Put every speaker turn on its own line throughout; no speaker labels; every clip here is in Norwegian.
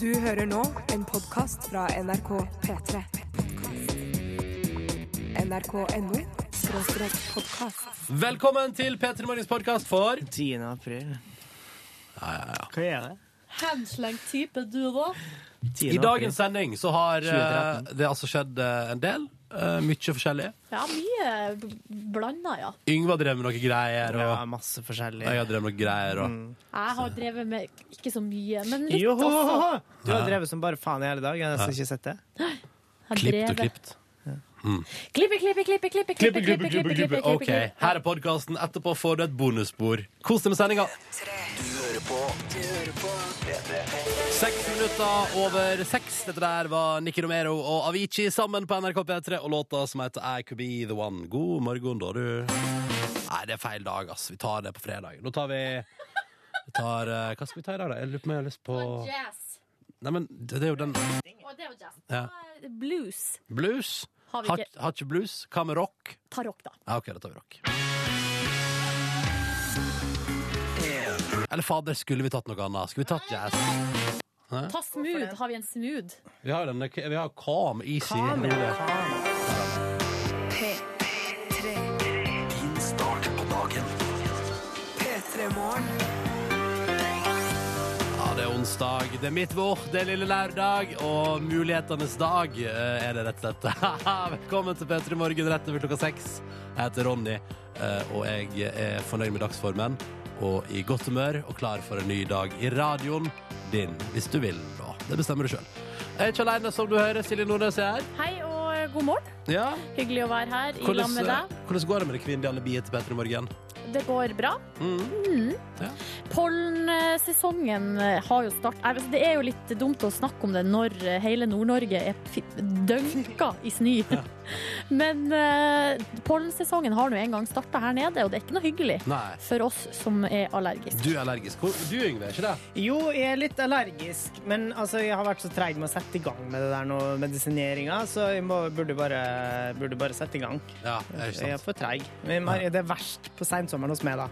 Du hører nå en podkast fra NRK P3. NRK.no skråstrek podkast.
Velkommen til P3 Morgens podkast for
10. april. Hva gjør jeg?
Handslang type du, da?
10.
I
april.
dagens sending så har eh,
2013.
det altså skjedd eh, en del. eh, mye forskjellig.
Ja, mye blanda, ja.
Yngve har drevet med noe greier, og
Ja, masse forskjellig.
jeg har drevet med noe greier. Og...
Jeg har drevet med ikke så mye, men litt,
Joho!
altså.
Du har drevet som bare faen i hele dag. Jeg har nesten ikke sett det.
Jeg har
Klippet og
drevet-
klippet.
Klippe, klippe, klippe, klippe, klippe, klippe, klippe, klippe,
OK, her er podkasten. Etterpå får du et bonusspor. Kos deg med sendinga. Seks minutter over seks. Dette der var Nikki Romero og Avicii sammen på NRK P3 og låta som heter I Could Be The One. God morgen, da, du. Nei, det er feil dag, ass. Vi tar det på fredag. Nå tar vi vi tar, eh, Hva skal vi ta i dag, da? Jeg lurer på om jeg har lyst på
Jazz.
Nei, men det det er jo den
Og det er jo jazz.
Ja.
Eh, Blues.
Blues.
Har vi
Har
ikke.
har ikke blues. Hva med rock?
Ta rock, da.
Ja, ok, da tar vi rock. Eller fader, skulle vi tatt noe annet? Skulle vi tatt jazz?
Ta smooth. Har vi en smooth?
Vi har denne, vi har calm, easy
Calm, ja.
rolig.
P3.
Din start på dagen.
P3 Morgen.
Ja, det er onsdag, det er mitt vår, det er lille lørdag, og mulighetenes dag eh, er det rett og slett. Haha, Velkommen til P3 Morgen rett over klokka seks. Jeg heter Ronny, eh, og jeg er fornøyd med dagsformen, og i godt humør, og klar for en ny dag i radioen din, hvis du vil, da. Det bestemmer du selv. Jeg er ikke alene, som du hører. Silje Nordnes er her.
Hei og eh, god morgen.
Ja.
Hyggelig å være her i lag
Hvordan,
med deg.
hvordan går det med det kvinnelige alibiet til P3 Morgen?
Det går bra.
Mm.
Pollensesongen eh, har jo start... Nei, altså, Det er jo litt dumt å snakke om det når eh, hele Nord-Norge er fi- dønka i snø. Men eh, pollensesongen har nå en gang starta her nede, og det er ikke noe hyggelig
Nei.
for oss som er allergiske.
Du er allergisk. Hvor- Du, Yngve, er ikke det?
Jo, jeg er litt allergisk, men altså, jeg har vært så treig med å sette i gang med det der nå, medisineringa, så jeg må, burde, bare, burde bare sette i gang.
Ja, er ikke
Jeg er
sant.
for treig. Men Mar- Det er verst på seinsommeren hos meg, da.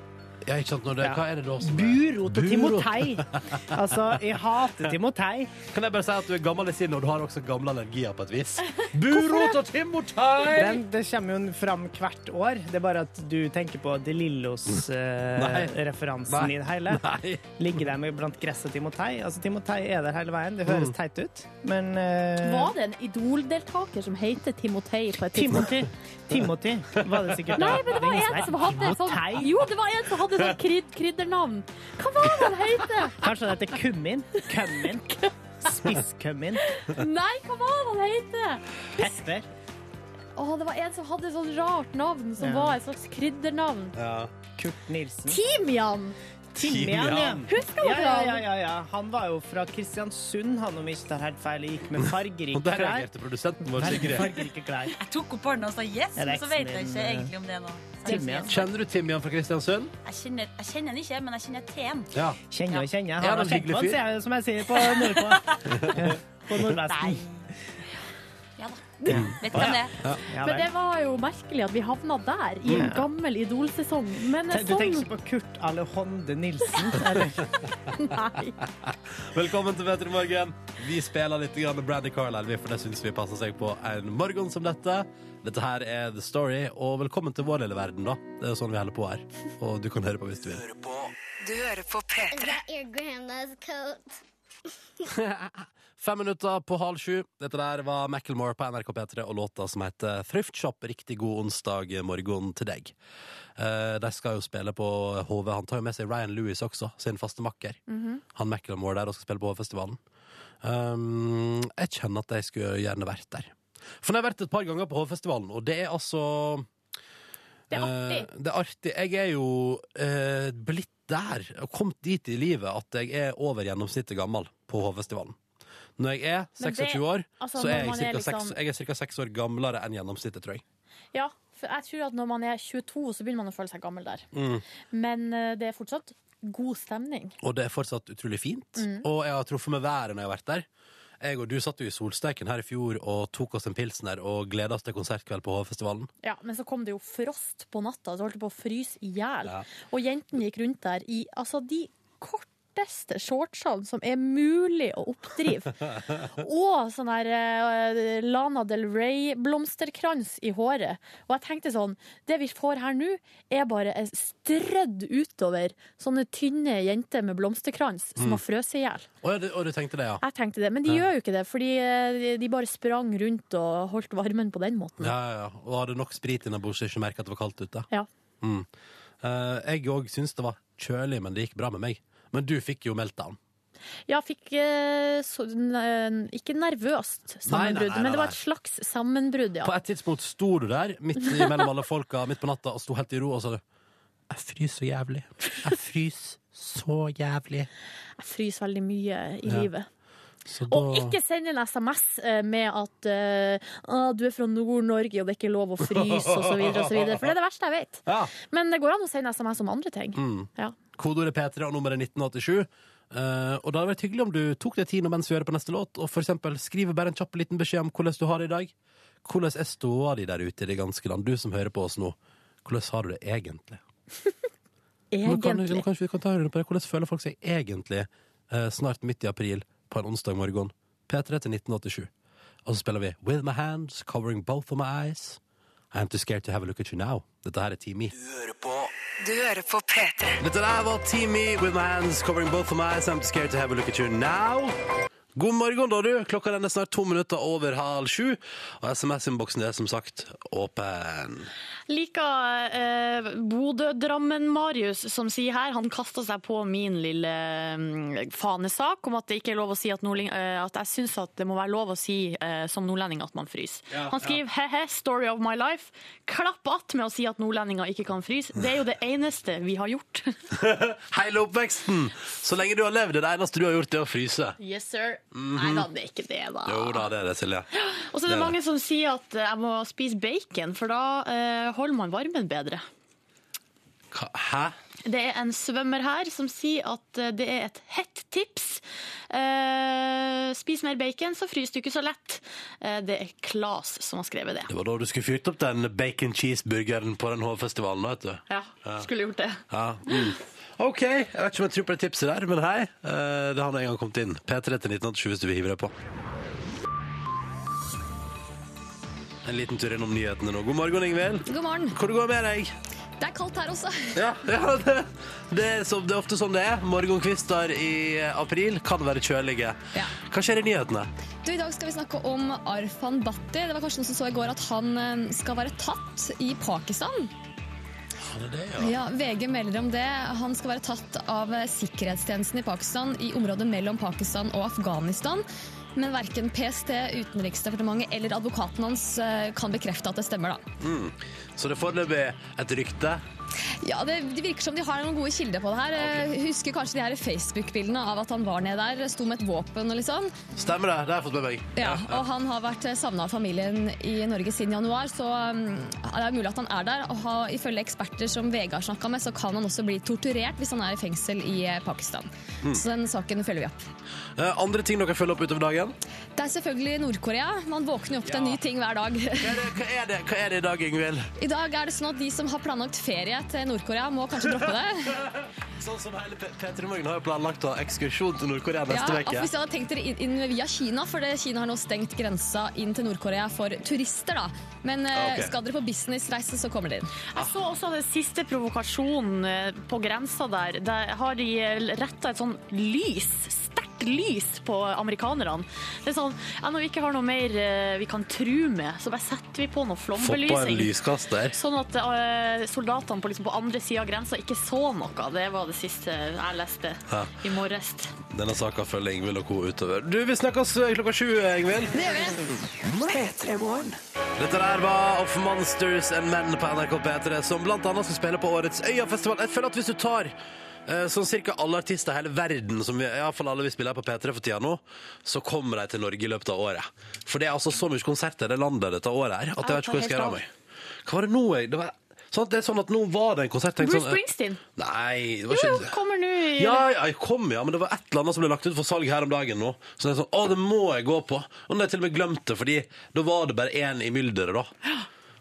Ja, ikke sant når det,
Ja.
hva er det da som er-
Burot og
Burot.
Timotei. Altså, jeg hater Timotei.
Kan jeg bare si at du er gammel i sinnet, og du har også gamle allergier på et vis. Burot og Timotei!
Den, det kommer jo fram hvert år. Det er bare at du tenker på De Lillos
Nei.
eh, referansen
Nei.
i det hele.
Nei.
Ligger der med blant gress og Timotei. Altså, Timotei er der hele veien. Det
Mm.
høres teit ut, men eh,
Var det en Idol-deltaker som heter Timotei på et tidspunkt?
Timothy. Timothy var det sikkert.
Nei, men det var en som hadde sånn
Timotei.
Jo, det var en som hadde sånn krydd, kryddernavn. Hva var det han heter?
Kanskje det heter kummin? Kummin? Spisskummin?
Nei, hva var det han heter?
Pepper?
Å, det var en som hadde sånn rart navn, som
Ja.
var et slags kryddernavn.
Ja.
Kurt Nilsen?
Timian!
Timian, ja.
Husker
Ja,
dere
ja, ja,
han?
ja, ja. Han var jo fra Kristiansund, han om ikke tar helt feil. Jeg Gikk med
Og
fargerike
der
klær.
reagerte produsenten vår, Sigrid.
Fargerike klær.
Jeg tok opp hånda og sa yes,
Ja, det er
men så vet jeg
eksen
ikke
din,
egentlig om det er noe.
Timian.
seriøst.
Kjenner du Timian fra Kristiansund?
Jeg kjenner, jeg kjenner den ikke, men jeg kjenner teen.
Ja.
Kjenner og kjenner.
Ja,
Han
men
har kjent
hyggelig
på
fyr.
han, ser jeg, som jeg sier på nordpå. På
Nei.
nordvesten.
Ja da. Vet hvem det er.
Ja,
Men
vel.
det var jo merkelig at vi havna der, i en gammel Idol-sesong. Men
Te- Du tenker
sånn
ikke på Kurt Alehonde Nilsen? eller?
sånn- Nei.
Velkommen til Petter i morgen. Vi spiller litt grann med Brandy Carlisle, vi, for det syns vi passer seg på en morgen som dette. Dette her er The Story, og velkommen til vår lille verden, da. Det er jo sånn vi holder på her. Og du kan høre på hvis du vil.
Du hører på P3.
your grandma's coat.
Fem minutter på halv sju. Dette der var Macklemore på NRK P3 og låta som heter Thriftshop. Riktig god onsdag morgen til deg. Eh, de skal jo spille på HV. Han tar jo med seg Ryan Lewis også, sin faste makker.
Mhm.
Han Macklemore der og skal spille på HV-festivalen. Um, jeg kjenner at jeg skulle gjerne vært der. For jeg har vært et par ganger på HV-festivalen, og det er altså
Det er artig.
Eh, det er artig. Jeg er jo eh, blitt der og kommet dit i livet at jeg er over gjennomsnittet gammel på Hovfestivalen. Når jeg er
Men det-
26 år,
altså,
så
når
er jeg
man er
cirka seks-
liksom-
jeg er ca. 6 år gamlere enn gjennomsnittet, tror jeg.
Ja, for jeg tror at når man er 22, så begynner man å føle seg gammel der.
Mm.
Men eh, det er fortsatt god stemning.
Og det er fortsatt utrolig fint.
Mm.
Og jeg har truffet med været når jeg har vært der. Jeg og du satt jo i solsteiken her i fjor og tok oss en pilsner og gleda oss til konsertkveld på Hovfestivalen.
Ja, Men så kom det jo frost på natta, så holdt det på å fryse i hjel. Og jentene gikk rundt der i Altså, de korteste shortsene som er mulig å oppdrive. Og sånn her eh, Lana Del Rey-blomsterkrans i håret. Og jeg tenkte sånn Det vi får her nå, er bare eh, strødd utover sånne tynne jenter med blomsterkrans som har frøst i hjel.
Å, ja, du- å, du tenkte det, Mm. ja.
Jeg tenkte det, men de gjør jo ikke det, fordi eh, de bare sprang rundt og holdt varmen på den måten.
Ja, ja, ja. Og hadde nok sprit innabords, ikke merka at det var kaldt ute.
Ja.
Mm. Eh, jeg òg syns det var kjølig, men det gikk bra med meg. Men du fikk jo meltdown.
Ja, fikk eh, så, n- ikke nervøst
Nei, nei,
sammenbrudd,
nei, nei,
men det var
nei.
et slags sammenbrudd, ja.
På et tidspunkt sto du der midt i mellom alle folka midt på natta og sto helt i ro og sa du Jeg fryser så jævlig. Jeg fryser så jævlig.
Jeg fryser veldig mye i
Ja.
livet.
Så
Og ikke send en SMS eh, med at eh, «Å, du er fra Nord-Norge og det er ikke lov å fryse, osv., osv. For det er det verste jeg vet.
Ja. Mm.
Men det går an å sende SMS om andre ting. Ja.
Kodeordet P3 og nummeret 1987. Eh, og da hadde det vært hyggelig om du tok deg tid nå mens vi hører på neste låt, og for eksempel skriver bare en kjapp liten beskjed om hvordan du har det i dag. Hvordan er ståa di der ute i det ganske land, du som hører på oss nå? Hvordan har du det egentlig? Men Kan, liksom
Egentlig.
kan, kanskje vi kan ta en runde på det. Hvordan føler folk seg egentlig eh, snart midt i april på en onsdag morgen? P3 til 1987. Og så spiller vi With My Hands, Covering Both of My Eyes. I'm Too Scared To Have A Look At You Now. Dette her er Team E.
Du hører på P3.
Dette der var Team E With My Hands, Covering Both of My Eyes. I'm Too Scared To Have A Look At You Now. God morgen, da, du. Klokka den er snart to minutter over halv sju. Og SMS-innboksen er som sagt åpen.
Liker eh, Bodø-Drammen-Marius som sier her, han kasta seg på min lille mm, fanesak om at det ikke er lov å si at, nordling, eh, at jeg syns at det må være lov å si eh, som nordlending at man fryser. han skriver he-he, story of my life. Klapp att med å si at nordlendinger ikke kan fryse. Det er jo det eneste vi har gjort.
Hele oppveksten! Så lenge du har levd, er det eneste du har gjort, det å fryse.
yes, sir. Nei da, det er ikke det, da.
Mhm. Jo da, det er det, Silje.
Og så er
det er
det mange som sier at eh, jeg må spise bacon, for da eh, holder man varmen bedre.
Hva- Hæ?
Det er en svømmer her som sier at eh, det er et hett tips. Eh, spis mer bacon, så fryser du ikke så lett. Eh, det er Klas som har skrevet det.
Det var da du skulle fyrt opp den bacon cheeseburgeren på den Hovefestivalen, vet du.
Ja, skulle gjort det.
Ja. Mm. OK, jeg vet ikke om jeg tror på det tipset der, men hei. eh, Det har nå en gang kommet inn. P3 til 1987 hvis du vil hive deg på. En liten tur innom nyhetene nå. God morgen, Ingvild.
God morgen.
Hvor det går med deg?
Det er kaldt her også.
Ja, ja det, det, er som, det er ofte sånn det er. Morgenkvister i eh, april kan være kjølige.
Ja.
Hva skjer i nyhetene?
Du, I dag skal vi snakke om Arfan Bhatti. Det var kanskje noen som så i går at han eh, skal være tatt i Pakistan. Ja, VG melder om det. Han skal være tatt av eh, sikkerhetstjenesten i Pakistan i området mellom Pakistan og Afghanistan. Men verken PST, Utenriksdepartementet eller advokaten hans eh, kan bekrefte at det stemmer. da.
Så det er foreløpig et rykte.
Ja, Det, det virker som de har noen gode kilder på det her. Eh, Husker kanskje de her Facebook-bildene av at han var nede der, sto med et våpen og litt sånn.
Stemmer det? Det har jeg fått med meg.
Ja, og han har vært savna av familien i Norge siden januar, så um, det er mulig at han er der. Og ha, ifølge eksperter som VG har snakka med, så kan han også bli torturert hvis han er i fengsel i eh, Pakistan.
Hmm.
Så den saken følger vi opp.
Eh, Andre ting dere følger opp utover dagen?
Det er selvfølgelig Nord-Korea. Man våkner jo opp til en ny ting hver dag.
Hva er det, hva er det, hva er det i dag, Ingvild?
I dag er det sånn at de som har planlagt ferie til Nord-Korea, må kanskje droppe det.
Sånn som hele P- P3 Morgen har jo planlagt å ha ekskursjon til Nord-Korea
Ja,
neste
og
uke.
Hvis dere hadde tenkt dere inn- inn via Kina, for det, Kina har nå stengt grensa inn til Nord-Korea for turister, da. Men eh,
Ah, Ok.
skal dere på businessreise, så kommer dere inn.
Jeg så også den siste provokasjonen eh, på grensa der. Der har de retta et sånn lys, sterkt lys, på amerikanerne. Det er sånn ja, når vi ikke har noe mer eh, vi kan true med, så bare setter vi på noe
Få på en
flombelysing.
lyskaster.
Sånn at eh, soldatene på, liksom, på andre sida av grensa ikke så noe. Det var det siste jeg leste
Ja.
i morges.
Denne saka følger Ingvild og co. utover. Du, vi snakkes eh, klokka sju, eh, Ingvild. Dette der var Of Monsters and Men på NRK P3, som blant annet skal spille på årets Øyafestival. Jeg føler at hvis du tar eh, sånn cirka alle artister i hele verden, som vi, i hvert fall alle vi spiller her på P3 for tida nå, så kommer de til Norge i løpet av året. For det er altså så mye konserter i det landet dette året her, at jeg vet ikke hvor jeg skal gjøre av meg. Hva var det nå jeg det var, sånn, at Det er sånn at nå var det en konsert jeg tenkte
Bruce
sånn, eh,
Springsteen.
Nei, det var
Jo,
ikke
jo, kommer nå i
ja, ja, jeg kom, ja, men det var et eller annet som ble lagt ut for salg her om dagen nå. Så det er sånn, å, det må jeg gå på. Og nå har jeg til og med glemt det, fordi da var det bare én i mylderet, da.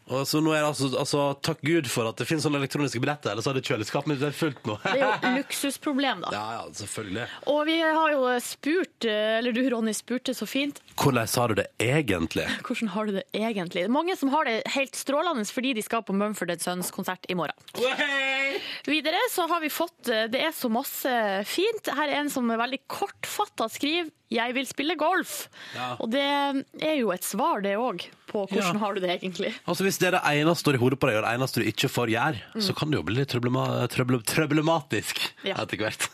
Og så nå er det altså, altså Takk Gud for at det finnes sånne elektroniske billetter, ellers hadde kjøleskapet mitt vært fullt nå.
Det er jo et luksusproblem, da.
Ja, ja, selvfølgelig.
Og vi har jo spurt, eh, eller du Ronny spurte så fint,
Hvordan har du det egentlig?
hvordan har du det egentlig? Det er mange som har det helt strålende fordi de skal på Mumford Sons konsert i morgen. Videre så har vi fått eh, Det er så masse fint. Her er en som er veldig kortfatta skriver 'Jeg vil spille golf'. Og det er jo et svar, det òg, på hvordan
Ja.
har du det egentlig.
Altså Hvis det er det eneste står i hodet på deg, og det eneste du ikke får gjøre, så kan det jo bli litt trøblema trøble trøblematisk
Mm. Ja.
etter hvert.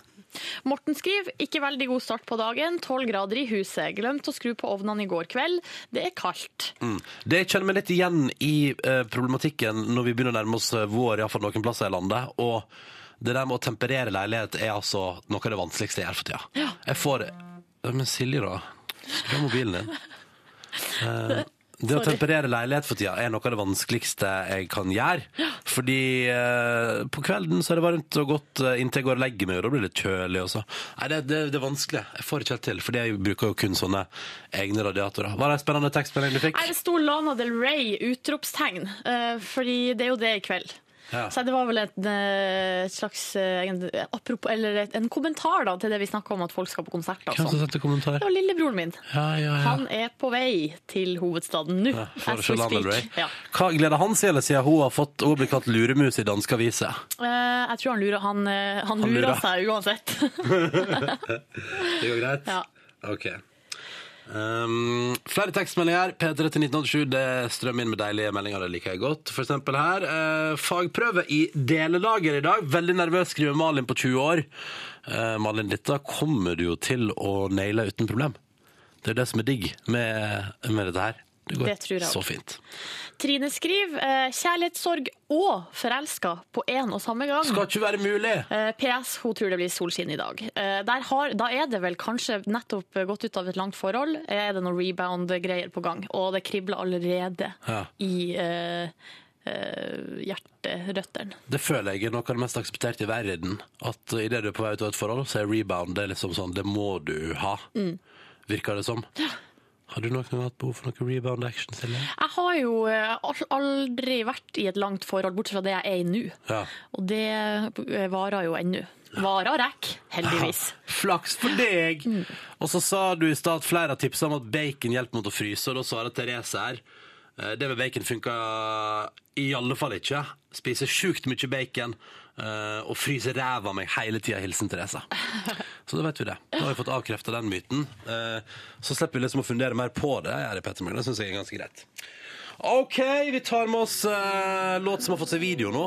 Morten skriver 'Ikke veldig god start på dagen. 12 grader i huset. Glemte å skru på ovnene i går kveld. Det er kaldt'.
Mm. Det jeg kjenner meg litt igjen i eh, problematikken når vi begynner å nærme oss eh, vår, iallfall noen plasser i landet. og det der med å temperere leilighet er altså noe av det vanskeligste jeg gjør for tida. Jeg får Ja, Men Silje, da. Skru av mobilen din. Eh, det å
Sorry.
temperere leilighet for tida er noe av det vanskeligste jeg kan gjøre. Fordi eh, på kvelden så er det varmt og godt eh, inntil jeg går og legger meg, og da blir det kjølig også. Nei, det, det, det er vanskelig. Jeg får ikke helt til, fordi jeg bruker jo kun sånne egne radiatorer. Var det en spennende tekstmelding du fikk?
Nei, det sto Lana Del Rey, utropstegn, eh, fordi det er jo det i kveld.
Ja.
Så det var vel et, eh, slags eh, en, apropos, eller et, en kommentar da, til det vi snakka om at folk skal på konserter og
Hvem som
sånn.
sendte kommentar?
Det var lillebroren min.
Ja, ja, ja.
Han er på vei til hovedstaden nå.
Ja,
as
for å
we
se Lana
speak.
Del Rey.
Ja.
Hva gleder han seg eller siden hun har fått hun blir kalt luremus i danske aviser?
Eh, jeg tror han lurer, han, eh, han
Han
lurer
lurer.
seg uansett.
Det går greit?
Ja.
Ok. Um, flere tekstmeldinger. P3 til 1987. Det strømmer inn med deilige meldinger. Det liker jeg godt. For eksempel her. eh, fagprøve i delelager i dag. Veldig nervøs, skriver Malin på 20 år. Eh, Malin, dette kommer du jo til å naile uten problem. Det er det som er digg med, med dette her. Det går
Det tror jeg også.
så fint.
Trine skriver eh, 'kjærlighetssorg og forelska' på én og samme gang.
Skal ikke være mulig!
Eh, PS, hun tror det blir solskinn i dag. Eh, Der har, da er det vel kanskje nettopp gått ut av et langt forhold. Eh, Er det noen rebound-greier på gang? Og det kribler allerede
Ja.
i eh, eh, hjerterøttene.
Det føler jeg er noe av det mest aksepterte i verden. At idet du er på vei ut av et forhold, så er rebound det er liksom sånn Det må du ha, virker det som. Har du noen gang hatt behov for noe rebound action, Silje?
Jeg har jo eh, al- aldri vært i et langt forhold, bortsett fra det jeg er i nå.
Ja.
Og det eh, varer jo ennå. Varer rekk, heldigvis.
Flaks for deg! Og så sa du i stad at flere har tipsa om at bacon hjelper mot å fryse, og da svarer Therese her eh, det med bacon funka i alle fall ikke. Spiser sjukt mye bacon eh, og fryser ræva av meg hele tida. Hilsen Therese. Så da vet vi det. Da har vi fått avkrefta den myten. Eh, Så slipper vi liksom å fundere mer på det. her i Petter Morgen. Det syns jeg er ganske greit. OK, vi tar med oss eh, låt som har fått seg video nå.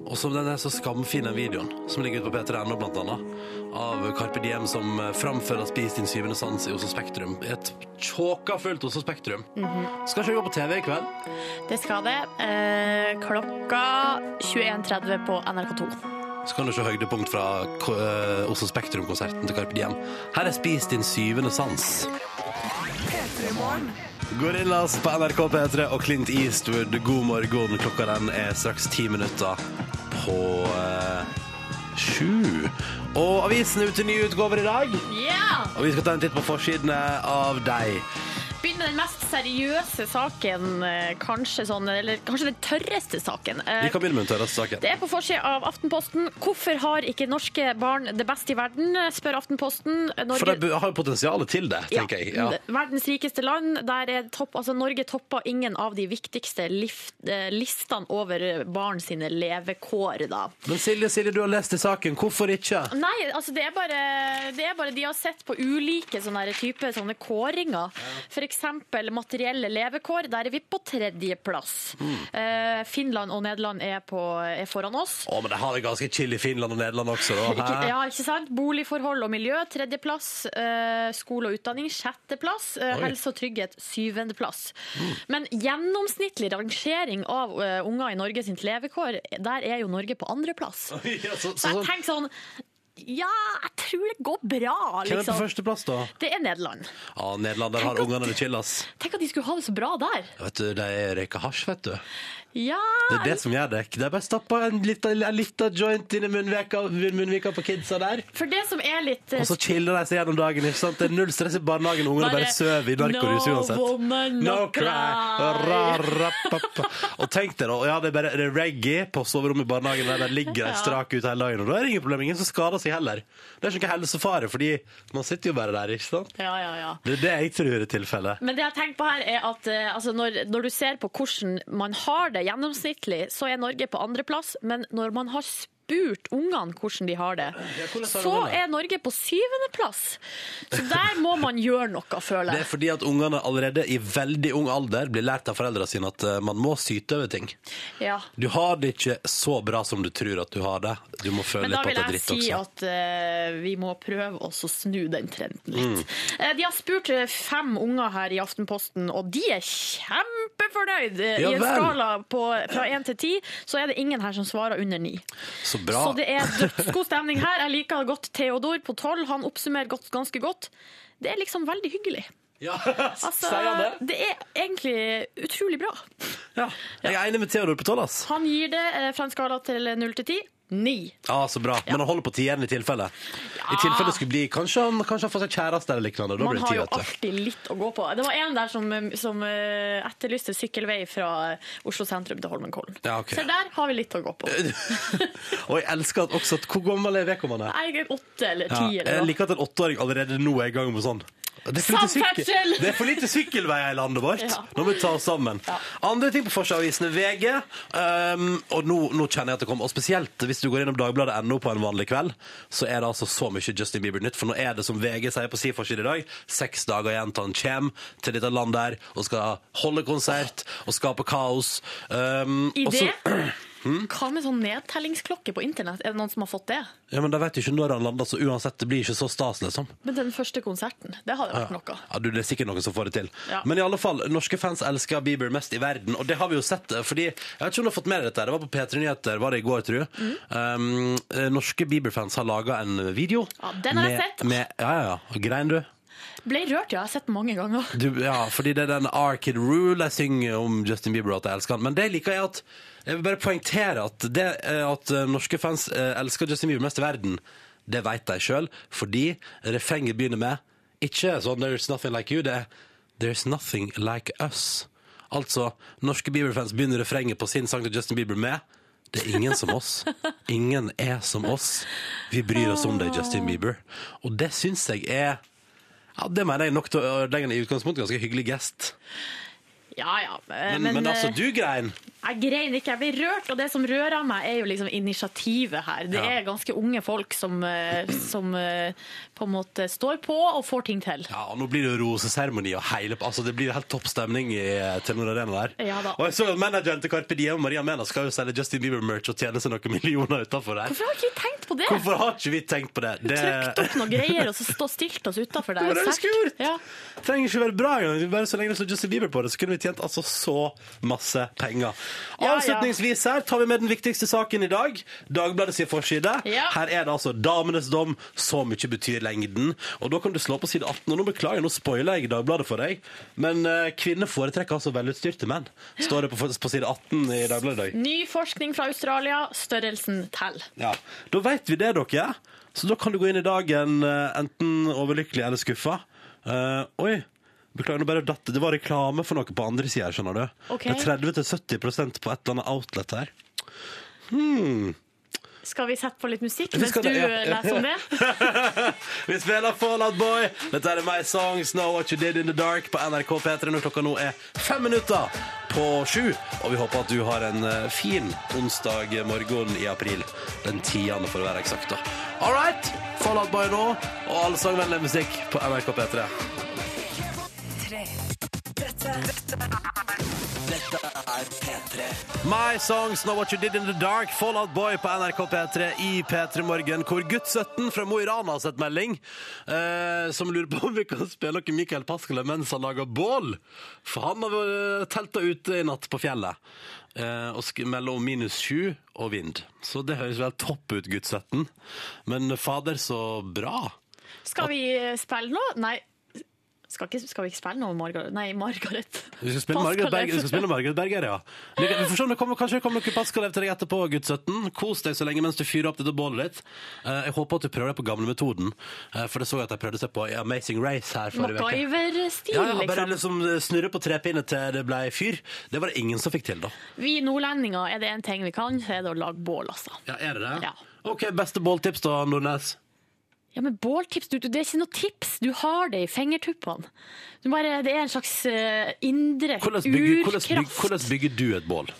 Og som den er så skamfin, den videoen, som ligger ute på p3.no, blant annet. Av Carpe Diem som eh, framfører Spis din syvende sans i Oslo Spektrum. I Et tjåka fullt Oslo Spektrum. Skal ikke vi gå på TV i kveld?
Det skal det. Eh, klokka 21.30 på NRK2.
Så kan du se høydepunkt fra K- eh, Oslo Spektrum-konserten til Carpe Diem. Her er Spis din syvende sans. Gorillas på NRK P3 og Clint Eastwood, god morgen. Klokka den er straks ti minutter på eh, sju. Og avisen er ute i nye utgaver i dag.
Yeah!
Og vi skal ta en titt på forsidene av deg.
Begynn med den mest seriøse saken, eh, kanskje sånn, eller kanskje den tørreste saken. Eh,
Vi kan begynne med den tørreste saken.
Det er på forsida av Aftenposten. Hvorfor har ikke norske barn det best i verden, spør Aftenposten. Norge-
For de har jo potensialet til det,
Ja,
tenker jeg. Ja.
Verdens rikeste land. Der er topp, altså Norge topper ingen av de viktigste lif- eh, listene over barn sine levekår, da.
Men Silje, Silje, du har lest i saken. Hvorfor ikke?
Nei, altså det er bare, det er bare de har sett på ulike sånne her type sånne kåringer. For eksempel materielle levekår, der er vi på tredjeplass. Eh, Finland og Nederland er, på, er foran oss.
Å, men det har det ganske chill i Finland og Nederland også, da.
Ikke,
Hæ?
ja, ikke sant? Boligforhold og miljø, tredjeplass. Eh, skole og utdanning, sjetteplass. Eh,
Oi.
helse og trygghet, syvendeplass. Men gjennomsnittlig rangering av eh, unger i Norge sitt levekår, der er jo Norge på andreplass.
Ja, så,
Så
så,
jeg
sånn.
tenker sånn Ja, jeg tror det går bra,
Hvem er på
liksom.
førsteplass, da?
Det er Nederland.
Ja, Nederland, der har
Tenk at-
ungene det chill, ass.
Tenk at de skulle ha det så bra der.
Vet du, de røyker hasj, vet du.
Ja!
Det er det som gjør det. Det er bare å stappe en liten, en liten joint inn i munnvika, munnvika på kidsa der,
For det som er litt eh,
og så chiller de seg gjennom dagen. ikke sant? Det er null stress i barnehagen, ungene bare sover i narkorus uansett.
No woman, no, cry.
Ra, ra, pa, pa. Og tenk deg da, og ja, det er bare det er reggae på soverommet i barnehagen der det ligger en
Ja.
strak ut hele dagen, og da er det ingen problem, ingen som skader seg heller. Det er ikke noe helsefare, fordi man sitter jo bare der, ikke sant?
Ja, ja, ja.
Det er det jeg tror er tilfellet.
Men det jeg tenker på her er at eh, altså når, når du ser på hvordan man har det gjennomsnittlig, så er Norge på andreplass. Men når man har spurt ungene hvordan de har det,
hvordan har
så
ungene det?
er Norge på syvendeplass. Så der må man gjøre noe,
Det
føler
er
jeg.
fordi at ungene allerede i veldig ung alder blir lært av foreldrene sine at eh, man må syte over ting.
Ja.
Du har det ikke så bra som du tror at du har det. Du må føle
Men
litt
da
på at
vil
det er
jeg
dritt
si
også.
at eh, vi må prøve oss å snu den trenden
Mm.
litt. Eh, de har spurt eh, fem unger her i Aftenposten, og de er kjempefornøyd. Eh,
Ja
I en
vel.
skala på, fra én til ti, så er det ingen her som svarer under ni.
Så bra.
Så det er dødsgod stemning her. Jeg liker godt Theodor på tolv. Han oppsummerer godt, ganske godt. Det er liksom veldig hyggelig.
Ja,
Altså,
sier han det?
det er egentlig utrolig bra.
Ja. Jeg er enig med Theodor på tolv, ass.
Han gir det eh, fra en skala til null til ti. Ni.
Ja, så bra. Men han holder på tieren i tilfelle. I tilfelle det skulle bli Kanskje han, kanskje han får seg kjæreste eller lignende. Da
Man
blir det
har
ti,
jo
vet du.
alltid litt å gå på. Det var en der som, som eh, etterlyste sykkelvei fra eh, Oslo sentrum til Holmenkollen.
Ja, ok. Eh,
Se der har vi litt å gå på.
Og jeg elsker at også at Hvor gammel er vedkommende?
Er det åtte eller
Ja,
ti?
jeg
eller noe?
liker at en åtteåring allerede nå er i gang med sånn. Det er for lite, sykkel,
Samferdsel!
det er for lite sykkelveier i landet vårt.
Ja.
Nå må vi ta oss sammen. Andre ting på forsideavisene. VG. Um, og nå, nå kjenner jeg at det kommer. Og spesielt hvis du går innom Dagbladet.no på en vanlig kveld, så er det altså så mye Justin Bieber-nytt. For nå er det som VG sier på sin forside i dag, seks dager igjen til han kommer til dette landet her og skal holde konsert og skape kaos. Um,
I
og så-
det?
Hmm?
Hva med sånn nedtellingsklokke på internett? Er det noen som har fått det?
Ja, men Da vet du ikke når han lander, så uansett, det blir ikke så stas, liksom.
Men den første konserten, det hadde vært noe.
Ja, du, Det er sikkert noen som får det til.
Ja.
Men i alle fall, norske fans elsker Bieber mest i verden, og det har vi jo sett. eh, Fordi, jeg vet ikke om du har fått med deg dette, det var på P3 Nyheter var det i går, tror jeg.
Mm.
Um, eh, norske Bieber-fans har laga en video.
Ja, den har jeg
med,
sett.
Med, ja, ja, ja. Grein, du.
Ble rørt, ja. Jeg har sett den mange ganger.
du. Ja, fordi det er den R. Kid Rule jeg synger om Justin Bieber, og at jeg elsker han. Men det liker jeg at Jeg vil bare poengtere at det eh, at eh, norske fans eh, elsker Justin Bieber mest i verden, det veit de sjøl, fordi refrenget begynner med ikke sånn 'There's nothing like you', det er 'There's nothing like us'. Altså, norske Bieber-fans begynner refrenget på sin sang til Justin Bieber med det er ingen som oss. Ingen er som oss. Vi bryr oss om deg, Justin Bieber. Og det syns jeg er ja, Det mener jeg nok til å ødelegge en i utgangspunktet ganske hyggelig gest.
Ja, ja. eh,
Men, men, altså,
eh,
du grein.
Jeg grein ikke, jeg ble rørt, og det som rører meg er jo liksom initiativet her. Det
Ja.
er ganske unge folk som, eh, som eh, på en måte står på og får ting til.
Ja, og nå blir det jo roseseremoni og hele Altså, det blir helt topp stemning i eh, Telenor Arena der.
Ja da.
Og jeg så at manageren til Carpe Diem, Maria Mena, skal jo selge Justin Bieber-merch og tjene seg noen millioner utenfor der.
Hvorfor har ikke vi tenkt på det?
Hvorfor har ikke vi tenkt på det?
Vi Trykte opp noen greier og så stå stilt oss utafor der.
Det var det vi
Sært.
skulle gjort.
Ja.
trenger ikke være bra engang. Bare så lenge det står Justin Bieber på det, så kunne vi tjent altså så masse penger.
ja.
Avslutningsvis her tar vi med den viktigste saken i dag. Dagbladet sin forside.
Ja.
Her er det altså 'Damenes dom'. Så mye betyr lengden. Og da kan du slå på side 18. Og nå beklager, nå spoiler jeg Dagbladet for deg, men eh, kvinner foretrekker altså velutstyrte menn. Står det på, på side 18 i Dagbladet i dag.
Ny forskning fra Australia, størrelsen teller.
Ja, Da vet vi det, dere. Så da kan du gå inn i dagen eh, enten overlykkelig eller skuffa. Eh, oi, beklager, nå bare datt det. Det var reklame for noe på andre sida her, skjønner du.
Ok.
Det er 30-70 på et eller annet outlet her.
Skal vi sette på litt musikk
Vi
mens
skal
du
det, ja.
eh, leser om det?
Vi spiller Fallout Boy. Dette er My Song, Snow What You Did In The Dark på NRK P3 når klokka nå er fem minutter på sju. Og vi håper at du har en eh, fin onsdag morgen i april. Den tiende, for å være eksakt. da. All right, Fallout Boy nå, og all sangvennlig musikk på NRK P3. My Songs Know What You Did In The Dark, Fallout Boy på NRK P3 i P3 Morgen, hvor gutt 17 fra Mo i Rana har sett melding, eh, som lurer på om vi kan spille noe Mikael Paskele mens han lager bål. For han har vært telta ute i natt på fjellet, eh, og sk- mellom minus 7 og vind. Så det høres vel topp ut, gutt 17. Men fader, så bra.
Skal vi eh, spille nå? Nei. Skal, ikke, skal vi ikke spille noe Margaret Nei, Margaret.
Vi skal spille Margaret, Berger, vi skal spille Margaret Berger, ja. Vi kan- vi får se om det kommer, kanskje det kommer noe Pascalev til deg etterpå, gutt 17. Kos deg så lenge mens du fyrer opp dette bålet ditt. Eh, jeg håper at du prøver deg på gamle metoden, eh, for det så jeg at de prøvde seg på i Amazing Race her forrige uke.
MacGyver-stil,
Ja, ja, bare
liksom.
liksom snurre på trepinnet til det ble fyr. Det var det ingen som fikk til, da.
Vi nordlendinger, er det en ting vi kan, så er det å lage bål, altså.
Ja, er det det?
Ja.
OK, beste båltips da, Nordnes?
Ja, men båltips, du, det er ikke noe tips. Du har det i fingertuppene. Du bare, det er en slags eh, indre
Hvordan bygger, hvordan,
urkraft.
bygger, hvordan bygger du et bål?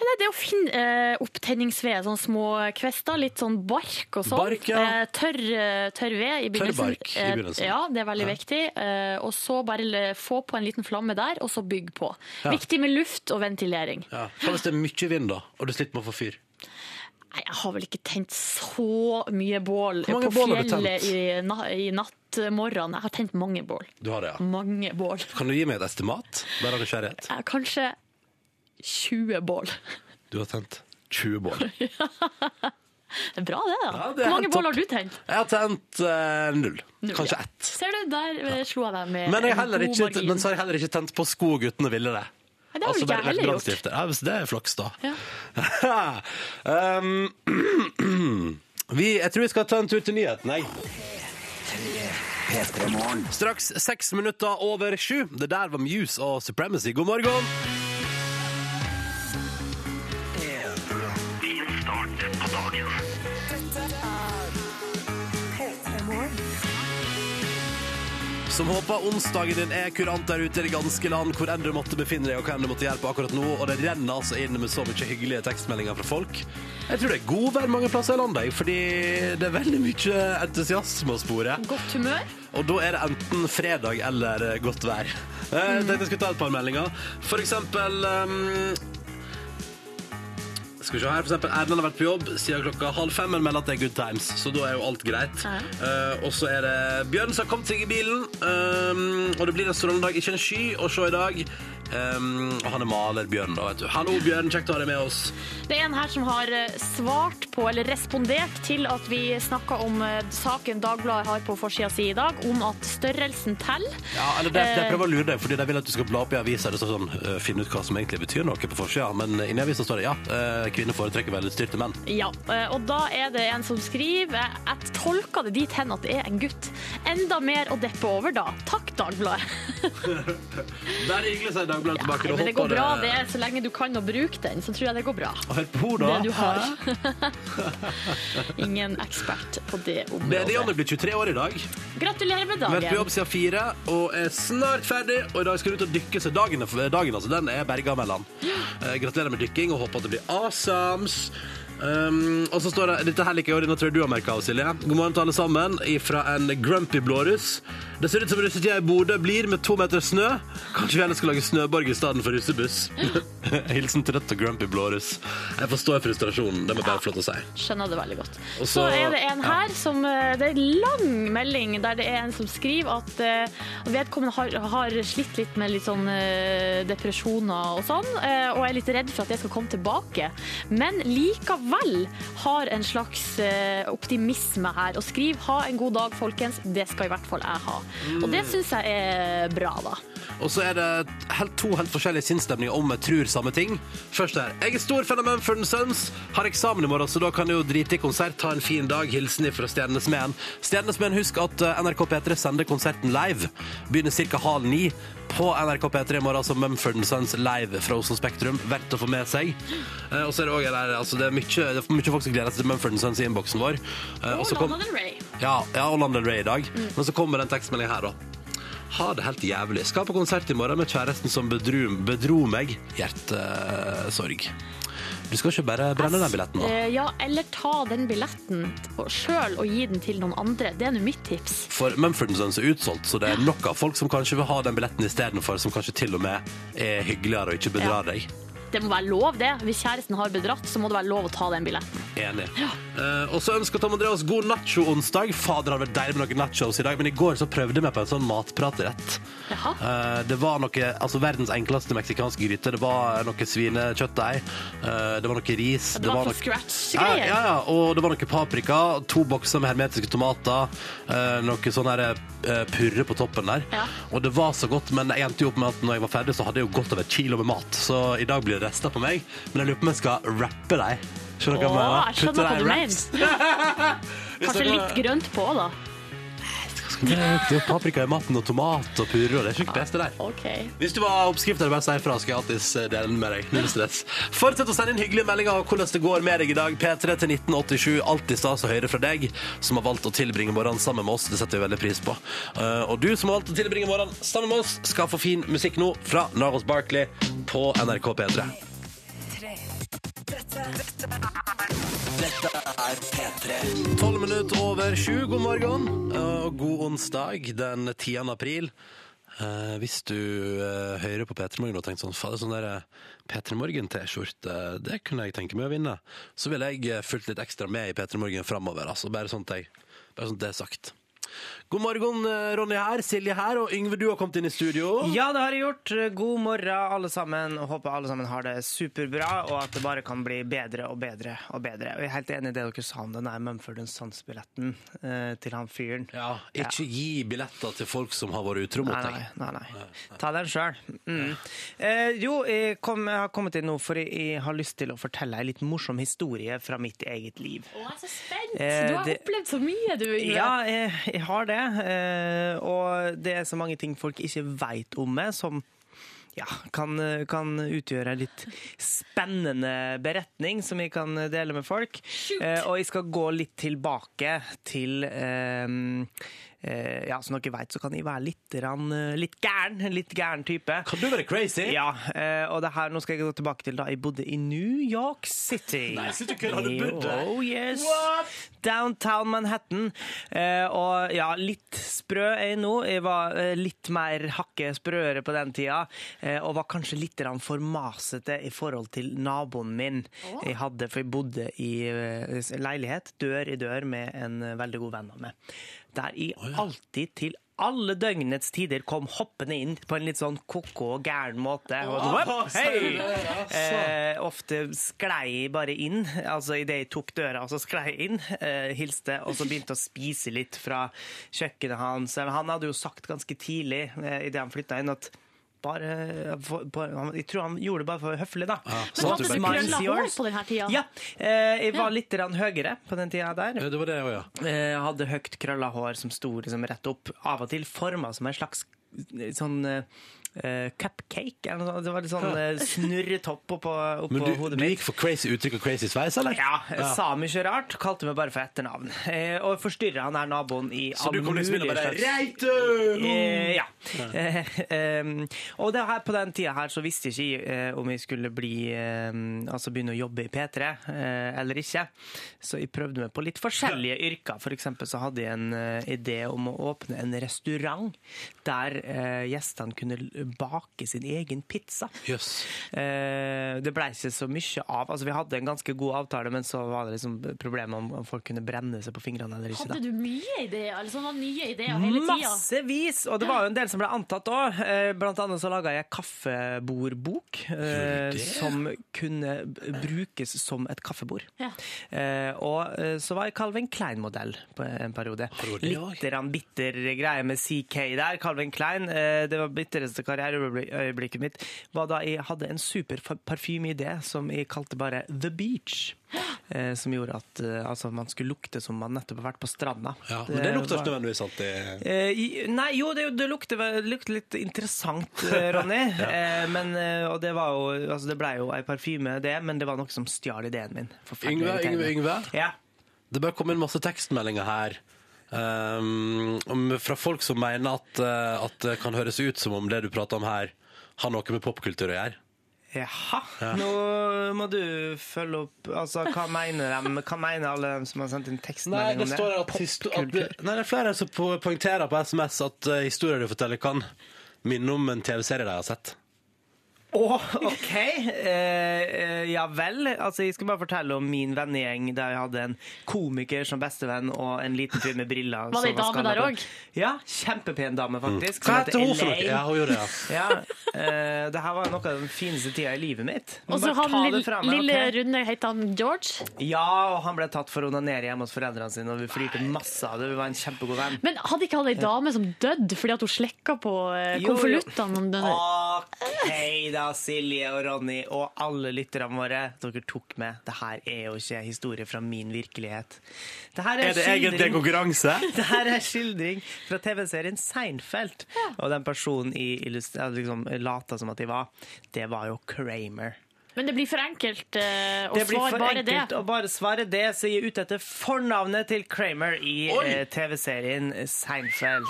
Nei, det er å finne eh, opptenningsved, sånne små kvester, litt sånn bark og sånn.
Bark, ja.
Eh, tørr, eh, tørr ved i begynnelsen.
bark i begynnelsen.
Eh, ja, det er veldig viktig. Eh, og så bare le- få på en liten flamme der, og så bygg på.
Ja.
Viktig med luft og ventilering.
Ja. Hva hvis det er mye vind, da, og du sliter med å få fyr?
Nei, jeg har vel ikke tent så mye bål
Hvor mange
på
bål har du
fjellet
tent?
i, na i nattmorgenen. Jeg har tent mange bål.
Du har det, ja.
Mange bål.
Kan du gi meg et estimat? Bare av nysgjerrighet.
Eh, Kanskje 20 bål.
Du har tent 20 bål.
Det er bra det, da.
Ja, det er
Hvor mange
helt
bål
topp.
har du tent?
Jeg har tent eh, null. Kanskje ett.
Ser du, der eh, slo jeg deg med
Men, jeg
en
heller
god
ikke,
margin.
men så har jeg heller ikke tent på sko og guttene ville det.
Nei, det har vel ikke jeg
bare lagt
heller gjort.
langstifter. Ja, hvis det er flaks, da.
Ja.
um, vi, jeg tror vi skal ta en tur til nyheten, jeg.
P3 Morgen.
Straks seks minutter over sju. Det der var Muse og Supremacy. God morgen! Som håper onsdagen din er kurant der ute i det ganske land, hvor enn du måtte befinne deg, og hva enn du måtte gjøre på akkurat nå. Og det renner altså inn med så mye hyggelige tekstmeldinger fra folk. Jeg tror det er god vær mange plasser i landet, jeg, fordi det er veldig mye entusiasme å spore.
Godt humør.
Og da er det enten fredag eller eh, godt vær. Eh, Jeg tenkte jeg skulle ta et par meldinger. For eksempel ehm, skal vi se her, for eksempel Erlend har vært på jobb siden klokka halv fem, men melder at det er good times. Så da er jo alt greit.
Ja.
Eh, og så er det Bjørn som har kommet seg i bilen, ehm, og det blir en strålende dag. Ikke en sky å se i dag. Ehm, og han er maler, Bjørn, da, vet du. Hallo, Bjørn, kjekt å ha deg med oss.
Det er en her som har eh, svart på, eller respondert til, at vi snakka om eh, saken Dagbladet har på forsida si i dag, om at størrelsen teller.
Ja, eller det,
Eh.
det jeg prøver å lure deg, fordi de vil at du skal bla opp i aviser og sånn, øh, finne ut hva som egentlig betyr noe på forsida, men eh, inni avisa står det ja, øh, kvinner foretrekker velutstyrte menn.
Ja, eh, og da er det en som skriver eh, Jeg tolker det dit hen at det er en gutt. Enda mer å deppe over da. Takk, Dagbladet.
Bare hyggelig, sier Dagbladet tilbake.
Nei,
og
men det
håper
går bra, det. er- Så lenge du kan å bruke den, så tror jeg det går bra.
Og Hør på henne,
Det du
da.
har. Ingen ekspert på det
Lene Janne
området.
blir 23 år i dag.
Gratulerer med
Vært på
dagen.
jobb siden fire og er snart ferdig. Og i dag skal du ut og dykke, så dagen, er- dagen altså, den er berga mellom. Eh, gratulerer med dykking, og håper at det blir awesomes. Um, og så står det Dette her liker jeg, og denne tror jeg du har merka av, Silje. God morgen til alle sammen fra en grumpy blåruss. Det ser ut som russetida i Bodø blir med to meter snø. Kanskje vi heller skal lage snøborg i stedet for russebuss. Hilsen trøtt og grumpy blåruss. Jeg forstår frustrasjonen. Det må bare være flott å si.
Skjønner det veldig godt.
Og
Så
så-
er det en
ja.
her som eh, Det er en lang melding der det er en som skriver at eh, vedkommende har, har slitt litt med litt sånn eh, depresjoner og sånn, eh, og er litt redd for at det skal komme tilbake. Men likevel har en slags eh, optimisme her og skriver 'ha en god dag, folkens'. Det skal i hvert fall jeg ha. Og
Mm.
det syns jeg er bra, da.
Og så er det helt, to helt forskjellige sinnsstemninger om jeg tror samme ting. Først her. Jeg er stor fan av Mumford Sons. Har eksamen i morgen, så da kan jeg jo drite i konsert. Ta en fin dag. Hilsen ifra Stjernesmeden. Stjernesmeden, husk at eh, NRK P3 sender konserten live. Begynner ca. halv ni på NRK P3 i morgen, altså Mumford Sons live fra Oslo Spektrum. Verdt å få med seg. Eh, Og så er det òg altså det er mye, det er mye folk som gleder seg til Mumford Sons i innboksen vår. Eh, og så kom-
Lana Del Rey.
ja, ja og London Ray i dag. Men så kommer den tekstmeldingen her, da. Ha det helt jævlig. Skal på konsert i morgen med kjæresten som bedro, bedro meg. Hjertesorg. Du skal ikke bare brenne den billetten, da.
Eh, Ja, eller ta den billetten sjøl og gi den til noen andre. Det er nå mitt tips.
For Mumford Sons er utsolgt, så det er nok av folk som kanskje vil ha den billetten istedenfor, som kanskje til og med er hyggeligere og ikke bedrar deg.
Det må være lov, det. Hvis kjæresten har bedratt, så må det være lov å ta den billetten.
Enig. Eh, og så ønsker Tom Andreas god nacho-onsdag. Fader, det hadde vært deilig med noen nachos i dag, men i går så prøvde vi på en sånn matpratrett.
Jaha.
Eh, det var noe, altså verdens enkleste meksikanske gryte. Det var noe svinekjøttdeig, eh, det var noe ris.
Det var
noe-
for scratch-greier.
Ja, ja, ja, og det var noe paprika, to bokser med hermetiske tomater, eh, noe sånn her eh, purre på toppen der.
Ja.
Og det var så godt, men jeg endte jo opp med at når jeg var ferdig, så hadde jeg jo godt over et kilo med mat. Så i dag blir det rester på meg, men jeg lurer på om jeg skal rappe deg. Skjønner du hva jeg
Åh,
mener?
jeg skjønner
Putte
hva
deg i
du
wraps.
Kanskje litt grønt på, da.
Det er jo paprika i maten og tomat og purre, og det er ikke det beste der.
OK.
Hvis du var oppskrift, er det bare å si ifra, skal jeg alltids dele den med deg. Null stress. Fortsett å sende inn hyggelige meldinger om hvordan det går med deg i dag. P3 til 1987, alltid stas å høre fra deg, som har valgt å tilbringe morgenen sammen med oss. Det setter vi veldig pris på. Eh, Og du som har valgt å tilbringe morgenen sammen med oss, skal få fin musikk nå fra Naros Barkley på NRK P3. Tolv minutter over sju, god morgen eh, og god onsdag den 10. april. Eh, hvis du eh, hører på P3 Morgen og tenker sånn Fader, sånn der eh, P3 Morgen-T-skjorte, det kunne jeg tenke meg å vinne. Så ville jeg eh, fulgt litt ekstra med i P3 Morgen framover, altså. Bare sånn at jeg- bare sånn at det er sagt. God morgen, eh, Ronny her, Silje her, og Yngve, du har kommet inn i studio.
Ja, det har jeg gjort. God morgen, alle sammen. og Håper alle sammen har det superbra, og at det bare kan bli bedre og bedre og bedre. Og jeg er helt enig i det dere sa om den der Mumford Sons-billetten eh, til han fyren.
Ja, ikke gi billetter til folk som har vært utro mot
Nei,
deg.
nei, nei, nei. Ta den sjøl. Mm. Eh, jo, jeg, kom, jeg har kommet inn nå, for jeg, jeg har lyst til å fortelle ei litt morsom historie fra mitt eget liv.
Å, jeg er så spent!
Eh,
Du har
det-
opplevd så mye, du, Yngve.
Ja, jeg, jeg har det. eh, Og det er så mange ting folk ikke veit om meg, som ja, kan, kan utgjøre en litt spennende beretning som jeg kan dele med folk. Eh, Og jeg skal gå litt tilbake til eh, eh, Ja, som dere veit, så kan jeg være litt, grann, eh, litt gæren. en Litt gæren type.
Kan du være crazy?
Ja, eh, og det her, nå skal jeg gå tilbake til da jeg bodde i New York City.
Nei, sitter du ikke? Har du bodd der?
Oh yes. Downtown Manhattan. Eh, og ja, litt sprø er jeg nå. Jeg var eh, litt mer hakke sprøere på den tida. eh, og var kanskje litt grann for masete i forhold til naboen min. Jeg hadde, For jeg bodde i eh, leilighet, dør i dør, med en eh, veldig god venn av meg. Der jeg alltid til alle døgnets tider kom hoppende inn på en litt sånn ko-ko gæren måte. Og så, «Hopp, hei!
altså?
Eh, ofte sklei jeg bare inn, altså idet jeg tok døra, og så sklei jeg inn, eh, hilste, og så begynte å spise litt fra kjøkkenet hans. Men Han hadde jo sagt ganske tidlig eh, idet han flytta inn, at bare for, bare- han- Jeg tror han gjorde det bare for høflig, da.
så
Så
hadde du bare-
«Smile's
Krølla hår
yours».
på denne tida.
Ja. Eh, jeg var litt grann høyere på den tida der.
Ja, Det var det òg, ja.
Eh, hadde høyt krølla hår som sto liksom rett opp. Av og til forma som en slags eh, sånn eh, eh, cupcake. Eller noe sånt. Det var litt sånn eh, snurretopp oppå,
Men
oppå
du,
hodet
du
mitt.
gikk for crazy uttrykk og crazy sveis, eller?
Ja, jeg sa mye rart. Kalte meg bare for etternavn. Eh, og forstyrra han her naboen i
Så du kom liksom inn og bare Reitu!
Eh, ja. Eh, em, og det her, på den tida her så visste ikke jeg eh, om jeg skulle bli eh, Altså begynne å jobbe i P3 eh, eller ikke. Så jeg prøvde meg på litt forskjellige yrker. For eksempel så hadde jeg en eh, idé om å åpne en restaurant der eh, gjestene kunne l- bake sin egen pizza.
Jøss.
Eh, det blei ikke så mye av. Altså Vi hadde en ganske god avtale, men så var det liksom problemet om, om folk kunne brenne seg på fingrene eller ikke. da.
Hadde du mye ideer? Eller sånne nye ideer hele tida?
Massevis! Og det var jo en del som ble antatt òg. Blant annet så laga jeg kaffebordbok, eh,
Gjorde du det?
som kunne b- brukes som et kaffebord.
Ja.
Eh, og eh, så var jeg Calvin Klein-modell på en periode.
du det også?
Litt grann bitter greie med CK der. Calvin Klein. Eh, det var bitreste karriereøyeblikket mitt. Var da jeg hadde en super fa- parfymeidé som jeg kalte bare The Beach. Eh, som gjorde at eh, altså, man skulle lukte som man nettopp har vært på stranda.
Ja, men det lukter
var-
ikke nødvendigvis alltid
Eh, i- nei, jo, det, det lukter, vel- lukter litt interessant, eh, Ronny. eh, men, eh, og det, var jo, altså, det ble jo ei parfyme, det, men det var noe som stjal ideen min. Forferdelig
Yngve, Yngve,
irriterende.
Yngve.
Ja.
Det bør komme inn masse tekstmeldinger her. ehm, om- fra folk som mener at, eh, at det kan høres ut som om det du prater om her, har noe med popkultur å gjøre.
Jaha. Nå må du følge opp Altså, hva mener, de, hva mener alle dem som har sendt inn
Nei,
tekstmelding
det
om det?
står her at, histo- at det, nei, det er flere som po- poengterer på SMS at eh, historier du forteller, kan minne om en TV-serie de har sett.
Åh, OK. Eh, eh, ja vel. Altså, jeg skal bare fortelle om min vennegjeng der jeg hadde en komiker som bestevenn og en liten fyr med briller.
Var det
som
en dame
skallet
der
opp.
òg?
Ja. Kjempepen dame, faktisk.
Hva heter hun for noe?
Elaine.
Ja, hun gjorde det, ja.
Ja, eh, det her var noe av den fineste tida i livet mitt. Men
Og så
bare
han
ta det
lille,
fra meg,
lille
ok?
runde, heter han George?
Ja, og han ble tatt for å onanere hjemme hos foreldrene sine, og vi flirte masse av det. Vi var en kjempegod venn.
Men hadde ikke han ei dame som døde fordi at hun slekka på eh,
Jo, Ah. jo.
konvoluttene? om den-
OK da, Silje og Ronny og alle lytterne våre. Dere tok med. Det her er jo ikke historie fra min virkelighet. Det her er,
Er det egentlig en
skildring,
konkurranse?
det her er skildring fra TV-serien Seinfeld. Og den personen i illust- eh, liksom, lata som at de var, det var jo Kramer.
Men det blir for enkelt eh, å
Det blir
svare
for
bare det.
enkelt å bare svare det, så jeg er ute etter fornavnet til Kramer i eh, TV-serien Seinfeld.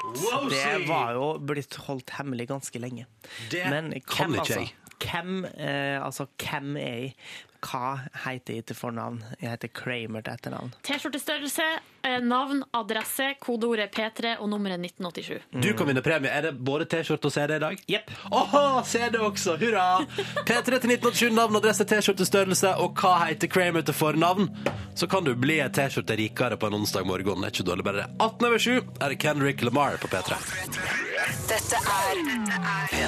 Det var jo blitt holdt hemmelig ganske lenge.
Det
Men
kan
hvem,
ikke
altså?
jeg.
Hvem, eh, altså, hvem er jeg? Hva heter jeg til fornavn? Jeg heter Kramer til etternavn.
T-skjortestørrelse, eh, navn, adresse, kodeordet P3 og nummeret 1987.
Du kan vinne premie. Er det både T-skjorte og CD i dag?
Jepp.
Åhå, CD også! Hurra! P3 til 1987, navn, adresse, T-skjortestørrelse og hva heter Kramer til fornavn? Så kan du bli en T-skjorte rikere på en onsdag morgen. Det er ikke dårlig, bare det. 18 over 7 er det Kendrick Lamar på P3.
Dette er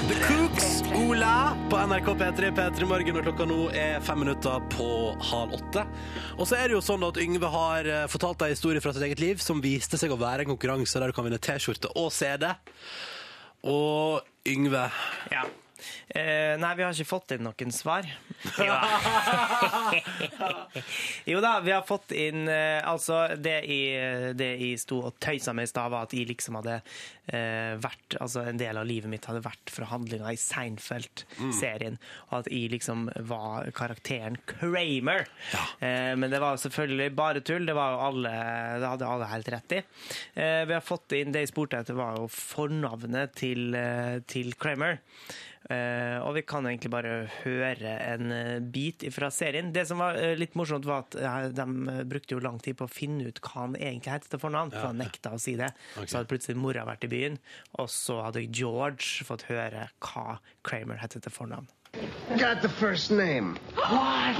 The Cooks, Ola på NRK P3 P3 Morgen, og klokka nå er fem minutter på halv åtte. Og så er det jo sånn at Yngve har eh, fortalt en historie fra sitt eget liv som viste seg å være en konkurranse der du kan vinne T-skjorte og CD. Og Yngve
Ja. Eh, nei, vi har ikke fått inn noen svar. Jo da, jo da vi har fått inn eh, Altså, det jeg, det jeg sto og tøysa med i stad, var at jeg liksom hadde eh, vært Altså, en del av livet mitt hadde vært fra handlinga i Seinfeld-serien. Og at jeg liksom var karakteren Kramer. Eh, men det var selvfølgelig bare tull. Det, var jo alle, det hadde alle helt rett i. Eh, vi har fått inn Det jeg spurte etter, var jo fornavnet til, eh, til Kramer. Eh, og vi kan egentlig bare høre en eh, bit fra serien. Det som var eh, litt morsomt, var at eh, de eh, brukte jo lang tid på å finne ut hva han egentlig het til fornavn, for han nekta å si det. Så hadde plutselig mora vært i byen, og så hadde George fått høre hva Kramer het til fornavn.
Got the first name.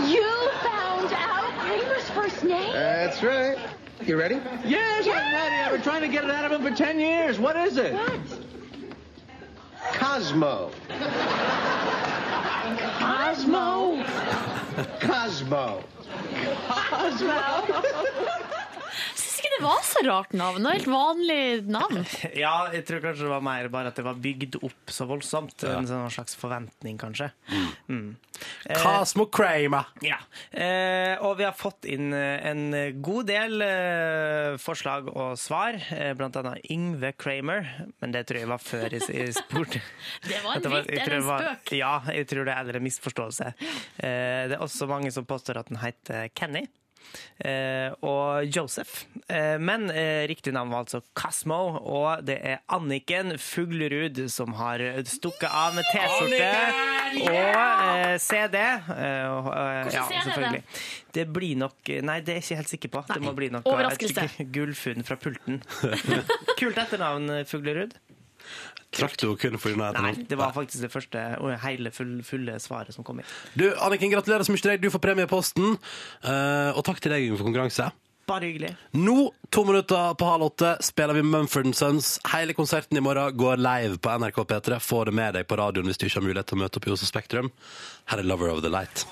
You found out Kramer's first name?
That's right. You ready?
Yes, I'm ready. I've been trying to get it out of him for 10 years. What is it?
Cosmo.
Cosmo.
Cosmo.
Jeg syns ikke det var så rart navn. Det var helt vanlig navn.
Ja, jeg tror kanskje det var mer bare at det var bygd opp så voldsomt. En sånn slags forventning, kanskje. Mm. Eh.
Cosmo Kramer.
Ja, eh, og vi har fått inn eh, en god del eh, forslag og svar, eh, blant annet Yngve Kramer, men det tror jeg var før jeg, jeg spurte.
Det var en
At
vits
jeg tror
eller en
det var-
spøk.
Ja, jeg tror det er eller en misforståelse. Eh, det er også mange som påstår at den heter Kenny. eh, og Joseph. Eh, men eh, riktig navn var altså Cosmo, og det er Anniken Fuglerud som har stukket av med T-skjorte og eh, CD. eh, og, eh, ja,
CD er det?
selvfølgelig. Det blir nok Nei, det er jeg ikke helt sikker på. Det må bli nok
Overraskelse.
et gullfunn fra pulten. Kult etternavn, Fuglerud.
Trakk du kun for unna
Nei,
etternavn?
det var faktisk det første og hele full, fulle svaret som kom inn.
Du, Anniken, gratulerer så mye til deg. Du får premie i posten. Eh, og takk til deg, Yngve, for konkurranse.
Bare hyggelig.
Nå, to minutter på halv åtte, spiller vi Mumford Sons. Hele konserten i morgen går live på NRK P3. Få det med deg på radioen hvis du ikke har mulighet til å møte opp i Oslo Spektrum. Her er Lover of the Light.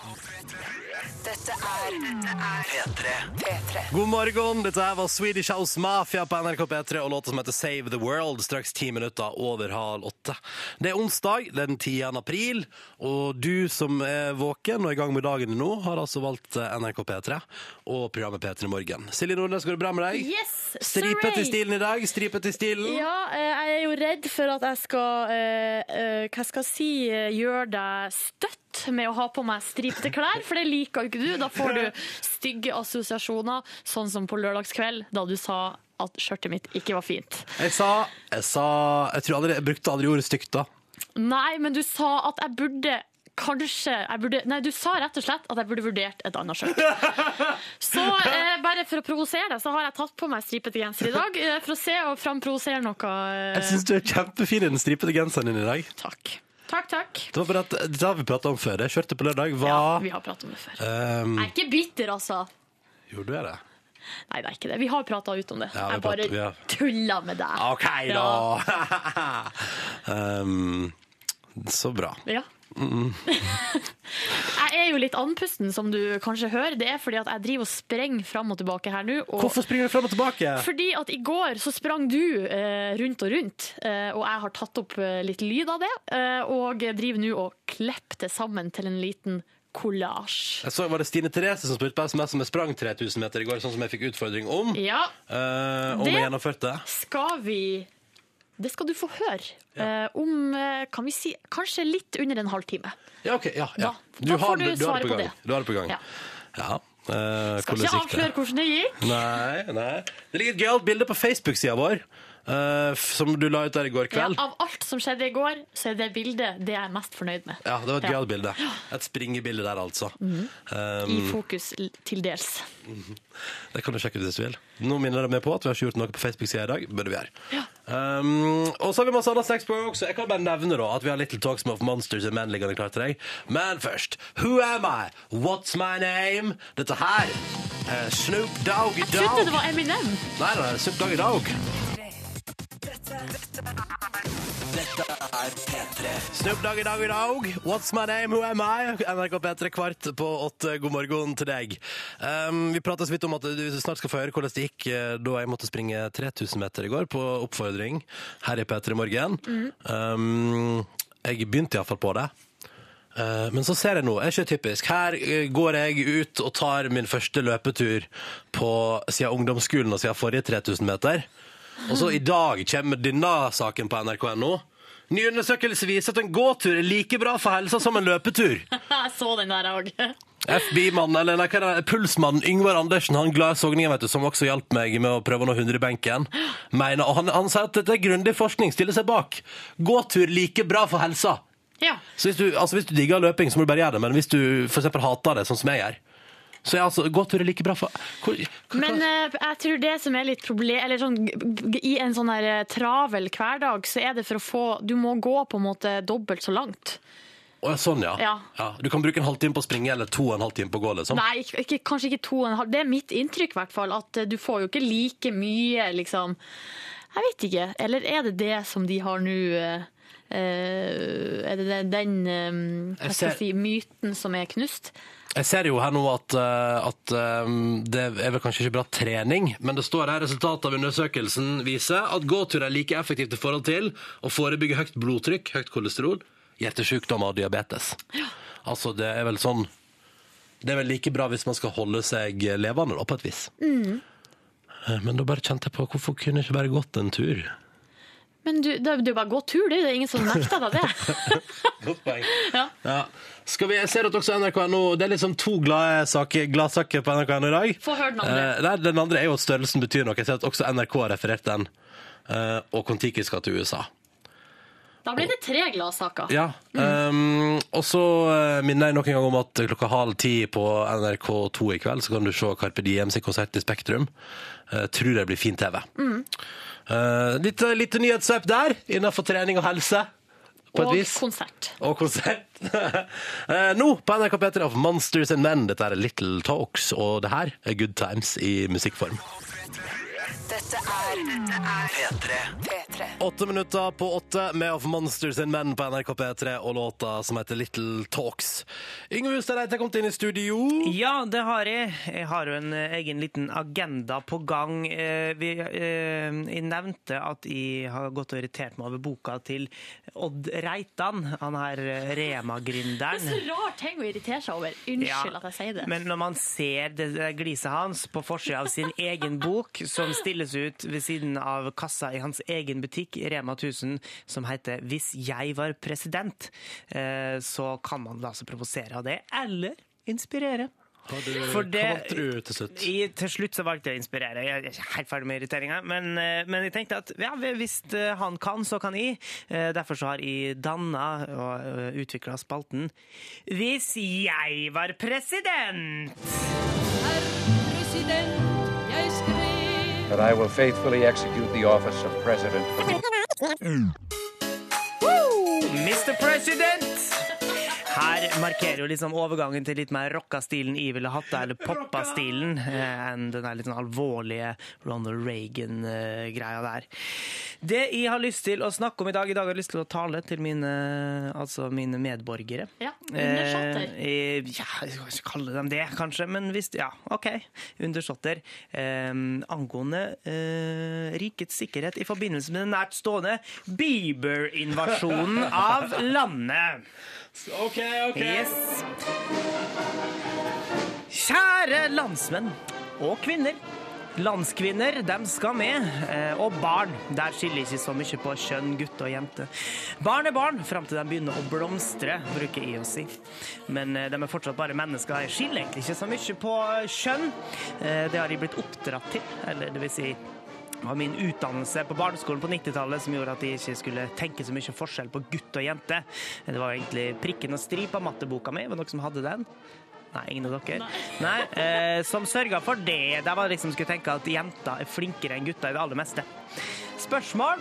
Dette er P3. P3.
God morgen, dette her var Swedish House Mafia på NRK P3 og låta som heter Save the World, straks ti minutter over halv åtte. Det er onsdag den 10. april, og du som er våken og i gang med dagen nå, har altså valgt eh, NRK P3 og programmet P3 Morgen. Silje Nordnes, går det bra med deg?
Yes,
Stripet
surrey!
i stilen i dag, stripet i stilen.
Ja, eh, jeg er jo redd for at jeg skal eh, eh, Hva skal jeg si eh, gjøre deg støtt med å ha på meg stripete klær, for det liker jo ikke du. Da får du stygge assosiasjoner, sånn som på lørdagskveld, da du sa at skjørtet mitt ikke var fint.
Jeg sa, jeg sa, jeg tror aldri, jeg brukte aldri ordet stygt da.
Nei, men du sa at jeg burde Kanskje jeg burde, Nei, du sa rett og slett at jeg burde vurdert et annet skjørt. Så eh, bare for å provosere deg, så har jeg tatt på meg stripete genser i dag. Eh, for å se og framprovosere noe.
Jeg synes du er kjempefin i den stripete genseren din i dag.
Takk. Takk, takk.
Det var bare at det har vi pratet om før. Jeg kjørte på lørdag,
Ja,
var
vi har pratet om det før.
Ehm,
Jeg er ikke bitter, altså.
Jo, du er det.
Nei, det er ikke det. Vi har prata ut om det.
Ja, vi
jeg bare
pratet- vi har-
tulla med deg.
OK,
Ja.
da! Ehm, så bra.
Ja.
Mm.
Jeg er jo litt andpusten, som du kanskje hører. Det er fordi at jeg driver og sprenger fram og tilbake her nå. Og
Hvorfor springer du fram og tilbake?
Fordi at i går så sprang du eh, rundt og rundt, eh, og jeg har tatt opp eh, litt lyd av det, eh, og driver nå og klipper det sammen til en liten kollasj.
Jeg så var det Stine Therese som spurte på SMS om jeg sprang 3000 meter i går, sånn som jeg fikk utfordring om.
Ja.
Eh, om
Det-
jeg gjennomførte.
Skal vi Det skal du få høre eh, om eh, kan vi si, kanskje litt under en halvtime.
Ja, OK. Ja, ja.
Da- da får du
har
svare
det på
på
gang.
det.
Du har det på gang.
Ja.
Ja. eh, hvordan
Skal ikke
gikk det?
avsløre hvordan det gikk.
Nei, nei. Det ligger et gøyalt bilde på Facebook-sida vår, eh, f- som du la ut der i går
Ja,
kveld.
av alt som skjedde i går, så er det bildet det jeg er mest fornøyd med.
Ja, det var et
Ja.
gøyalt bilde. Et springebilde der, altså.
Mhm.
Um,
I fokus l- til dels.
mhm. Det kan du sjekke ut hvis du vil. Nå minner det meg på at vi har ikke gjort noe på Facebook-sida i dag. Burde vi gjøre. Um, og så har vi masse annet snacks på gang også. Jeg kan bare nevne da at vi har Little Talks of Monsters and Men liggende klar til deg. Men først Who am I? What's my name? Dette her. eh, Snoop Doggy Dogg.
Jeg trodde det var Eminem.
Nei, nei, Snoop Doggy Dogg. Snoop Doggy Doggy Dogg, What's My Name, Who Am I? NRK P3 kvart på åtte, god morgen til deg. Um, vi pratet så vidt om at du snart skal få høre hvordan det gikk eh, da jeg måtte springe 3000 meter i går på oppfordring her i P3 Morgen. Um, jeg begynte iallfall på det. Eh, Men så ser jeg nå, er ikke det typisk. Her eh, går jeg ut og tar min første løpetur på, siden ungdomsskolen og siden forrige 3000 meter. Og så i dag kommer denne saken på NRK.no. Ny undersøkelse viser at en gåtur er like bra for helsa som en løpetur.
Jeg så den der òg.
FBI-mannen, eller nei, hva er det, pulsmannen Yngvar Andersen, han glade sogningen, vet du, som også hjalp meg med å prøve å nå 100 i benken, mener, og han, han sier at dette er grundig forskning, stiller seg bak. Gåtur like bra for helsa.
Ja.
Så hvis du, altså hvis du digger løping, så må du bare gjøre det, men hvis du for eksempel hater det, sånn som jeg gjør, så er altså gåtur er like bra for... Hvor,
Men eh, jeg tror det som er litt problem Eller sånn, g- g- i en sånn her eh, travel hverdag, så er det for å få Du må gå på en måte dobbelt så langt.
Å, ja, sånn, ja.
Ja.
Du kan bruke en halvtime på å springe, eller to og en halvtime på å gå, liksom.
Nei, ikke, ikke- kanskje ikke to og en halv. Det er mitt inntrykk, i hvert fall. At eh, du får jo ikke like mye, liksom. Jeg vet ikke. Eller er det det som de har nå eh, eh, Er det den, den eh, hva
Jeg
skal
ser-
jeg si, myten som er knust?
Jeg ser jo her nå at, eh, at eh, det er vel kanskje ikke bra trening, men det står her resultatet av undersøkelsen viser at gåtur er like effektivt i forhold til å forebygge høyt blodtrykk, høyt kolesterol, hjertesykdommer og diabetes. Altså, det er vel sånn Det er vel like bra hvis man skal holde seg levende, da, på et vis. Eh, Men da bare kjente jeg på hvorfor kunne jeg ikke bare gått en tur?
Men du, det er jo bare å gå tur, det er jo ingen som nekter deg det.
Godt poeng.
Ja.
Skal vi, jeg ser at også NRK nå, Det er liksom to glade saker, glad saker på NRK nå i dag.
Få høre den andre.
Eh, nei, den andre er jo at størrelsen betyr noe. Jeg ser at også NRK har referert den. eh, og Kon-Tiki skal til USA.
Da ble det tre gladsaker.
Ja. Um, og så eh, minner jeg nok en gang om at klokka halv ti på NRK2 i kveld så kan du se Carpe Diem sin konsert i Spektrum. Eh, tror det blir fin TV.
Mm.
Eh, litt, litt nyhetssvep der, innenfor trening og helse. På
Og
et vis.
konsert.
Og konsert. Eh, Nå på NRK P3 av Monsters and Men. Dette er Little Talks, og det her er Good Times i musikkform.
Dette er P3. P3.
Åtte minutter på åtte med Of Monsters and Men på NRK P3 og låta som heter Little Talks. Yngve Hustad Reite kom inn i studio.
Ja, det har jeg. Jeg har jo en eh, egen liten agenda på gang. Eh, Vi, eh, jeg nevnte at jeg har gått og irritert meg over boka til Odd Reitan, han her eh,
Det er så
Rema-gründeren.
rar ting å irritere seg over. Unnskyld at jeg sier det.
Men når man ser det det gliset hans på forsida av sin egen bok, som stilles ut ved siden av kassa i hans egen butikk, Rema 1000, som heter 'Hvis jeg var president', eh, så kan man la seg provosere av det, eller inspirere.
Har du,
For det-
Hva valgte du til slutt?
I, til slutt så valgte jeg å inspirere. Jeg er ikke helt ferdig med irriteringa, men, eh, men jeg tenkte at ja, hvis eh, han kan, så kan jeg. Eh, Derfor så har jeg danna og utvikla spalten Hvis jeg var president!
That I will faithfully execute the office of President.
Woo! Mr. President! Her markerer jo liksom overgangen til litt mer rocka-stilen I ville hatt det, eller poppa-stilen, eh, enn den der litt sånn alvorlige Ronald Reagan-greia der. Det jeg har lyst til å snakke om i dag I dag har jeg lyst til å tale til mine, altså mine medborgere.
Ja, undersåtter.
Eh, ja, jeg skal ikke kalle dem det, kanskje, men hvis Ja, OK. Undersåtter. Eh, angående eh, rikets sikkerhet i forbindelse med den nært stående Bieber-invasjonen av landet.
OK, OK.
Yes. Kjære landsmenn og kvinner. Landskvinner, dem skal med. Eh, Og barn. Der skiller ikke så mye på kjønn, gutt og jente. Barn er barn fram til de begynner å blomstre, bruker jeg å si. Men eh, de er fortsatt bare mennesker. Jeg skiller egentlig ikke så mye på kjønn. Eh, Det har jeg blitt oppdratt til. Eller det vil si det var min utdannelse på barneskolen på 90-tallet som gjorde at jeg ikke skulle tenke så mye forskjell på gutt og jente. Det var egentlig prikken og stripa matteboka mi. Var det noen som hadde den? Nei, ingen av dere. Nei, eh, Som sørga for det. Der var det liksom skulle tenke at jenter er flinkere enn gutter i det aller meste. Spørsmål?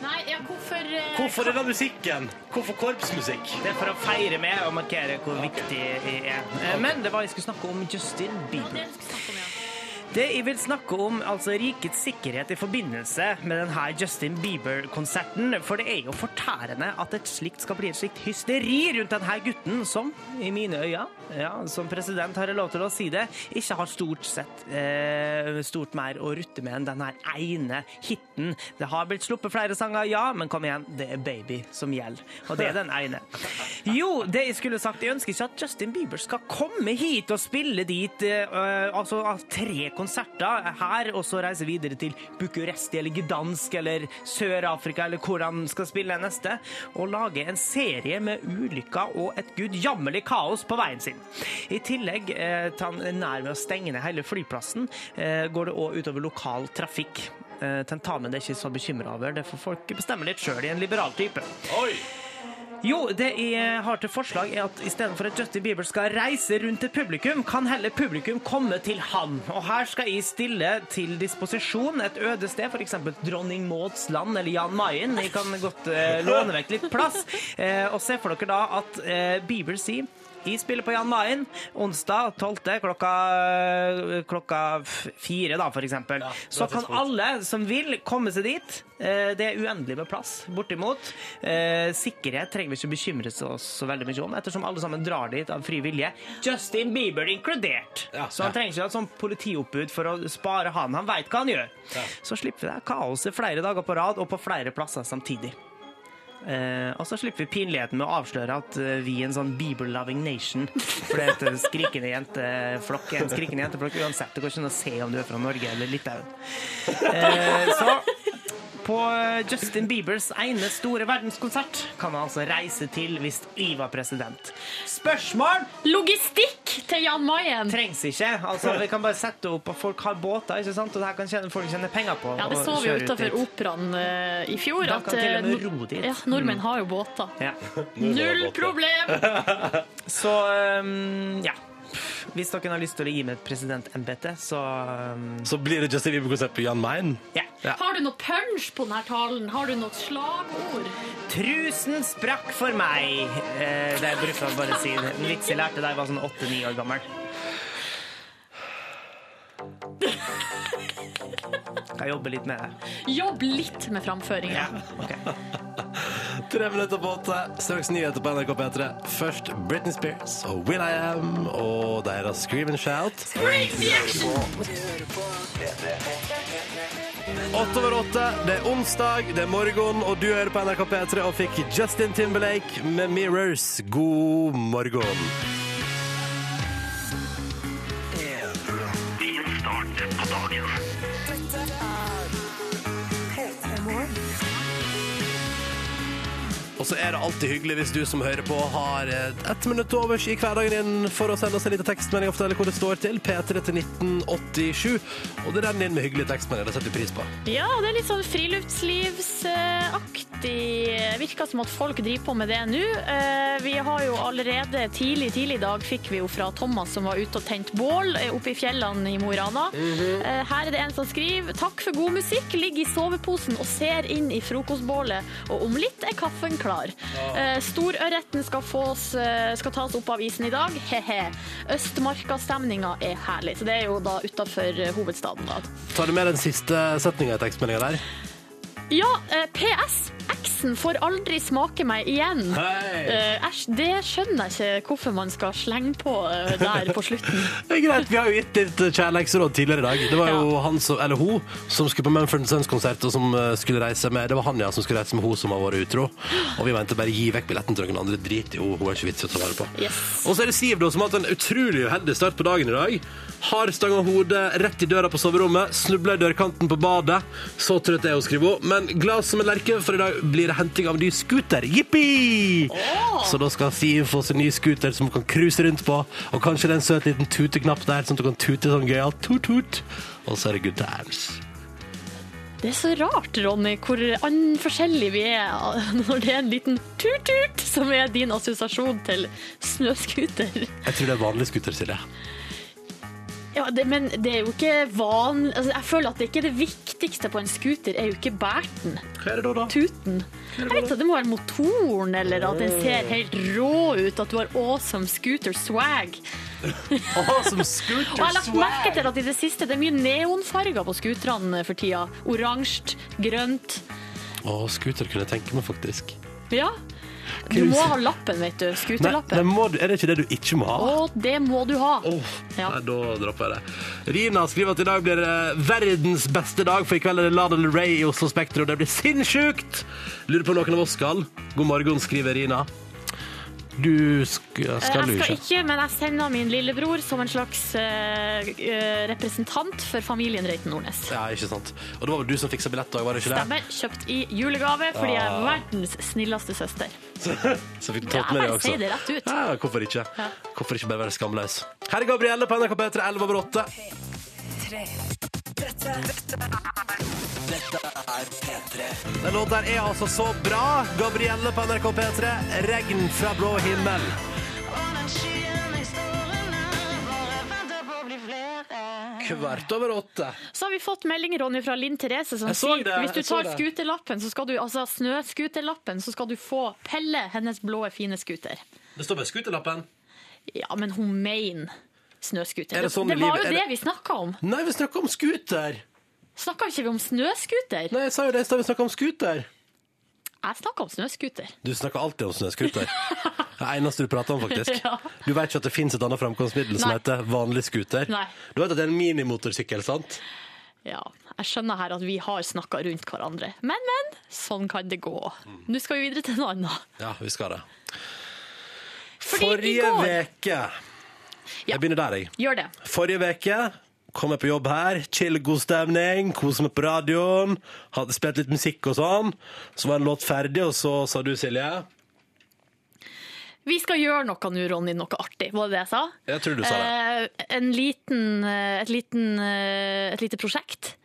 Nei, ja, hvorfor eh,
Hvorfor denne musikken? Hvorfor korpsmusikk?
Det er for å feire med og markere hvor viktig jeg er. Eh, Men det var jeg skulle snakke om Justin Bieber. Det jeg vil snakke om, altså rikets sikkerhet i forbindelse med denne Justin Bieber-konserten, for det er jo fortærende at et slikt skal bli et slikt hysteri rundt denne gutten, som i mine øyne, ja, som president har jeg lov til å si det, ikke har stort sett eh, stort mer å rutte med enn denne ene hiten. Det har blitt sluppet flere sanger, ja, men kom igjen, det er Baby som gjelder. Og det er den ene. Jo, det jeg skulle sagt, jeg ønsker ikke at Justin Bieber skal komme hit og spille dit eh, øh, altså av tre konserter her, og så reise videre til Bucuresti eller Gdansk eller Sør-Afrika eller hvor han skal spille neste, og lage en serie med ulykker og et gudjammerlig kaos på veien sin. I tillegg eh, til han er nær med å stenge ned hele flyplassen, eh, går det òg utover lokal trafikk. Eh, tentamen det er ikke så bekymra over, det får folk bestemme litt sjøl i en liberal type. Jo, det jeg har til forslag er at istedenfor at Justin Bieber skal reise rundt til publikum, kan heller publikum komme til han. Og her skal jeg stille til disposisjon et øde sted, f.eks. Dronning Mauds land eller Jan Mayen. Jeg kan godt eh, låne vekk litt plass. Eh, og se for dere da at eh, Bieber sier jeg spiller på Jan Mayen onsdag 12. klokka, klokka f- fire, da, for eksempel. Så kan alle som vil, komme seg dit. Eh, Det er uendelig med plass, bortimot. Eh, Sikkerhet trenger vi ikke bekymre oss så veldig mye om, ettersom alle sammen drar dit av fri vilje. Justin Bieber inkludert. Så han trenger ikke ha et sånt politioppbud for å spare han. Han veit hva han gjør. Så slipper vi det kaoset flere dager på rad og på flere plasser samtidig. Eh, og så slipper vi pinligheten med å avsløre at eh, vi er en sånn Bieber-loving nation. For det heter skrikende jenteflokk. En skrikende jenteflokk uansett. Det går ikke an å se om du er fra Norge eller Litauen. Eh, så på eh, Justin Biebers ene store verdenskonsert kan han altså reise til hvis jeg var president. Spørsmål
Logistikk til Jan Mayen!
trengs ikke. Altså, vi kan bare sette opp, og folk har båter, ikke sant? og det her kan tjene, folk tjene penger på.
Ja, det
og
så vi jo
kjøre ut
utafor
dit.
operaen eh, i fjor.
Da kan til og med
eh,
ro dit. Mm.
Ja, nordmenn har jo båter.
Ja.
Null problem!
Så um, ja. Hvis dere har lyst til å gi meg et presidentembete, så um,
Så blir det Justin Bieber-konsert på Jan Mayen.
ja.
Har du noe punch på denne talen? Har du noe slagord?
Trusen sprakk for meg. Eh, det brukte jeg bare å si. En vits jeg lærte da jeg var sånn åtte-ni år gammel. Skal jobbe litt med det.
Jobb litt med framføringa.
Tre minutter på åtte, straks nyheter på NRK P3. Først Britney Spears og Will I Am og deres Scream and Shout. Åtte over åtte, det er onsdag, det er morgen, og du hører på NRK P3 og fikk Justin Timberlake med 'Mirrors'. God morgen. Og så er det alltid hyggelig hvis du som hører på har eh, ett minutt overs i hverdagen din for å sende oss en liten tekstmelding og fortelle hvor det står til. P3 til 1987. Og det renner inn med hyggelige tekstmeldinger. Det setter vi pris på.
Ja, det er litt sånn friluftslivsaktig. Virker som at folk driver på med det nå. Eh, Vi har jo allerede tidlig, tidlig i dag fikk vi jo fra Thomas som var ute og tent bål eh, oppe i fjellene i Mo i Rana. Eh, Her er det en som skriver Takk for god musikk, ligger i soveposen og ser inn i frokostbålet, og om litt er kaffen klar.
klar. Eh, Storørreten skal, fås, eh, skal tas opp av isen i dag. He-he. Østmarkastemninga er herlig. Så det er jo da
eh,
utafor hovedstaden. da.
Tar du med den siste setninga i tekstmeldinga der?
Ja, eh, PS. Eksen får aldri smake meg igjen.
Hei!
Eh, æsj, det skjønner jeg ikke hvorfor man skal slenge på eh, der på slutten.
Det er greit, Vi har jo gitt litt kjærleiksråd tidligere i dag. Det var jo han som, eller hun som skulle på Mumford Sons-konsert, og som eh, skulle reise med Det var han ja, som skulle reise med hun som har vært utro. Og vi mente bare gi vekk billetten til noen andre. Drit i henne, hun er ikke vits i å ta vare på. Og så er det Siv, da, som har hatt en utrolig uheldig start på dagen i dag. Har stanga hodet rett i døra på soverommet, snubla i dørkanten på badet. Så trøtt er hun, skriver hun. Men glad som en lerke, for i dag blir det henting av ny scooter. Jippi! Så da skal Siv få seg ny scooter som hun kan cruise rundt på, og kanskje det er en søt liten tuteknapp der, sånn at du kan tute sånn gøyalt. Tut, tut. Og så er det good times.
Det er så rart, Ronny, hvor an- forskjellige vi er når det er en liten tut-tut som er din assosiasjon til snøskuter.
Jeg tror det er vanlig scooter, Silje.
Ja, det, men det er jo ikke vanlig altså, Jeg føler at det ikke er det viktigste på en scooter, er jo ikke bærten.
Hva er det da, da?
Tuten. Jeg vet ikke, det må være motoren, eller at den ser helt rå ut, at du har awesome scooter swag.
Awesome
Og
scooter
jeg har lagt merke til at i det siste det er mye neonfarger på scooterne for tida. Oransje, grønt.
Å, scooter kunne jeg tenke meg, faktisk.
Ja. Du må ha lappen, vet du.
Nei,
Skuterlappen.
nei, må du, er det ikke det du ikke må ha?
Å, det må du ha. Ja.
Nei, da dropper jeg det. Rina skriver at i dag blir det verdens beste dag, for i kveld er det Lana Del Rey i Oslo Spektrum. Det blir sinnssykt! Lurer på om noen av oss skal. God morgen, skriver Rina. Du sk
Eh,
skal du
jeg skal
ikke.
ikke, men jeg sender min lillebror som en slags eh, eh, representant for familien Reiten Nordnes.
Ja, ikke sant. Og det var vel du som fiksa billett òg, var det Ah. ikke det?
Stemmer. Kjøpt i julegave fordi jeg er
Ja.
verdens snilleste søster.
Så fikk du tatt
Ja,
med det
bare
også.
si det rett ut.
Ja, hvorfor ikke? Hvorfor ikke bare være skamløs? Her er Gabrielle på NRK P3, 11 over 8.
Tre. Dette, dette er Dette er P3.
Den låten der er altså så bra. Gabrielle på NRK P3, 'Regn fra blå himmel'. Kvart over åtte.
Så har vi fått melding Ronny, fra Linn Therese som
Jeg så
sier
det,
hvis du
jeg så
tar
det.
skuterlappen, så skal du, altså snøskuterlappen, så skal du få Pelle, hennes blå, fine skuter.
Det står bare skuterlappen.
Ja, men hun mener snøskuter.
Er
Det,
det sånn
det
livet-
var jo
er
det,
det-
vi snakka om.
Nei, vi snakker om scooter.
Snakka ikke vi om snøskuter?
Nei, jeg sa jo det i stad, vi snakka om scooter.
Jeg snakka om snøskuter.
Du snakker alltid om snøscooter. Det er eneste du prater om, faktisk.
Ja.
Du vet ikke at det fins et annet framkomstmiddel som
Nei.
heter vanlig scooter.
Nei.
Du vet at det er en minimotorsykkel, sant?
Ja, jeg skjønner her at vi har snakka rundt hverandre. Men, men, sånn kan det gå. Nå skal vi videre til noe annet.
Ja, vi skal det.
Fordi i
Forrige
går-
veke Jeg begynner der, jeg.
Gjør det.
Forrige veke kom jeg på jobb her, chill, god stemning, kose meg på radioen, hadde spilt litt musikk og sånn. Så var en låt ferdig, og så sa du, Silje
Vi skal gjøre noe nå, Ronny. Noe artig, var det det jeg sa?
Jeg tror du sa det.
Eh, en liten, eh, et, liten, eh, et lite prosjekt.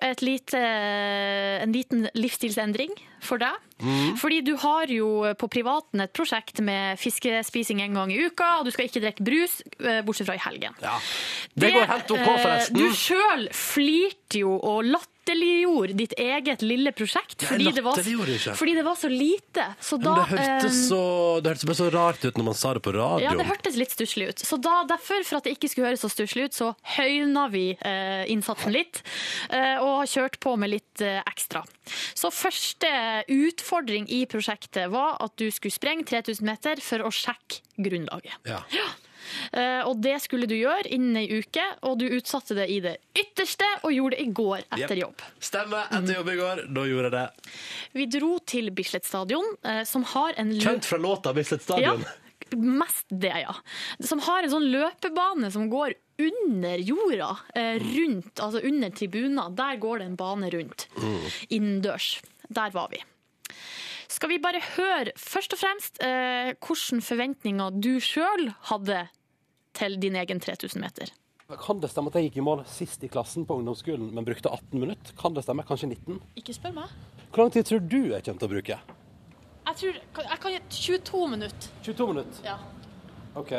Et lite, en liten livsstilsendring for deg.
Mm.
Fordi du har jo på privaten et prosjekt med fiskespising en gang i uka, og du skal ikke drikke brus, eh, bortsett fra i helgen.
Det går helt OK,
eh,
forresten.
Du sjøl flirte jo og latterliggjorde ditt eget lille prosjekt
Jeg
fordi det, var,
latterliggjorde ikke.
fordi det var så lite. Så da,
Men det hørtes,
eh,
så, det hørtes bare så rart ut når man sa det på radioen.
ja, det hørtes litt stusslig ut. Så da, derfor, for at det ikke skulle høres så stusslig ut, så høyna vi eh, innsatsen litt, eh, og har kjørt på med litt eh, ekstra. Så første utfordring i prosjektet var at du skulle sprenge 3000 meter for å sjekke grunnlaget.
Ja.
Eh, og det skulle du gjøre innen ei uke, og du utsatte det i det ytterste, og gjorde det i går etter
Jep.
jobb.
Stemmer. Etter jobb i går, da gjorde jeg det.
Vi dro til Bislett stadion, eh, som har en lu-
Kjent fra låta Bislett Stadion.
Ja, mest det, ja. Som har en sånn løpebane som går under jorda, eh, rundt, altså under tribuner. Der går det en bane rundt. Innendørs. Der var vi. Skal vi bare høre først og fremst eh, hvilke forventninger du sjøl hadde til din egen 3000 meter?
Kan det stemme at jeg gikk i mål sist i klassen på ungdomsskolen, men brukte 18 minutter? Kan det stemme? Kanskje 19?
Ikke spør meg.
Hvor lang tid tror du jeg kommer til å bruke?
Jeg, kan gi 22 minutter.
22 minutter? OK.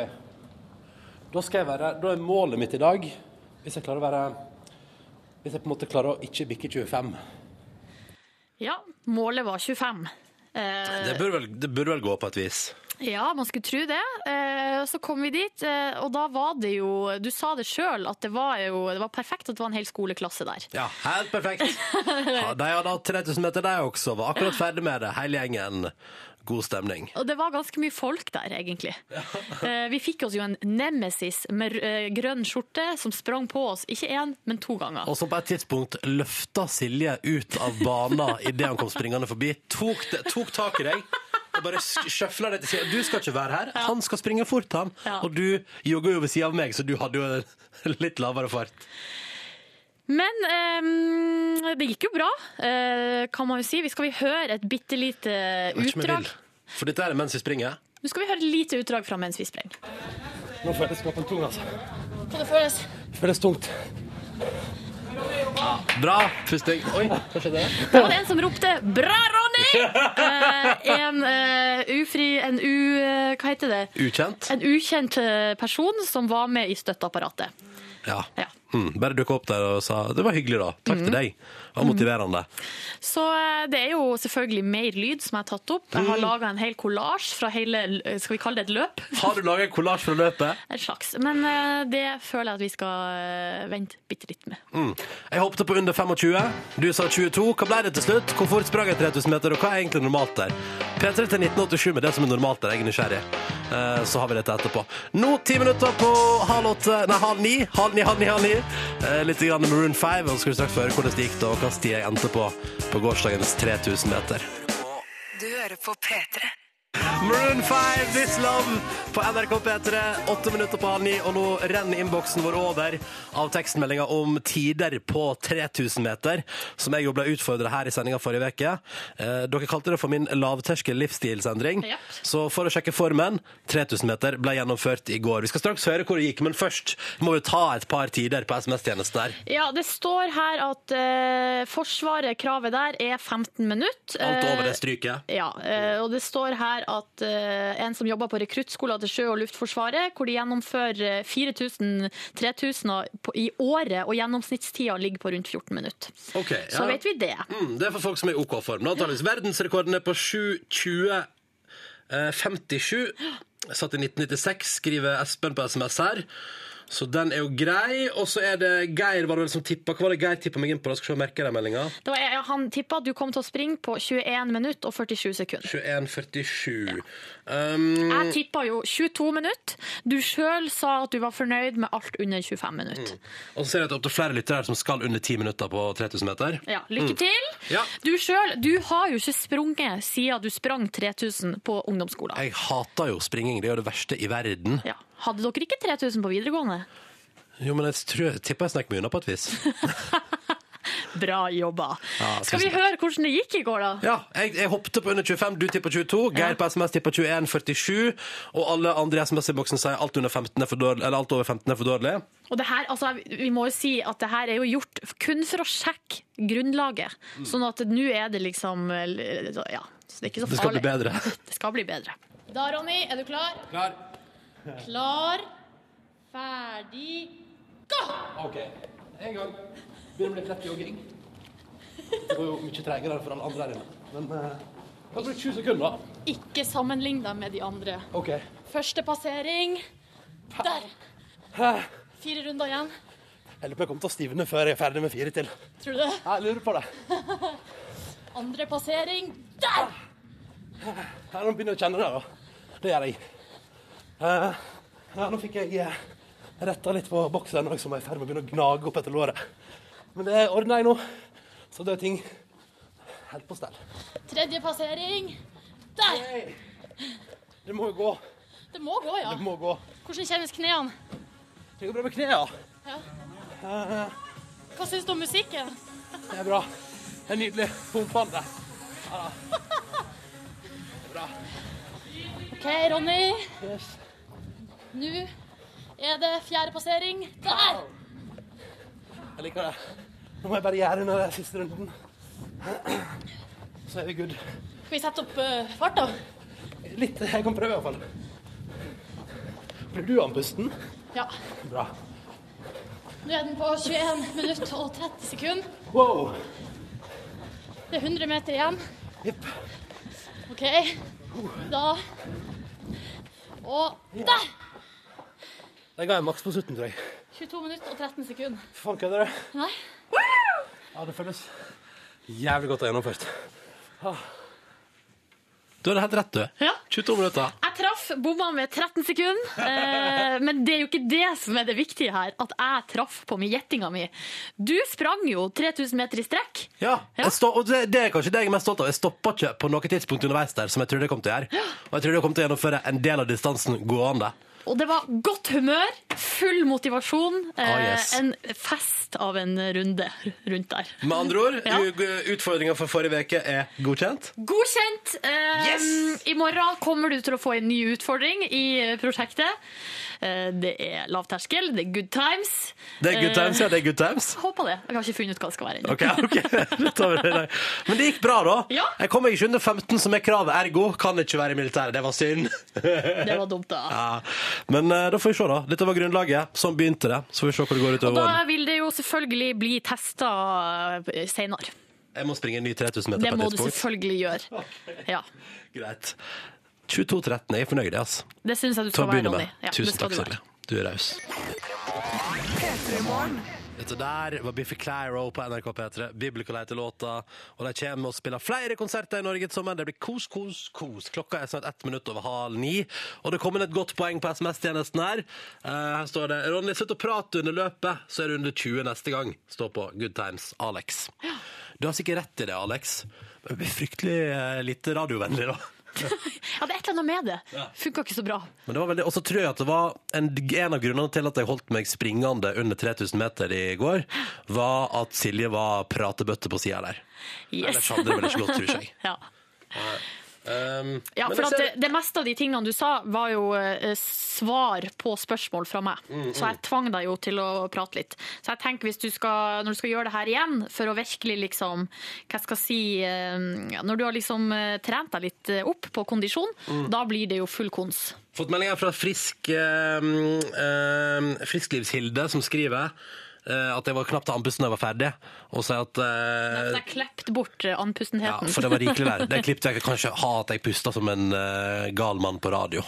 Da skal jeg være Da er målet mitt i dag, hvis jeg klarer å være Hvis jeg på en måte klarer å ikke bikke 25
Ja, målet var 25. Eh,
Det burde, vel, det burde vel gå på et vis.
Ja, man skulle tro det. Eh, Så kom vi dit, eh, og da var det jo Du sa det sjøl, at det var jo det var perfekt at det var en hel skoleklasse der.
Ja, helt perfekt. Ja, de hadde hatt 3000 meter, de også. Var akkurat ferdig med det, hele gjengen. God stemning.
Og det var ganske mye folk der, egentlig. Eh, Vi fikk oss jo en nemesis med eh, grønn skjorte som sprang på oss, ikke én, men to ganger.
Og så på et tidspunkt løfta Silje ut av bana idet han kom springende forbi. Tok, det, tok tak i deg og bare sk- skjøfla deg til sida. Du skal ikke være her, han skal springe fort, han.
Ja.
Og du jogga jo ved sida av meg, så du hadde jo en litt lavere fart.
Men eh, det gikk jo bra, eh, kan man jo si. Vi skal vi høre et bitte lite
Vet ikke om jeg
utdrag?
vil. For dette er mens vi springer.
Nå skal vi høre et lite utdrag fra mens vi sprenger.
Nå føles kroppen tung, altså.
Hvordan føles?
Føles tungt.
Bra pusting. Oi, hva skjedde?
Det var det en som ropte 'Bra, Ronny!' Eh, en eh, ufri En u... eh, hva heter det?
Ukjent?
En ukjent eh, person som var med i støtteapparatet.
Ja. Mm, bare dukka opp der og sa 'det var hyggelig, da'. Takk
Mm.
til deg. Det var motiverende.
Så eh, det er jo selvfølgelig mer lyd som jeg har tatt opp. Jeg
Mm.
har laga en hel kollasj fra hele eh, Skal vi kalle det et løp?
Har du laga en kollasj fra løpet?
Et slags. Men eh, det føler jeg at vi skal eh, vente bitte litt med.
Mm. Jeg håpte på under 25. Du sa 22. Hva ble det til slutt? Hvor fort sprang jeg 3000 meter, og hva er egentlig normalt der? P3 til 1987 med det som er normalt der. Jeg er nysgjerrig. Eh, Så har vi dette etterpå. Nå ti minutter på halv åtte Nei, halv ni. Halv ni, halv ni, halv ni. Eh, Litt grann Maroon 5. Og så skal vi straks få høre hvordan det gikk da, og hva sti jeg endte på på gårsdagens 3000 meter.
Du hører på P3.
Maroon 5, This Love på NRK P3. Åtte minutter på halv ni, og nå renner innboksen vår over av tekstmeldinga om tider på 3000 meter, som jeg jo ble utfordra her i sendinga forrige uke. Eh, dere kalte det for min lavterskel livsstilsendring.
Ja.
Så for å sjekke formen, 3000 meter ble gjennomført i går. Vi skal straks høre hvor det gikk, men først må vi ta et par tider på SMS-tjenesten her.
Ja, det står her at eh, Forsvaret, kravet der, er 15 minutter.
Alt over det stryket.
Ja, eh, og det står her at eh, en som jobber på rekruttskolen til Sjø- og Luftforsvaret, hvor de gjennomfører eh, 4000-3000 i året, og gjennomsnittstida ligger på rundt 14 minutter.
Ok, ja.
Så vet vi det.
Mm, det er for folk som er i OK-form. da, antageligvis. Verdensrekorden er på 7.20,57. Satt i 1996, skriver Espen på SMS her. Så den er jo grei. Og så er det Geir var det vel som tippa. Hva var det Geir tippa meg inn på? da? Skal se om jeg merker den meldinga.
Det var, ja, han tippa at du kom til å springe på 21 minutter og 47 sekunder.
21,47. Um,
Jeg tippa jo 22 minutter. Du sjøl sa at du var fornøyd med alt under 25
Mm.
minutter.
Og så ser jeg at det er opptil flere lyttere her som skal under 10 minutter på 3000 meter.
Ja, lykke
Mm.
til.
Ja.
Du selv, du har jo ikke sprunget siden du sprang 3000 på ungdomsskolen.
Jeg hater jo springing. Det er jo det verste i verden.
Ja. Hadde dere ikke 3000 på videregående?
Jo, men jeg tror, tipper jeg snakker meg unna på et vis.
Bra jobba.
Ja,
Skal vi
tusen takk.
høre hvordan det gikk i går, da?
Ja, jeg, jeg hoppte på under 25, du tipper 22, Geir på SMS tipper 21, 47, og alle andre i SMS-boksen sier alt, under 15 er for dårlig, eller alt over 15 er for dårlig.
Og det her, altså, vi må jo si at det her er jo gjort kun for å sjekke grunnlaget.
Mm.
Sånn at nå er det liksom Ja, så det er ikke så farlig.
Det skal bli bedre.
Det skal bli bedre. Da, Ronny, er du klar?
Klar.
Klar, ferdig, gå!
Ok, en gang. Begynner å bli flett jogging. Det går jo mye tregere for alle andre her inne. Men eh, kan bruke 20 sekunder.
Ikke sammenlign deg med de andre.
Ok.
Første passering. Der.
Jeg
Fire runder igjen.
lurer på jeg kommer til å stivne før jeg er ferdig med fire til.
Tror du det?
Jeg lurer på det.
Andre passering. Der!
Ja, nå begynner jeg å kjenne det, da. Det gjør jeg. Eh, ja, nå fikk jeg uh, retta litt på boksen òg, som var i ferd med å begynne å gnage opp etter låret. Men det ordner jeg nå, så det er ting helt på stell.
Tredje passering. Der!
Det må jo gå.
Det må gå, ja.
Det må gå.
Hvordan kjennes knærne?
Det går bra med knærne.
Ja.
Eh,
Hva syns du om musikken?
det er bra. Det er nydelig. Pumpende. Ja, da. Det er bra.
OK, Ronny.
Yes.
Nå er det fjerde passering. Der!
Jeg liker det. Nå må jeg bare gjøre unna den siste runden. Så er vi good.
Skal vi sette opp uh, farta?
Litt. Jeg kan prøve, iallfall. Blir du andpusten?
Ja.
Bra.
Nå er den på 21 minutter og 30 sekunder.
Wow!
Det er 100 meter igjen.
Jepp.
OK. Da Og der!
Det ga jeg maks på slutten, tror jeg.
22 minutter og 13 sekunder.
Fy faen, kødder du?
Nei.
Ja, det føles jævlig godt å ha gjennomført. Ah. Du har det helt rett, du. 22 minutter.
Jeg traff bomma med 13 sekunder, eh, men det er jo ikke det som er det viktige her. At jeg traff på med gjettinga mi. Du sprang jo 3000 meter i strekk.
Ja, Jeg stå, og det, det er kanskje det jeg er mest stolt av. Jeg stoppa ikke på noe tidspunkt underveis der, som jeg trodde jeg kom til å gjøre. Og jeg trodde jeg kom til å gjennomføre en del av distansen gående.
Og det var godt humør, full motivasjon. Eh,
Ah, yes.
En fest av en runde rundt der.
Med andre ord, u- utfordringa for forrige uke er godkjent.
Godkjent! Eh, I morgen kommer du til å få en ny utfordring i eh, prosjektet. Eh, det er lavterskel, det er good times.
Det er good
Eh.
times, ja. Det er good times.
Jeg Håper det. Jeg har ikke funnet ut hva det skal være ennå.
Ok, ok. Det tar vi det i dag. Men det gikk bra, da.
Ja.
Jeg kom meg ikke under 15, som er kravet. Ergo kan ikke være i militæret. Det var synd.
Det var dumt, da.
Ja. Men eh, da får vi se, da. Dette var grunnlaget. Sånn begynte det. Så får vi se hvor det går
Og
utover
da
våren.
vil det jo selvfølgelig bli testa eh, senere.
Jeg må springe en ny 3000
Det
meter på
må
et
du
tidspunkt.
selvfølgelig gjøre. Ja,
Greit. 22.13. Jeg er fornøyd, jeg, altså.
Det syns jeg du
Til
skal
å
være,
begynne
Ronny.
med.
Ja, det
Tusen
skal
takk,
du være.
Silje. Du er raus. Dette der var Biffy Clyro på NRK P3. Biblical heter låta. Og de kommer og spiller flere konserter i Norge til sommeren. Det blir kos, kos, kos. Klokka er snart ett minutt over halv ni. Og det kom inn et godt poeng på SMS-tjenesten her. Eh, her står det Ronny, slutt å prate under løpet, så er du under 20 neste gang. Står på Good Times Alex. Du har sikkert rett i det, Alex. Men det blir fryktelig eh, lite radiovennlig, da.
Ja, det er et eller annet med det. Funka ikke så bra.
Men det var veldig, og så tror jeg at det var en, en av grunnene til at jeg holdt meg springende under 3000 meter i går, var at Silje var pratebøtte på sida der. Ellers hadde det vel ikke gått, tror jeg.
Ja.
Um,
Ja,
men
for
jeg
at
ser-
det, det meste av de tingene du sa, var jo eh, svar på spørsmål fra meg.
Mm,
Så jeg tvang deg jo til å prate litt. Så jeg tenker hvis du skal, når du skal gjøre det her igjen, for å virkelig liksom Hva jeg skal jeg si eh, ja, Når du har liksom eh, trent deg litt eh, opp på kondisjon,
Mm.
da blir det jo full kons.
Fått meldinger fra Frisk ehm, ehm, Frisklivshilde, som skriver eh, at jeg var knapt til andpusten da jeg var ferdig, og sier at eh,
Så jeg klept bort eh,
ja,
andpustenheten.
For det var rikelig der. Det klippet jeg kanskje ha at jeg pusta som en eh, gal mann på radio.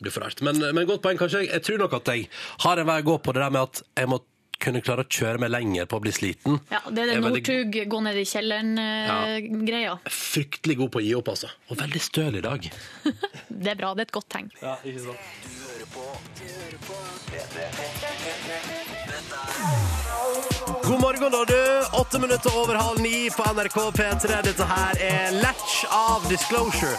Det blir for rart. Men, men godt poeng, kanskje. Jeg, jeg tror nok at jeg har en vei å gå på det der med at jeg må kunne klare å kjøre meg lenger på å bli sliten.
Ja, det er det
Jeg er veldig-
Northug gå ned i eh, kjelleren-greia.
Fryktelig god på å gi opp, altså. Og veldig støl i dag.
Det er bra, det er et godt tegn.
Ja, ikke sant. God morgen, da, du. Åtte minutter over halv ni på NRK P3. Dette her er Latch av Disclosure.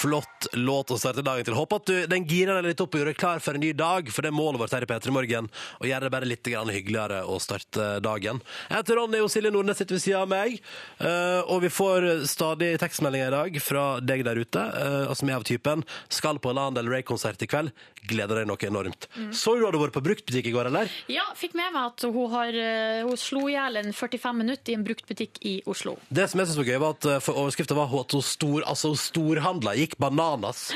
Flott låt å starte dagen til. Håper at du, den girer deg litt opp og gjør deg klar for en ny dag, for det er målet vårt her i P3 Morgen. Å gjøre det bare litt grann hyggeligere å starte dagen. Jeg heter Ronny og Silje Nordnes sitter ved siden av meg. eh, Og vi får stadig tekstmeldinger i dag fra deg der ute, eh, som er av typen 'Skal på Lana Del Rey-konsert i kveld. Gleder deg noe enormt'. Så du hadde vært på bruktbutikk i går, eller?
Ja, fikk med meg at hun, har, eh, hun slo i hjel en 45 minutter i en bruktbutikk i Oslo.
Det som jeg synes var gøy, var at eh, for overskriften var at hun stor, altså hun storhandla gikk bananas.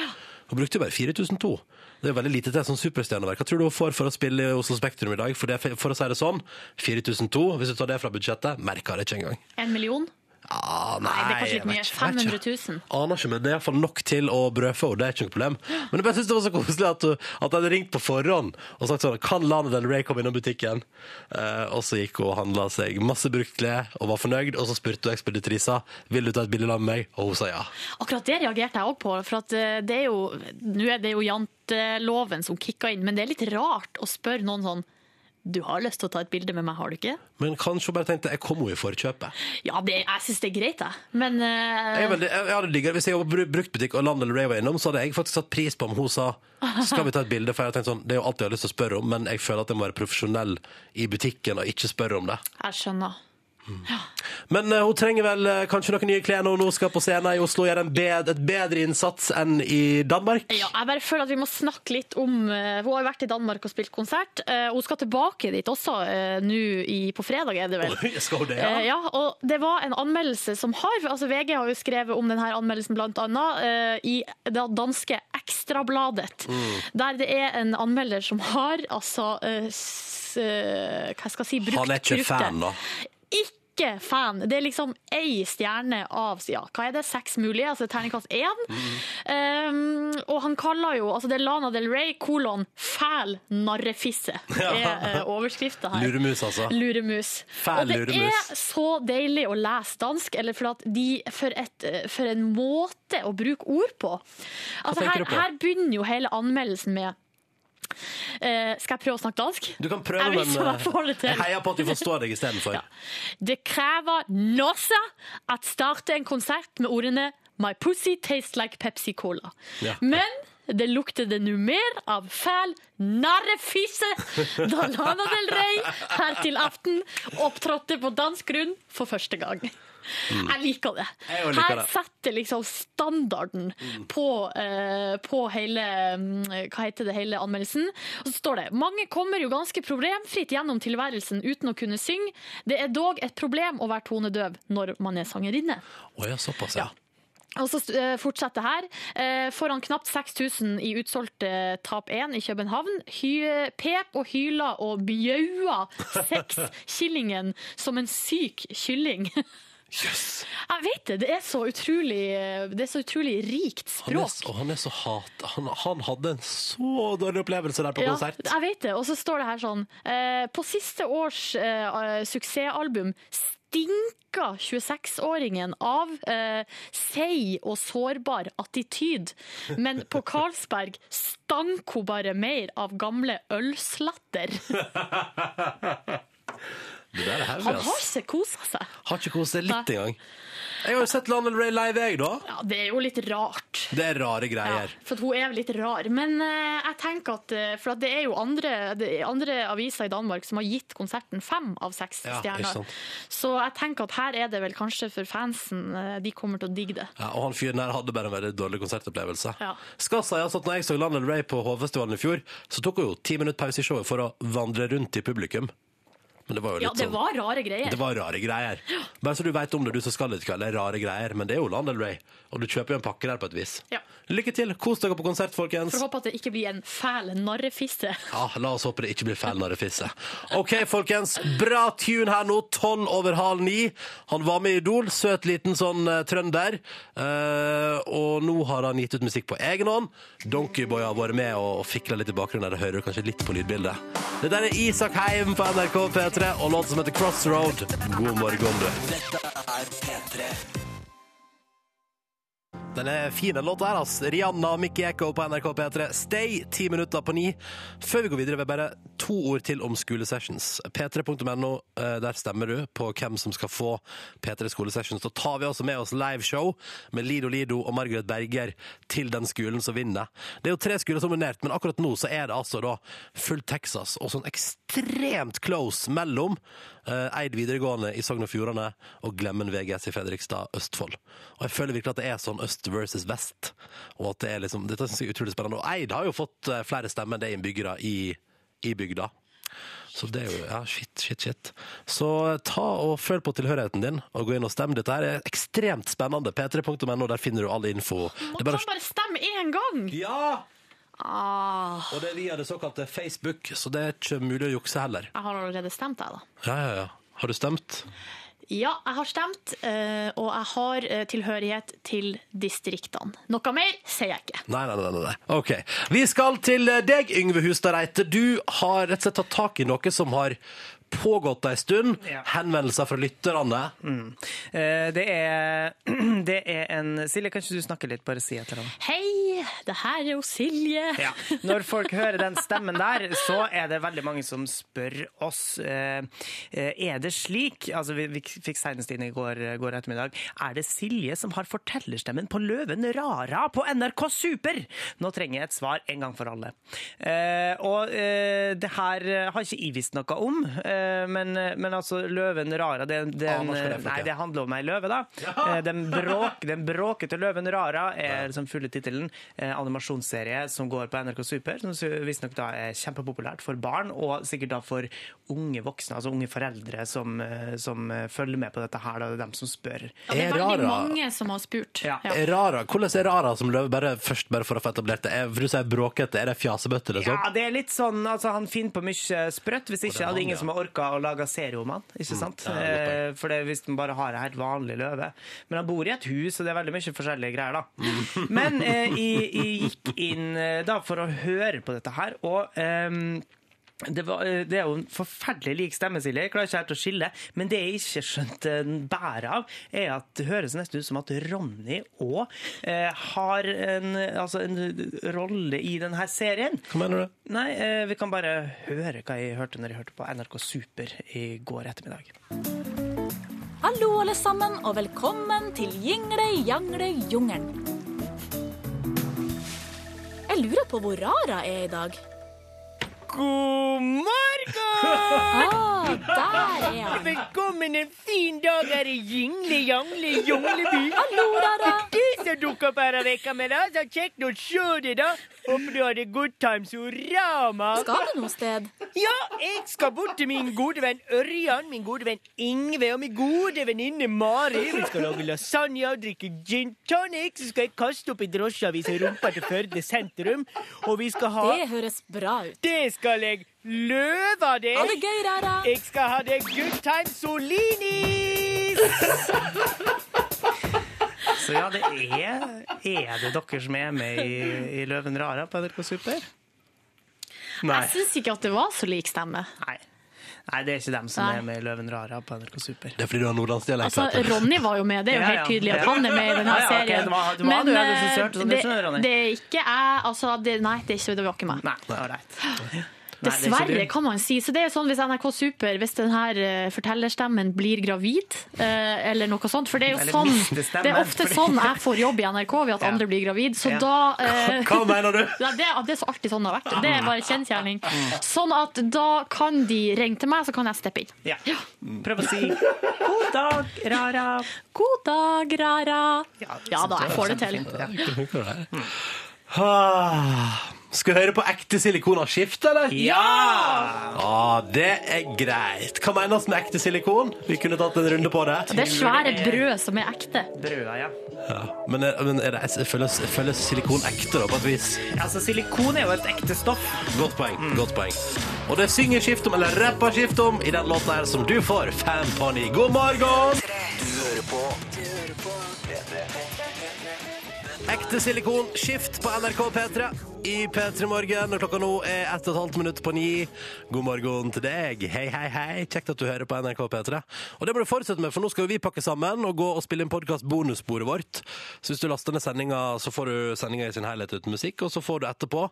Hun brukte jo bare 4002. Det er veldig lite til sånn superstjerneverk. Hva tror du hun får for å spille i Oslo Spektrum i dag? For, det, for å si det sånn, 4002, hvis du tar det fra budsjettet, merker det ikke engang.
En million?
Ah, nei,
det er kanskje
jeg
litt mye.
vet ikke, jeg vet
500
ikke.
000.
Aner ikke, men det er iallfall nok til å brødfø henne. Det er ikke noe problem. Men jeg bare synes det var så koselig at, hun, at jeg hadde ringt på forhånd og sagt sånn Kan Lana Del Rey komme innom butikken? Eh, og så gikk hun og handla seg masse brukt klær og var fornøyd. Og så spurte hun ekspeditrisa Vil du ta et bilde sammen med meg, og hun sa ja.
Akkurat det reagerte jeg òg på. For at eh, det er jo, nå er det jo janteloven som kicker inn, men det er litt rart å spørre noen sånn Du har lyst til å ta et bilde med meg, har du ikke?
Men kanskje hun bare tenkte jeg kom henne i forkjøpet.
Ja, det, jeg syns det er greit, jeg. Men eh,
Jeg, er veldig, jeg, jeg hadde digget, det. Hvis jeg var på bruktbutikk og Lana Del Rey var innom, så hadde jeg faktisk satt pris på om hun sa skal vi ta et bilde, for jeg har tenkt sånn, det er jo alt jeg har lyst til å spørre om, men jeg føler at jeg må være profesjonell i butikken og ikke spørre om det.
jeg skjønner.
Men eh, hun trenger vel eh, kanskje noen nye klær når hun nå skal på scenen i Oslo og gjøre en bed, et bedre innsats enn i Danmark?
Ja, jeg bare føler at vi må snakke litt om eh, Hun har jo vært i Danmark og spilt konsert. Eh, Hun skal tilbake dit også eh, nå i- på fredag, er det vel?
Oi, skal hun det, ja?
Eh, ja, og det var en anmeldelse som har altså VG har jo skrevet om denne anmeldelsen blant annet eh, i det danske Ekstrabladet.
Mm.
Der det er en anmelder som har altså eh, s, eh, Hva skal jeg si brukte
Han er ikke fan, da.
ikke fan. Det er liksom ei stjerne av ja, hva er det, seks mulige, altså terningkast én.
Mm.
Um, og han kaller jo altså det er Lana Del Rey kolon fæl narrefisse. Det er uh, overskrifta her.
Luremus, altså.
Luremus.
Fæl
og det
luremus.
er så deilig å lese dansk, eller for at de for, et, eh, for en måte å bruke ord på. Altså,
tenker
her,
du på?
her begynner jo hele anmeldelsen med eh, skal jeg prøve å snakke dansk?
Du kan prøve,
jeg vet
men
ikke om jeg får det
eh, jeg
til.
heier på at du forstår deg istedenfor.
Det krever nåsa at starte en konsert med ordene My pussy tastes like Pepsi Cola.
Ja.
Men det lukter det nå mer av fæl narrefisse da Lana Del Rey her til aften opptrådte på dansk grunn for første gang.
Mm.
Jeg liker det.
Jeg også liker
Her
det. Mm.
setter liksom standarden på, eh, på hele mm, Hva heter det, hele anmeldelsen. Og så står det mange kommer jo ganske problemfritt gjennom tilværelsen uten å kunne synge. Det er dog et problem å være tonedøv når man er sangerinne.
Å ja, såpass, ja.
Og så eh, fortsetter her. Eh, Foran knapt 6000 i utsolgte Tap 1 i København. Hy pep og hyler og bjaua sexkillingen som en syk kylling. Jeg vet det! Det er så utrolig, eh, det er så utrolig rikt
Han er,
språk.
så- og han er så hat... Han, han hadde en så dårlig opplevelse der på
Ja,
konsert.
jeg vet det. Og så står det her sånn eh, På siste års eh, suksessalbum stinka 26-åringen av eh, seig og sårbar attityd. Men på Carlsberg stank hun bare mer av gamle ølslatter.
Det der er heavy,
Han har
ass.
ikke kosa seg.
Har ikke kost seg litt engang. Jeg har jo sett Lana Del Rey live, jeg, da.
Ja, det er jo litt rart.
Det er rare greier.
For at hun er litt rar. Men eh, jeg tenker at eh, For at det er jo andre, det er andre aviser i Danmark som har gitt konserten fem av seks
Ja, ikke sant.
stjerner. Så jeg tenker at her er det vel kanskje for fansen. eh, de kommer til å digge det.
Ja, og han fyren der hadde bare en veldig dårlig konsertopplevelse.
Ja.
Skal sies at når jeg så Lana Del Rey på Hovfestivalen i fjor, så tok hun jo ti minutter pause i showet for å vandre rundt i publikum. Men det var jo litt
Ja, det
sånn
var rare greier.
Det var rare greier. Bare så du vet om det, du som skal ut i kveld. Det er rare greier, men det er jo Lana Del Rey. Og du kjøper jo en pakke der på et vis.
Ja.
Lykke til! Kos dere på konsert,
For
folkens.
å håpe at det ikke blir en fæl narrefisse.
Ja, La oss håpe det ikke blir feil narrefisse. OK, folkens. Bra tune her nå. Tolv over halv ni. Han var med i Idol. Søt liten sånn eh, trønder. Eh, og nå har han gitt ut musikk på egen hånd. Donkeyboy har vært med og, og fikla litt i bakgrunnen. her. Det hører du kanskje litt på lydbildet. Det der er Isak Heim på NRK P3 og låt som heter Crossroad. God morgen, du.
Dette er P3.
Den er fin, den låta her. ass. Rihanna og Mikki Ekko på NRK P3. Stay, ti minutter på ni. Før vi går videre, vil jeg bare to ord til om skolesessions. p3.no, eh, der stemmer du på hvem som skal få P3 skolesessions. Da tar vi også med oss liveshow med Lido Lido og Margaret Berger til den skolen som vinner. Det er jo tre skoler som er nominert, men akkurat nå så er det altså da full Texas og sånn ekstremt close mellom eh, Eid videregående i Sogn og Fjordane og Glemmen VGS i Fredrikstad, Østfold. Og jeg føler virkelig at det er sånn øst versus vest, og at det er liksom Dette synes jeg er utrolig spennende. Og Eid har jo fått eh, flere stemmer enn det er innbyggere i, i bygda. Så det er jo Ja, shit, shit, shit. Så eh, ta og føl på tilhørigheten din, og gå inn og stem. Dette her er ekstremt spennende. p3.no, der finner du all info. Det er
Man
bare å
kan bare stemme én gang!
Ja!
Ah,
Og det er via det såkalte Facebook, så det er ikke mulig å jukse heller.
jeg har allerede stemt, jeg, da.
Ja, ja, ja. Har du stemt?
Ja, jeg har stemt, eh, og jeg har eh, tilhørighet til distriktene. Noe mer sier jeg ikke.
Nei, nei, nei, nei, nei. Ok. Vi skal til eh, deg, Yngve Hustad Reite. Du har rett og slett tatt tak i noe som har pågått en stund. Henvendelser fra lytterne.
Eh, Det er, det er en Silje, kan ikke du snakke litt? Bare si et eller annet.
Hei, det her er jo Silje.
Ja. Når folk hører den stemmen der, så er det veldig mange som spør oss eh, eh, Er det slik Altså, vi, vi fikk senest inn i går, eh, går ettermiddag. Er det Silje som har fortellerstemmen på Løven Rara på NRK Super? Nå trenger jeg et svar en gang for alle. Eh, og eh, det her har ikke jeg visst noe om, eh, men, men altså Løven Rara det, det,
Ah, hva skal det for
eh, Nei,
noe?
det handler om ei løve, da. Eh, Den, bråk, den bråkete løven Rara er liksom fulle tittelen. Eh, Animasjonsserie som går på NRK Super, som visstnok da er kjempepopulært for barn, og sikkert da for unge voksne, altså unge foreldre som, eh, som eh, følger med på dette her. Da. Det er dem som spør.
Ja, det er veldig mange som har spurt.
Eh,
Ja.
Er Rara, hvordan er Rara som løve, bare først bare for å få etablert det? Er, for du sier bråkete, er det fjasebøtte eller sånn?
Ja, det er litt sånn, altså Han finner på mye eh, sprøtt. Hvis ikke hadde ingen som har storka og laga serieroman, ikke sant?
ja, godt
Eh, for det, hvis den bare har ei helt vanlig løve. Men han bor i et hus, og det er veldig mye forskjellige greier, da. Men eh, jeg, jeg gikk inn eh, da for å høre på dette her, og ehm, det, var, eh, det er jo en forferdelig lik stemme, Silje. Jeg klarer ikke helt å skille. Men det jeg ikke skjønte den bæret av, er at det høres nesten ut som at Ronny òg eh, har en, altså en rolle i denne serien.
Hva mener du?
Nei, eh, vi kan bare høre hva jeg hørte når jeg hørte på NRK Super i går ettermiddag.
Hallo alle sammen, og velkommen til Jingle jangle jungelen. Jeg lurer på hvor Rara er i dag.
God
morgen! der er han.
Velkommen en fin dag her i Jingle Jangle Jungleby.
Hallo, Rara.
Du som dukket opp her av vekka med deg, så kjekt å se deg, da. Håper du hadde good times orama.
Skal du noe sted?
Ja, jeg skal bort til min gode venn Ørjan, min gode venn Ingve og min gode venninne Mari. Vi skal lage lasagne og drikke gin tonic. Så skal jeg kaste opp i drosjeavisa i rumpa til Førde sentrum. Og vi skal ha
Det høres bra ut.
Det skal jeg løve av deg.
Ha det gøy, Rara.
Jeg skal ha det good time Solinis.
Så ja, det er, er det dere som er med i, i Løven Rara på NRK Super? Nei.
Jeg syns ikke at det var så lik stemme.
Nei. Nei, det er ikke dem som
Nei.
er med i Løven Rara på NRK Super.
Det er fordi du har nordlandsdialekt.
Altså, Ronny var jo med, det er jo
Ja, ja.
helt tydelig at
Ja.
han er med i
Ja,
denne
ja, ok,
serien. eh,
det var- det var du, ja, du synes jeg hørte sånn
det,
ut, Ronny.
det er ikke jeg, altså det, Nei, det, er ikke, det var ikke meg.
Nei, det er ikke
Dessverre,
du.
kan man si. Så det er jo sånn hvis NRK Super, hvis denne fortellerstemmen blir gravid, eh, eller noe sånt, for det er jo
Eller
sånn
mister stemmen,
Det er ofte
fordi-
sånn jeg får jobb i NRK, ved at
Ja.
andre blir gravid, så
Ja.
da eh,
Hva- hva mener du?
Ja, det, det er så alltid sånn det har vært. Det er bare kjensgjerning.
Mm.
Sånn at da kan de ringe til meg, så kan jeg steppe inn.
Ja. Prøv å si 'god dag, Rara'.
God dag, Rara. Ja, da, jeg får det til.
Ah, Skal vi høre på ekte silikon av skift, eller?
Ja!
Ah, det er greit. Hva menes med ekte silikon? Vi kunne tatt en runde på det.
Det er svære brød som er ekte.
Brøda, ja.
Ja, men er, men er det, føles, føles silikon ekte, da, på et vis?
Altså, silikon er jo et ekte stoff.
Godt poeng.
Mm.
godt poeng. Og det synger skift om, eller rapper skift om, i den låta her som du får. Fem på ni. God morgen!
Du hører på
Ekte silikon, skift på NRK P3 i P3 Morgen. Og klokka nå er ett og et halvt minutt på ni. God morgen til deg. Hei, hei, hei. Kjekt at du hører på NRK P3. Og det må du fortsette med, for nå skal jo vi pakke sammen og gå og spille inn podkast-bonussporet vårt. Så hvis du laster ned sendinga, så får du sendinga i sin helhet uten musikk, og så får du etterpå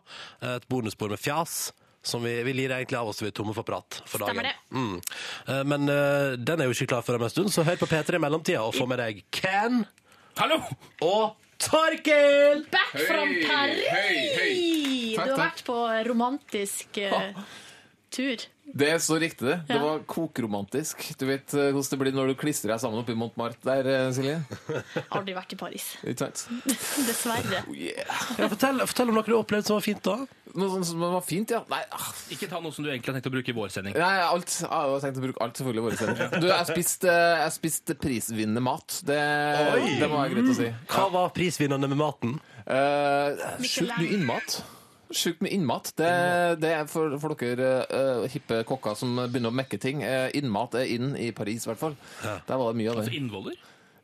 et bonusspor med fjas. Som vi, vi lider egentlig av oss, vi er tomme for prat for dagen.
Stemmer det.
Mm. Eh, Men eh, den er jo ikke klar for om en stund, så hør på P3 i mellomtida og få med deg Ken Hallo! og Torkil!
Back from Paris!
Takk,
du har
takk.
vært på romantisk eh, tur.
Det er så riktig, det. Det
Ja.
var kokromantisk. Du vet eh, hvordan det blir når du klistrer deg sammen oppe i Montmartre der, eh, Silje?
Aldri vært i Paris.
Ikke sant? Oh,
Dessverre.
Ja, fortell, fortell om noe du opplevde som var fint da.
Noe sånt som var fint, ja. Nei, ah.
Ikke ta noe som du egentlig har tenkt å bruke i vår sending.
Nei, alt. Jeg har tenkt å bruke alt, selvfølgelig. i Våre sendinger. du, jeg spiste eh, jeg spiste prisvinnende mat. Det,
Oi!
det var greit å si.
Hva var prisvinnende med maten?
Uh, sjukt mye innmat. Sjukt mye innmat. Det, det er for, for dere eh, hippe kokker som begynner å mekke ting. Eh, innmat er inn i Paris, i hvert fall. Der var det mye av det.
Altså innvoller?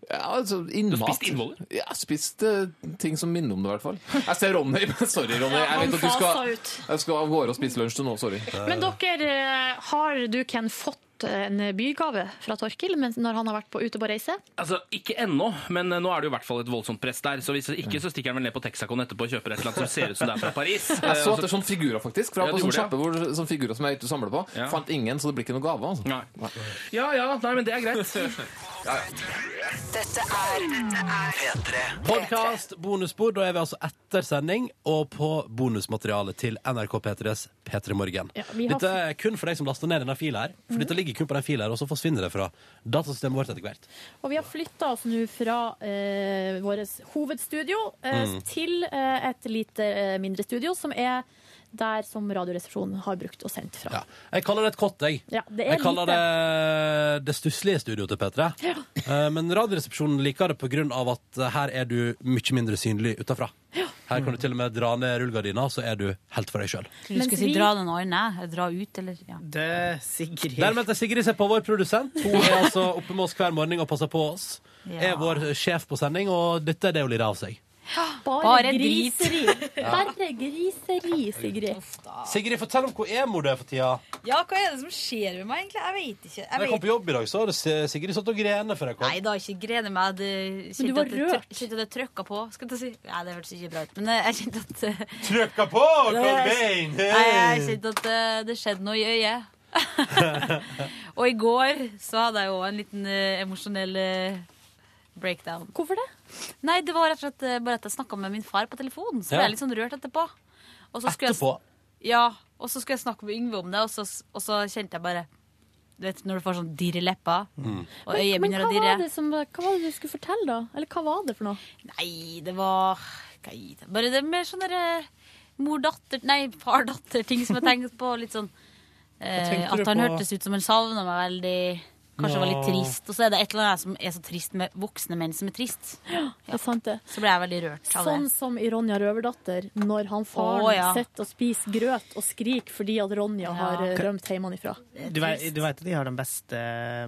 Ja, altså innmat.
Du har spist innvoller?
Ja, jeg har spist eh, ting som minner om det, i hvert fall. Jeg ser Ronny, men sorry, Ronny.
Ja,
Jeg
han
vet at du skal,
fasa ut.
jeg skal av gårde og spise lunsj til nå, sorry.
Men dere, eh, har du, Ken, fått en bygave fra Torkil mens- når han har vært på ute på reise?
Altså, Ikke ennå, men eh, nå er det jo i hvert fall et voldsomt press der. Så hvis ikke, så stikker jeg vel ned på Texacon etterpå og kjøper et eller annet som ser ut som det er fra Paris. Eh,
Jeg så
og
etter sånne figurer, faktisk. Fra
Ja,
på
du
sånne
gjorde det,
kjappe hvor, sånne figurer som jeg er ute og samler på.
Ja.
Fant ingen, så det blir ikke noe gave. Altså. Nei.
Ja, ja, nei, men det er greit.
Dette er Dette er P3.
Podkast, bonusbord. Da er vi altså etter sending og på bonusmaterialet til NRK P3s P3 Morgen.
vi har-
Dette er kun for deg som laster ned denne filen her. For
Mhm.
dette ligger kun på den filen her, og så forsvinner det fra datasystemet vårt etter hvert.
Og vi har flytta oss nå fra eh, vårt hovedstudio eh,
Mm.
til eh, et lite eh, mindre studio, som er der som Radioresepsjonen har brukt og sendt fra.
Jeg kaller det et kott, jeg.
Ja, det er
Jeg kaller
lite.
det det stusslige studioet til P3. Eh, Men Radioresepsjonen liker det pga. at eh, her er du mye mindre synlig utafra. Her kan du til og med dra ned rullegardina, så er du helt for deg sjøl.
Du skulle si dra noen andre, eller dra ut, eller ja.
Det, Sigrid.
Der meldte Sigrid seg på, vår produsent. Hun er altså oppe med oss hver morgen og passer på oss.
Ja.
Er vår sjef på sending, og dette er det hun lider av seg.
Bare,
Bare drit.
griseri.
Ja.
Bare griseri, Sigrid.
Ah.
Sigrid, fortell om hvor emo du er for tida.
Ja, hva er det som skjer med meg, egentlig? Jeg vet ikke.
Når jeg kom på jobb i dag, så hadde S- Sigrid satt og grene før jeg kom.
Nei, det har ikke grenet meg. Det,
Men du var
rørt. Jeg kjente at det trøkka på. Skal jeg si. Nei, det hørtes ikke bra ut. Men eh, jeg kjente at eh,
Trykka på, Carl Bain!
Nei, jeg kjente at eh, det skjedde noe i øyet. og i går så hadde jeg jo en liten eh, emosjonell eh, breakdown.
Hvorfor det?
Nei, det var rett og slett eh, bare at jeg snakka med min far på telefonen, så
Ja.
ble jeg litt sånn rørt etterpå. Og så skulle jeg-
Etterpå?
Ja, og så skulle jeg snakke med Yngve om det, og så, og så kjente jeg bare Du vet når du får sånn dirr i leppa, og
Men, men
øyet begynner
hva,
å dirre.
var det som, hva var det du skulle fortelle, da? Eller hva var det for noe?
Nei, det var Hva i det? Bare det med sånne der, mor-datter Nei, far-datter-ting som jeg tenkte på. Litt sånn
Hva
eh,
tenkte du
At han
på?
hørtes ut som han savna meg veldig. Kanskje var litt
Ja.
trist. Og så er det et eller annet som er så trist med voksne menn som er trist.
Det er sant, det.
Så ble jeg veldig rørt av
Sånn som i Ronja Røverdatter, når han faren
Å, ja.
sitter og spiser grøt og skriker fordi at Ronja har eh, rømt hjemmefra.
Du veit du vet at de har den beste eh,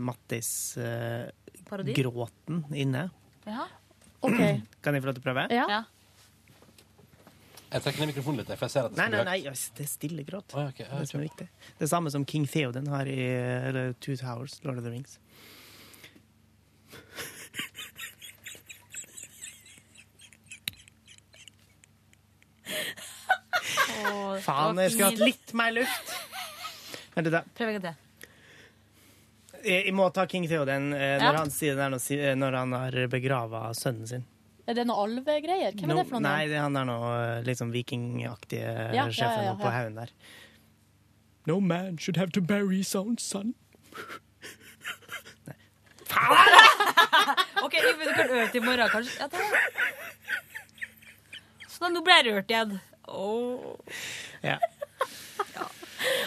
Parodi?
Mattis-gråten inne?
Sånn Ja.
OK.
Kan jeg få lov til å prøve?
Ja.
Jeg trekker ned mikrofonen litt, for jeg ser at det
Nei,
skal
nei,
bli
nei, yes, det er stille gråt.
Å, ja, ok, ja,
det, er det som er
kjør
viktig. det samme som King Theoden har i eller, Two Towers, Lord of the Rings.
det.
Faen, jeg skulle hatt litt mer luft. Vent litt, da.
Prøv en gang til.
Jeg, jeg må ta King Theoden eh, når
Ja.
han sier det der nå, si- eh, når han har begrava sønnen sin.
Er det noe alvegreier? Hvem
Nå-
er det for noe?
Nei, det er han der nå eh, litt sånn vikingaktige eh,
Ja, ja,
sjefen
ja,
oppe på
ja.
haugen der. No man should have to bury his own son.
OK, Yngve, du kan øve til i morgen, kanskje. Ja, takk. Så da, nå ble jeg rørt igjen. Åh.
Ja.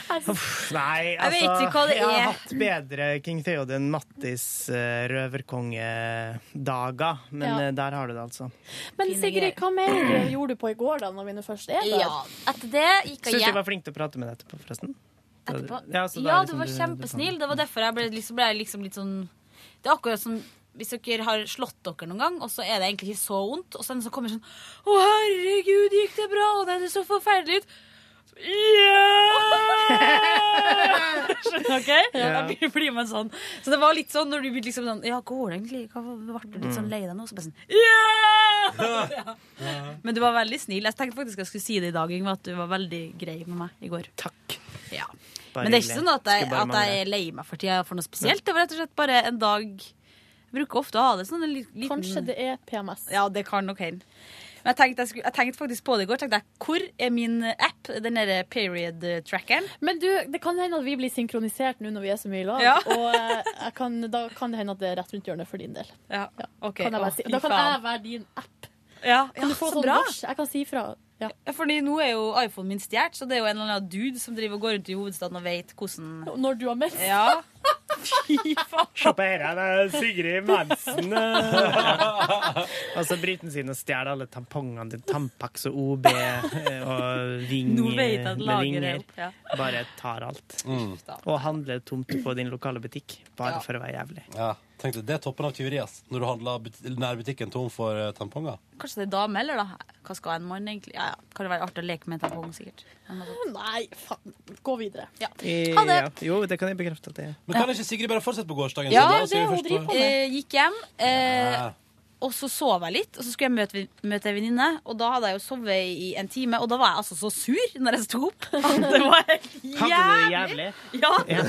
Altså,
Uff, nei,
Jeg
altså
vet ikke hva det
Jeg
er.
har hatt bedre King Theoden Mattis eh, røverkongedager, men
Ja.
eh, der har du det, altså.
Men Sigrid, hva mer eh, gjorde du på i går, da, når vi nå først er der?
Ja, etter det gikk jeg
Syns du jeg
hjem.
var flink til å prate med deg etterpå, forresten?
etterpå.
Ja,
Ja,
så da er
du
liksom
var
du-
kjempesnill. Det var derfor jeg ble, liksom, ble jeg liksom litt sånn Det er akkurat som hvis dere har slått dere noen gang, og så er det egentlig ikke så vondt, og så er det en som kommer sånn Å, herregud, gikk det bra? Å, nei, det så forferdelig ut. Så, «Ja!» Skjønner dere?
Ja.
Da blir- blir man sånn. Så det var litt sånn når du blir liksom sånn Ja, går det egentlig? Hva, ble du
Mm.
litt sånn lei deg nå? Så bare sånn «Ja!» ja! Men du var veldig snill. Jeg tenkte faktisk jeg skulle si det i dag, Yngve, at du var veldig grei med meg i går.
Takk.
Ja.
Bare
Men det er ikke
hyggelig.
sånn at jeg,
Skulle bare
at jeg er lei meg for tida for noe spesielt. Det var rett og slett bare en dag Jeg bruker ofte å ha det sånn en li- liten
Kanskje det er PMS.
Ja, det kan nok hende. Men jeg tenkte, jeg, skulle, jeg tenkte faktisk på det i går. Tenkte jeg, Hvor er min app, den derre period-trackeren?
Men du, det kan hende at vi blir synkronisert nå når vi er så mye i lag.
Ja.
Og eh, jeg kan, da kan det hende at det er rett rundt hjørnet for din del.
Ja, ok.
Kan jeg bare
Å,
si.
fy
Da kan
faen.
jeg være din app.
Ja,
Kan du få
så
sånn
bra.
varsel? Jeg kan si ifra. Ja.
Fordi nå er jo iPhonen min stjålet, så det er jo en eller annen dude som driver og går rundt i hovedstaden og vet hvordan
Når du har mens?
Ja.
Se på her, det er Sigrid Mensen. eh. og så bryter han seg inn og stjeler alle tampongene til Tampax og OB eh, og ring,
Nå vet jeg at
med
lageret er
ringer.
opp, ja.
Bare tar alt. Og handler tomt på din lokale butikk, bare
Ja.
for å være jævlig.
Ja, tenkte Det er toppen av tyveri, ass. Når du handler but- nærbutikken tom for eh, tamponger.
Kanskje det er dame, eller? da? Hva skal en mann, egentlig? Ja, ja. Kan det være artig å leke med en tampong, sikkert.
Nei, faen. Gå videre.
Ja.
Eh,
Ha det.
ja. Jo, det kan jeg bekrefte at det er.
Men kan ikke Sigrid bare fortsette på gårsdagen?
Ja,
sin, da, så
det
vi
er hun
først
driver
får-
på med. Eh, Gikk hjem, eh,
Ja.
og så sov jeg litt. Og så skulle jeg møte, møte ei venninne, og da hadde jeg jo sovet i en time. Og da var jeg altså så sur når jeg sto opp. Det var helt
Hadde du det jævlig?
jævlig. Ja.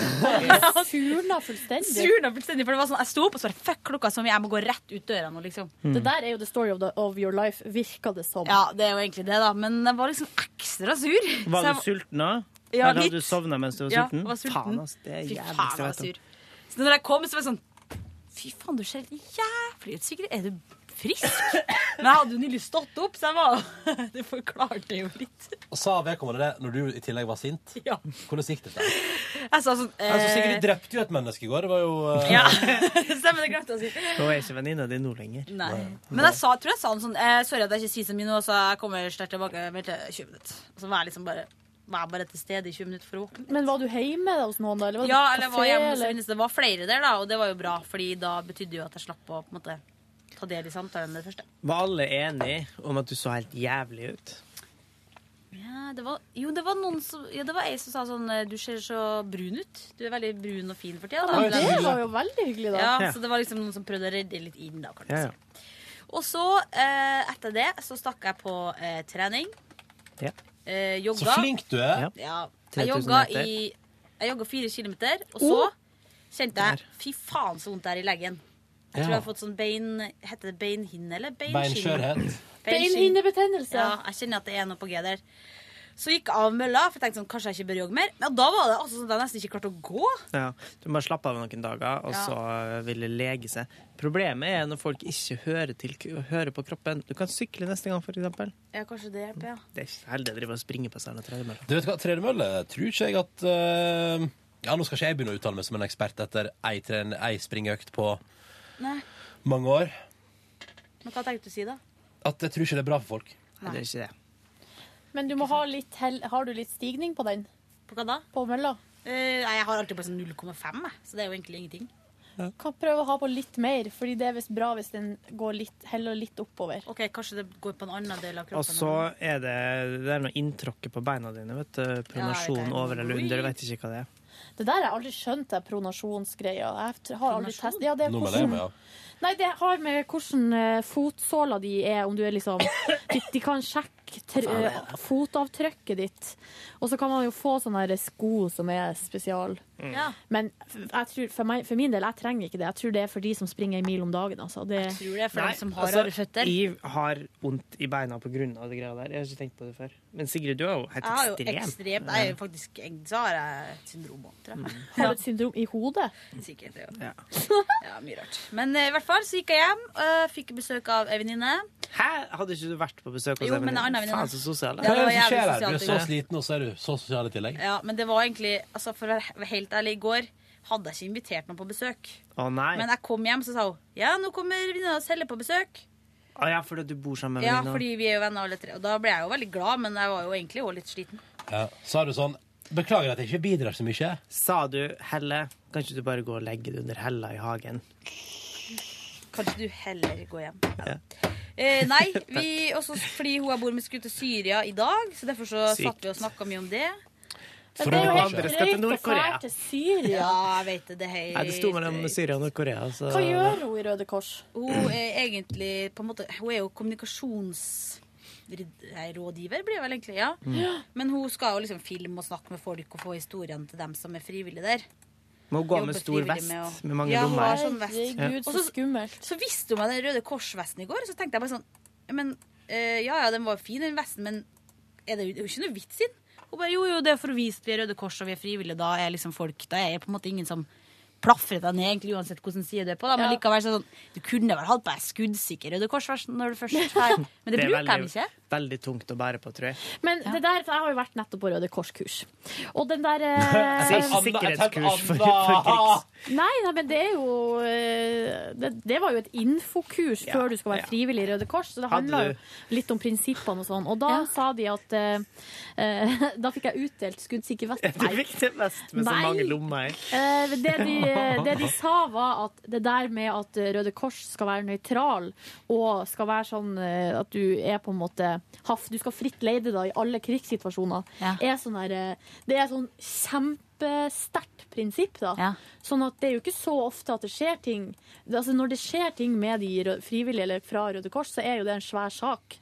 Surna fullstendig.
Surna fullstendig, for det var sånn, Jeg sto opp og så bare fuck klokka som jeg må gå rett ut døra nå, liksom.
Mm. Det der er jo the story of, the, of your life, virka det som.
Ja, det er jo egentlig det, da. Men jeg var liksom ekstra sur. Så
Var
jeg
du sulten òg?
Ja,
Eller
litt.
hadde du sovna mens du var
Ja,
sulten?
jeg var sulten.
Faen, ass, det er
Fy faen,
jævligst jeg
jeg var
vet om.
sur. Så når jeg kom, så var jeg sånn Fy faen, du ser helt jævlig ut, Sigrid. Er du frisk. Men jeg hadde jo nylig stått opp, så jeg var Det forklarte jo litt.
Og sa vedkommende det når du i tillegg var sint?
Ja.
Hvordan gikk det?
Jeg sa sånn
Altså,
eh,
Sigrid drepte jo et menneske i går. Det var jo eh,
Ja, stemmer, det glemte jeg å si.
Nå er ikke venninna di nå lenger.
Nei. Men jeg sa, tror jeg sa noe sånn eh, Sorry at jeg ikke spiser mye nå, så jeg kommer sterkt tilbake om 20 minutter. Så var jeg liksom bare, var jeg bare til stede i 20 minutter for å våkne.
Men var du hjemme da, hos noen, da? Eller var du
Ja,
på
eller jeg
kafé,
var hjemme hos
eller?
en venninne. Det var flere der, da, og det var jo bra, Fordi da betydde jo at jeg slapp å på en måte, ta del i samtalen med det første.
Var alle enige om at du så helt jævlig ut?
Ja, det var, jo, det var noen som Ja, det var ei som sa sånn eh, Du ser så brun ut. Du er veldig brun og fin for tida.
Ja,
da."
men det var jo veldig hyggelig, da.
Ja, så det var liksom noen som prøvde å redde litt inn, da, kan du
Ja, ja.
si. Og så, eh, etter det, så stakk jeg på eh, trening.
Ja.
Eh, jogga.
Så flink du er.
Ja.
3000
Jeg jogga
meter.
i Jeg jogga fire kilometer, og så
Oh.
kjente jeg Fy faen, så vondt det er i leggen. Jeg tror
Ja.
jeg har fått sånn bein Heter det beinhinne eller beinskinn?
Beinskjørhet.
Beinhinnebetennelse.
Ja, jeg kjenner at det er noe på G der. Så gikk jeg av mølla, for jeg tenkte sånn, kanskje jeg ikke bør jogge mer. Men da var det altså sånn at jeg nesten ikke klarte å gå.
Ja, Du må slappe av noen dager, og
Ja.
så ville lege seg. Problemet er når folk ikke hører, til, hører på kroppen. Du kan sykle neste gang, for eksempel.
Ja, kanskje det hjelper, ja.
Det er ikke så heldig å drive og springe på seg eller tredemølle.
Du vet hva, tredemølle tror ikke jeg at eh, Ja, nå skal ikke jeg begynne å uttale meg som en ekspert etter ei, tren, ei springøkt på
Nei,
mange år.
men hva tenkte du å si da?
At jeg tror ikke det er bra for folk.
Nei, det er ikke det.
Men du må ha litt hell Har du litt stigning på den?
På hva da?
På mølla?
Eh, nei, jeg har alltid bare sånn 0,5, jeg. så det er jo egentlig ingenting.
Kan prøve å ha på litt mer, fordi det er visst bra hvis den går litt, heller litt oppover.
Ok, Kanskje det går på en annen del av
Og
kroppen.
så er det, det er noe inntråkket på beina dine. vet du. Pronasjon
Ja, det er
over eller under. Jeg vet ikke hva det er.
Det der har jeg aldri skjønt, det pronasjonsgreia. Jeg t- har aldri
Pronasjon?
testet ja, det er
Nå med det,
hvordan-
men ja.
Nei, det har med hvordan eh, fotsåla di er, om du er liksom De, de kan sjekke tr eh, fotavtrykket ditt. Og så kan man jo få sånne her sko som er spesial.
Mm. Ja.
Men f- jeg tror, for, meg, for min del, jeg trenger ikke det. Jeg tror det er for de som springer en mil om dagen. Altså. Det,
Jeg tror det er for dem som har
altså,
rare føtter.
Jeg har vondt i beina på grunn av det greia der. Jeg har ikke tenkt på det før. Men Sigrid, du er jo helt
Jeg har jo
ekstrem.
ekstremt Jeg er jo faktisk egentlig Så har jeg et syndrom òg, tror jeg.
Har du et syndrom i hodet?
Sikkert. Ja.
Ja.
ja, mye rart. Men eh, i hvert fall så gikk jeg hjem, eh, fikk besøk av ei venninne.
Hæ? Hadde ikke du vært på besøk hos
Jo, men en annen venninne.
Faen, så sosial.
Ja, det var jævlig
Du er
sosialt,
så
ja.
sliten, og så er du så sosial i tillegg.
Ja, men det var egentlig altså For å være helt ærlig, i går hadde jeg ikke invitert noen på besøk.
Å nei.
Men jeg kom hjem, så sa hun ja, nå kommer venninna Selle på besøk.
Å ja, fordi du bor sammen med
Ja,
venninna.
fordi vi er jo venner alle tre. Og da ble jeg jo veldig glad, men jeg var jo egentlig også litt sliten.
Ja. Så er du sånn Beklager at jeg ikke bidrar så mye.
Sa du, Helle, kan ikke du bare gå og legge det under hella i hagen?
Kanskje du heller går hjem. Eh, nei, vi, også fordi hun jeg bor med, skulle til Syria i dag, så derfor så
Sykt.
satt vi og snakka mye om det.
For det er jo helt Andre skal til drøyt å Nord-Korea. fære
til Syria.
Ja, jeg vet det. Det er helt
Nei, det sto mellom Syria og Nord-Korea. Så...
Hva gjør
hun i Røde Kors?
Hun er egentlig på en måte, Hun er jo kommunikasjonsrådgiver, blir hun vel egentlig. ja.
Mm.
Men hun skal jo liksom filme og snakke med folk og få historiene til dem som er frivillige der.
Må hun gå med
Jobber
stor
frivillig
vest
med
med,
å-
mange
ja, hun
lommer?
har sånn vest.
Ja.
Og så- Så visste hun meg den Røde Kors-vesten i går, så tenkte jeg bare sånn men, eh, Ja ja, den var fin, den vesten, men er det jo det er jo ikke noe vits i den? Hun bare jo jo, det er for å vise at vi er Røde Kors og vi er frivillige, da er liksom folk Da er på en måte ingen som plafrer deg ned, egentlig, uansett hvordan side du er på, da. Men
Ja.
likevel så er det sånn Du kunne vel hatt på deg skuddsikker Røde Kors-vesten når du først er Men det,
er
bruker
veldig,
de ikke.
Veldig tungt å bære på, tror jeg.
Men det der, for jeg har jo vært nettopp på Røde Kors-kurs. Og den der eh,
Jeg sier Altså, Sikkerhetskurs for, for krigs...
Nei, nei, men det er jo eh, det, det var jo et infokurs før du skal være frivillig i Røde Kors, så det
Hadde
handla
du-
jo litt om prinsippene og sånn. Og da sa de at eh, eh, Da fikk jeg utdelt skuddsikker vest.
Du fikk det vest med så
Nei.
mange lommer i.
Eh, men det, de, det de sa var at det der med at Røde Kors skal være nøytral, og skal være sånn eh, at du er på en måte haff, Du skal fritt leide da i alle krigssituasjoner. Er sånn der, eh, det er sånn kjempesterkt prinsipp, da. Sånn at det er jo ikke så ofte at det skjer ting. Det- Altså Når det skjer ting med de rø- frivillige eller fra Røde Kors, så er jo det en svær sak.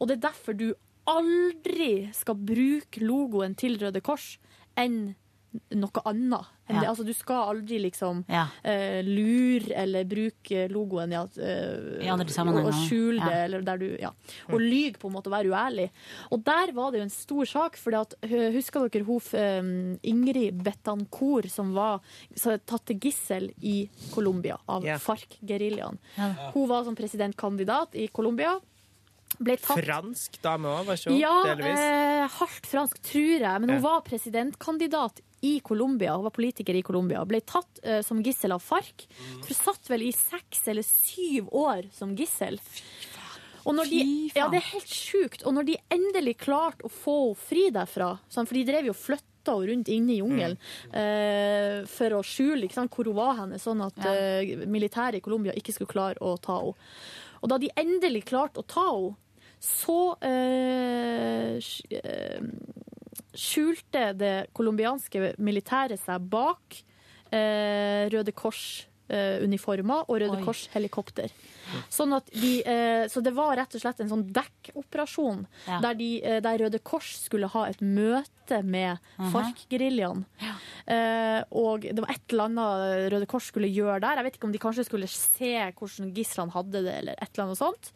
Og det er derfor du aldri skal bruke logoen til Røde Kors enn noe annet. enn
Ja.
det. Altså, du skal aldri liksom
Ja.
eh, lure eller bruke logoen i, at, eh,
I andre sammenhenger.
Og, og skjule det,
Ja.
eller der du Ja. Og lyge, på en måte, og være uærlig. Og der var det jo en stor sak, for husker dere hun eh, Ingrid Betancourt som var som var tatt til gissel i Colombia av
Ja.
FARC-geriljaen?
Ja.
Hun var som presidentkandidat i Colombia. Ble tatt
Fransk dame òg, var ikke hun?
ja,
delvis.
eh, hardt fransk, tror jeg. Men hun
Ja.
var presidentkandidat i Colombia. Hun var politiker i Colombia. Ble tatt eh, som gissel av FARC.
Mm.
Hun satt vel i seks eller syv år som gissel. Og når de, ja, det er helt sjukt. Og når de endelig klarte å få henne fri derfra, sant, for de drev jo og flytta henne rundt inne i jungelen
Mm.
eh, for å skjule ikke sant, hvor hun var henne, sånn at eh, militæret i Colombia ikke skulle klare å ta henne. Og da de endelig klarte å ta henne, så eh, sk- eh, skjulte det colombianske militæret seg bak eh, Røde Kors-uniformer og Røde
Oi.
Kors-helikopter. Sånn at de, eh, så det var rett og slett en sånn dekkoperasjon
Ja.
der, de, eh, der Røde Kors skulle ha et møte med
Mhm.
FARC-geriljaen. Eh, og det var et eller annet Røde Kors skulle gjøre der. Jeg vet ikke om de kanskje skulle se hvordan gislene hadde det, eller et eller annet sånt.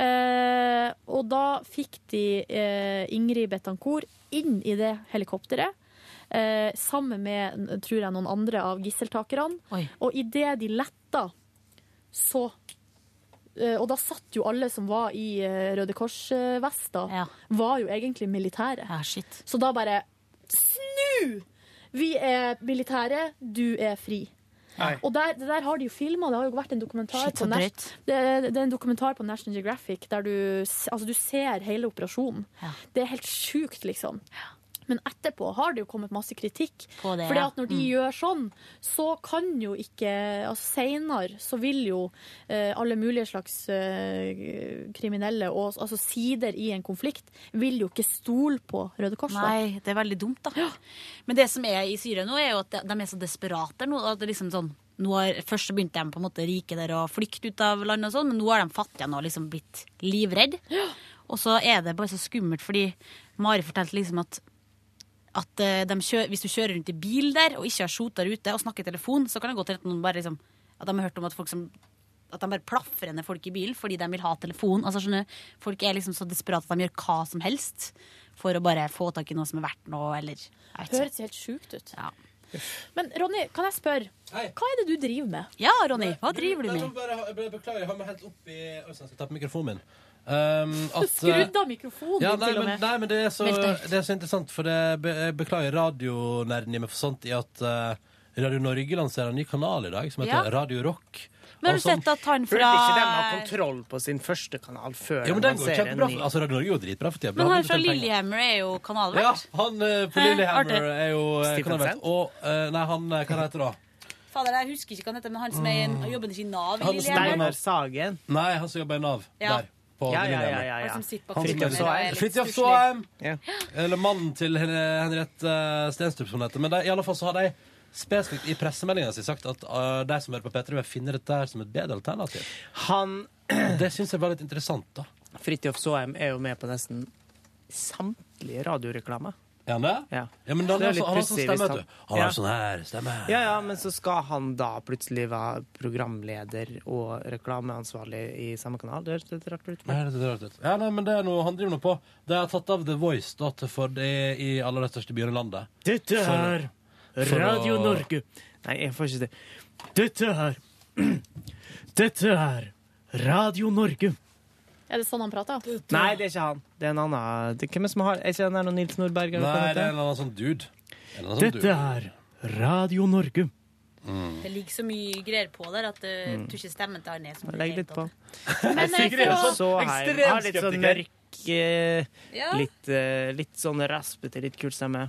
Eh, og da fikk de eh, Ingrid Betancourt inn i det helikopteret. Eh, sammen med tror jeg, noen andre av gisseltakerne. Og idet de letta, så eh, Og da satt jo alle som var i eh, Røde Kors-vesta, var jo egentlig militære. Så da bare Snu! Vi er militære, du er fri.
Nei.
Og der, det der har de jo filma. Det har jo vært en dokumentar,
Shit,
på,
så
Nas-
drøyt.
det, det er en dokumentar på National Geographic der du, s- altså, du ser hele operasjonen. Det er helt sjukt, liksom. Men etterpå har det jo kommet masse kritikk.
På det,
Fordi
ja.
at når de
Mm.
gjør sånn, så kan jo ikke altså Seinere så vil jo eh, alle mulige slags eh, kriminelle og altså sider i en konflikt vil jo ikke stole på Røde Kors. da.
Nei, det er veldig dumt, da. Men det som er i Syria nå, er jo at de- de er så desperate nå. At det er liksom sånn, nå har, først så begynte de på en måte rike der å flykte ut av landet, og sånn, men nå har de fattige nå liksom blitt livredd. Og så er det bare så skummelt, fordi Mari fortalte liksom at at eh, de kjø hvis du kjører rundt i bil der og ikke har skjota ute og snakker i telefon, så kan det gå til at noen bare liksom At de har hørt om at folk som at de bare plafrer ned folk i bilen fordi de vil ha telefon. Altså, skjønner, du, folk er liksom så desperate at de gjør hva som helst for å bare få tak i noe som er verdt noe, eller jeg vet
Høres helt sjukt ut. Men Ronny, kan jeg spørre? Hva er det du driver med?
Ja, Ronny, hva driver du
Nei,
med?
jeg må bare ha- jeg bare Beklager, jeg har meg helt opp i Oi, så jeg skal ta på mikrofonen min. Um, at,
Skrudd av mikrofonen
ja,
din,
nei,
til
men,
og med.
nei, men det er, så,
Veldig høyt.
det er så interessant, for det, be- jeg beklager radionerden i meg for sånt i at eh, Radio Norge lanserer en ny kanal i dag som heter
Ja.
Radio Rock.
Men har
Og sånn-
du
som-
sett at han
Burde
fra
ikke de ha kontroll på sin første kanal før
Ja, men
de
den går
lanserer en
kjempebra.
ny?
for- Altså, Radio Norge er jo dritbra for tida.
Men
Bra,
han fra
betaler penger.
Lillehammer er jo
Ja,
kanalvert.
han eh, på
Hæ?
Lillehammer
Artig.
er jo eh,
Stephen
kanalvert. Og eh, Nei, han eh, Hva heter det da?
Fader, jeg husker ikke hva han heter, men han som er i- han jobber ikke i Nav
Mm.
i
Han-
Lillehammer.
Sagen.
Nei, han som jobber i Nav.
Ja.
Der. På
Ja, ja, ja,
Lillehammer.
ja, ja.
Han som sitter på
Han som-
Fridtjof Saaheim.
Fridtjof Saaheim. Eller mannen til Hen- Henriette eh, Stenstrup, som det heter. Men de, i alle fall så har de spesifikt i pressemeldinga si sagt at eh, de som hører på P3, vil finne dette her som et bedre alternativ.
Han
Det syns jeg var litt interessant, da.
Fridtjof Saaheim er jo med på nesten samtlige radioreklamer.
Ja, ne?
Ja.
men han
Så det er
har
litt
så- han har sånn
pussig hvis
stemme, vet du. Han
Ja.
har sånn her stemme.
Ja, ja, men så skal han da plutselig være programleder og reklameansvarlig i samme kanal. Det høres litt rart ut.
Nei, det er rart ut. Ja, nei, men det er noe han driver nå på. De har tatt av The Voice da, til for det i alle de største byene i landet.
Dette
For-
er
for
Radio
å-
Norge. Nei, jeg får ikke det. Dette er Dette er Radio Norge.
Er det sånn han prater?
Nei, det er ikke han. Det er en annen. Det, hvem er det som har Er ikke den der noen Nils Nordberg? eller hva
Nei,
heter
det er
han?
en eller annen sånn dude. En eller annen sånn
Dette er Radio Norge.
Det ligger så mye greier på der at uh, du ikke stemmer til han er som
Mm. Legg litt på.
Men jeg
Sigrid er
får-
så heim. Har litt sånn mørk, eh,
Ja.
litt, eh, litt sånn raspete, litt kul stemme.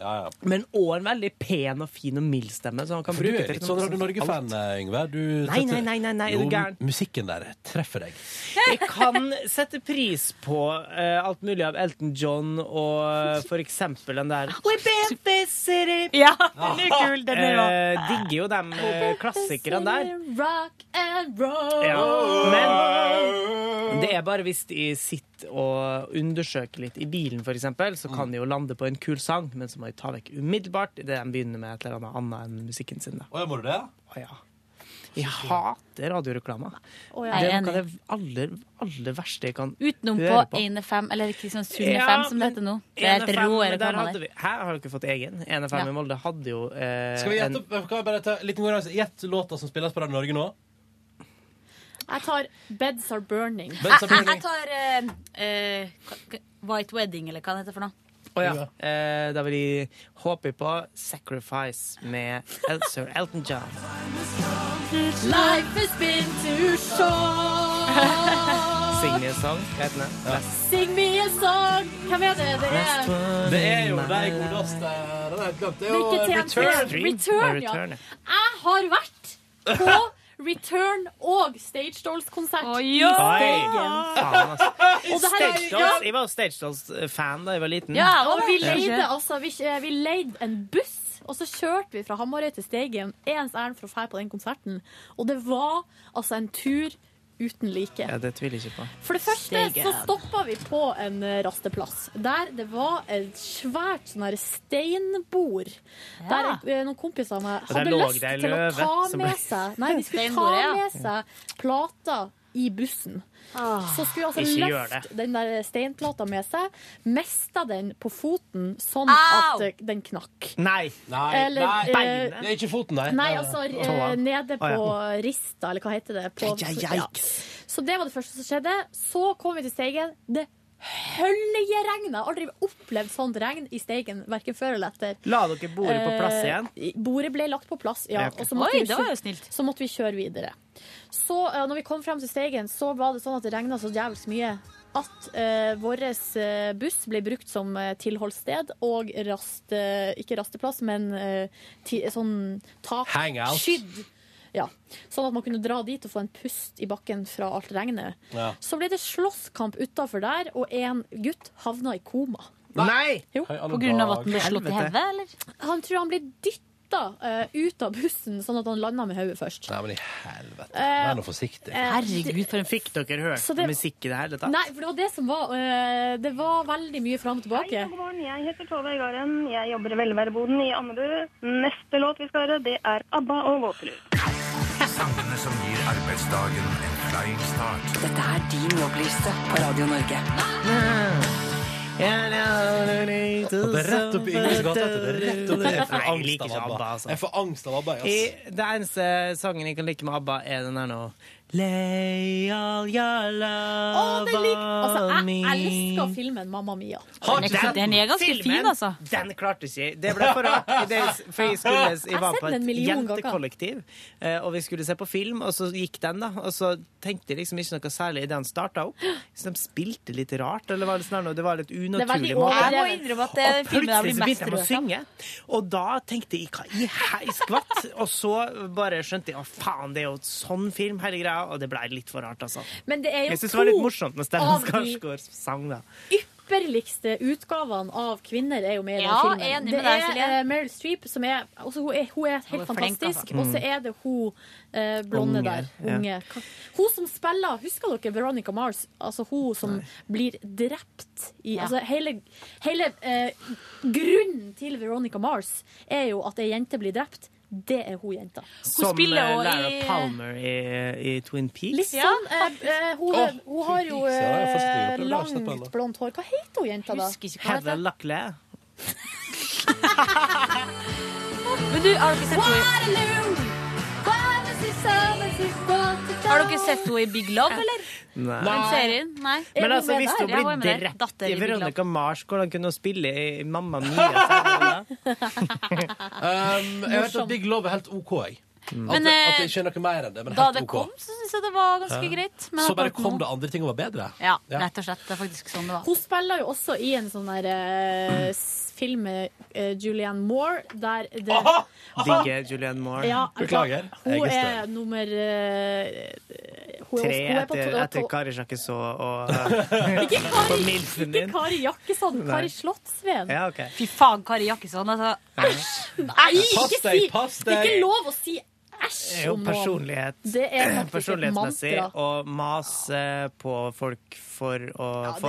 Ja, ja.
Men òg en veldig pen og fin og mild stemme. Så han kan
For du
bruke
er
til
litt sånn Radio Norge-fan,
alt.
eh, Yngve. Du
Nei,
setter-
nei, nei, nei, nei,
Jo,
er du gæren?
musikken der treffer deg.
Jeg kan sette pris på eh, alt mulig av Elton John og eh, for eksempel den der
We built this city. Ja, den er kul, den er òg.
Eh, digger jo eh, de klassikerne der.
Rock and roll.
Ja. Men Det er bare hvis de sitter og undersøker litt i bilen, f.eks., så
Mm.
kan de jo lande på en kul sang, men så må de ta vekk umiddelbart idet de begynner med et eller annet annet enn musikken sin. Da.
Å, må du det?
Å ja. Jeg hater radioreklame.
Å,
Det
ja.
er
Jeg er
noe av det aller, aller verste jeg kan
Utenom
høre
på
på.
1FM, eller Kristiansund
Ja,
5, som det heter nå. Det er
1FM,
helt rå
men der
reklame
hadde
der.
vi- Her har dere fått egen. 1FM
Ja.
i Molde hadde jo eh,
Skal vi
en-
gjette, kan vi bare ta en liten konkurranse? Gjett låta som spilles på Radio Norge nå.
Jeg tar 'Beds Are Burning'.
Beds Are
Jeg, jeg tar eh, eh, hva- White Wedding, eller hva det heter for noe.
Å ja. Eh, da vil jeg håpe på 'Sacrifice' med El Sir Elton John.
Life has been too short.
Sing me a song. Hva heter den?
Sing me a song! Hvem er det? Det er
Det er jo de godeste Den har jeg helt glemt. Det er jo
Lykke til, Jens.
Return.
Return, ja. Jeg har vært på Return og Stage Dolls-konsert i
Oi! Faen,
Steigen.
altså.
Og det her er-
Stage Dolls. Jeg var jo Stage Dolls-fan da jeg var liten.
Ja, og vi leide,
Ja.
altså, vi, eh, vi leide en buss, og så kjørte vi fra Hamarøy til Steigen ens ærend for å fære på den konserten. Og det var altså en tur uten like.
Ja, det tviler jeg ikke på.
For det første
Steigen.
så stoppa vi på en eh, rasteplass der det var et svært sånn her steinbord. Der eh, noen kompiser av meg
Og der
hadde
lå
lyst
det ei
til å
løve
ta
som ble-
med seg Nei, de skulle ta
Steinbordet, ja.
med seg plater i bussen. Så skulle altså
Ikke gjør
løfte den der steinplata med seg, mista den på foten sånn
Au!
at eh, den knakk.
Nei.
Nei,
Eller,
nei.
eh,
Det er ikke foten, nei.
Nei, altså
Sånn,
eh,
Tåa.
nede på
Å,
rista, eller hva heter det? På,
Ja, ja, ja.
Så det var det første som skjedde. Så kom vi til Steigen. Det høljeregna. Aldri opplevd sånt regn i Steigen, verken før eller etter.
La dere bordet på plass igjen?
Eh, bordet ble lagt på plass, ja.
Ja, ok.
Og så måtte,
Oi,
vi
det var jo
kjø- så måtte vi kjøre videre. Så eh, når vi kom frem til Steigen, så var det sånn at det regna så jævlig mye at eh, vår eh, buss ble brukt som eh, tilholdssted og rast, eh, ikke rasteplass, men eh, ti, sånn tak
Hangout.
Skydd. Ja. Sånn at man kunne dra dit og få en pust i bakken fra alt regnet.
Ja.
Så ble det slåsskamp utafor der, og en gutt havna i koma.
Nei!
Jo.
Hei, alle
På grunn av at den ble
dager.
slått i hodet, eller?
Han tror han ble dytta eh, ut av bussen, sånn at han landa med hodet først.
Nei, men i helvete.
Eh,
Vær nå forsiktig.
eh, Herregud,
for en Fikk dere hørt
Så det-
musikk i det hele tatt?
Nei, for det var det som var eh, Det var veldig mye fram og tilbake.
God morgen, jeg heter Tove Øygarden. Jeg jobber i velværeboden i Andebu. Neste låt vi skal høre, det er ABBA og Våterlus.
Sangene som gir arbeidsdagen en flying start.
Dette er din jobbliste på Radio Norge.
Og det er rett opp i Yngves gate. Det er rett opp i. Jeg får
Nei, jeg
angst
liker
av
ikke
ABBA.
ABBA. Altså.
Jeg får angst av ABBA, ass.
I, det eneste sangen jeg kan like med ABBA, er den her nå. Lay all your
Å,
love
den lik- altså,
on me.
jeg elsker filmen Mamma Mia.
Har den filmen, Den klarte ikke jeg. Det ble for rart. i det- For jeg, skulle,
altså. Jeg
jeg
har
var
sett
på
den
et
en million ganger.
jentekollektiv, eh, og vi skulle se på film, og så gikk den, da. Og så tenkte jeg liksom ikke noe særlig idet den starta opp. Så de spilte litt rart, eller var det sånn her nå, det var litt
Det er veldig
unaturlig
overdrevet. Jeg må innrømme at det
Og
filmen jeg blir
plutselig så
mest
begynte de å
rørt av.
synge, og da tenkte jeg hva i hei skvatt? Og så bare skjønte jeg å faen, det er jo et sånn film, hele greia, og det ble litt for rart, altså.
Men det er jo
Jeg syns det var litt
to
morsomt når Stellan
av de-
Skarsgård sang, da.
ypperligste utgavene av kvinner er jo med i
Ja,
den filmen.
enig med
det
deg,
er
Silje.
eh, Meryl Streep, som er, altså, hun er, hun er helt
Hun er flink,
fantastisk.
altså.
Og så er det hun eh, blonde
Unge,
der.
ja.
Unge. Ka- Hun som spiller, husker dere Veronica Mars? Altså hun som blir drept i
Ja.
altså, Hele, hele eh, grunnen til Veronica Mars er jo at ei jente blir drept. Det er hun jenta.
Som eh, Lara Palmer i, i Twin Peaks.
Litt sånn. eh, eh, hun,
Åh,
hun har jo
Twin Peaks, ja, jeg forstår
eh,
det. Jeg har sett på henne.
langt, blondt hår. Hva heter hun jenta, da?
Heather Locklear.
Men du, har dere sett
Waterloo!
Har dere sett henne i Big Love, eller?
Nei.
Den serien? Nei.
Men altså, hvis du
Ja,
blir
hun er med der.
drept
Datter
i
Big Love.
Veronica Mars, hvordan kunne hun spille i Mamma Mia?
Um, jeg vet
Morsom.
at Big Love er helt OK, jeg. At,
Men,
det- at det
eh,
ikke er noe mer enn det, men
Da
helt
det
OK.
kom, så syns jeg det var ganske
Ja.
greit.
så bare kom det andre ting og var bedre.
Ja, rett og slett. Det er faktisk sånn det var.
Hun spiller jo også i en sånn der eh, s- film med eh, Julianne Moore, der det
Digger Julianne Moore.
Altså, Ja, Hun er nummer eh, hun er,
Tre
hun er på
etter,
to-
etter
to-
Kari Sjakkeså og og Milfen din.
Kari Jakkesson,
Nei.
Kari Slottsveen.
Ja, ok.
Fy faen, Kari Jakkesson. Altså.
Nei,
Pass
ikke
deg,
si
pass
Det er
deg.
ikke lov å si æsj
jo
om noen.
personlighet.
Det er faktisk et
Personlighetsmessig
mantra.
å mase på folk for å
det
få
er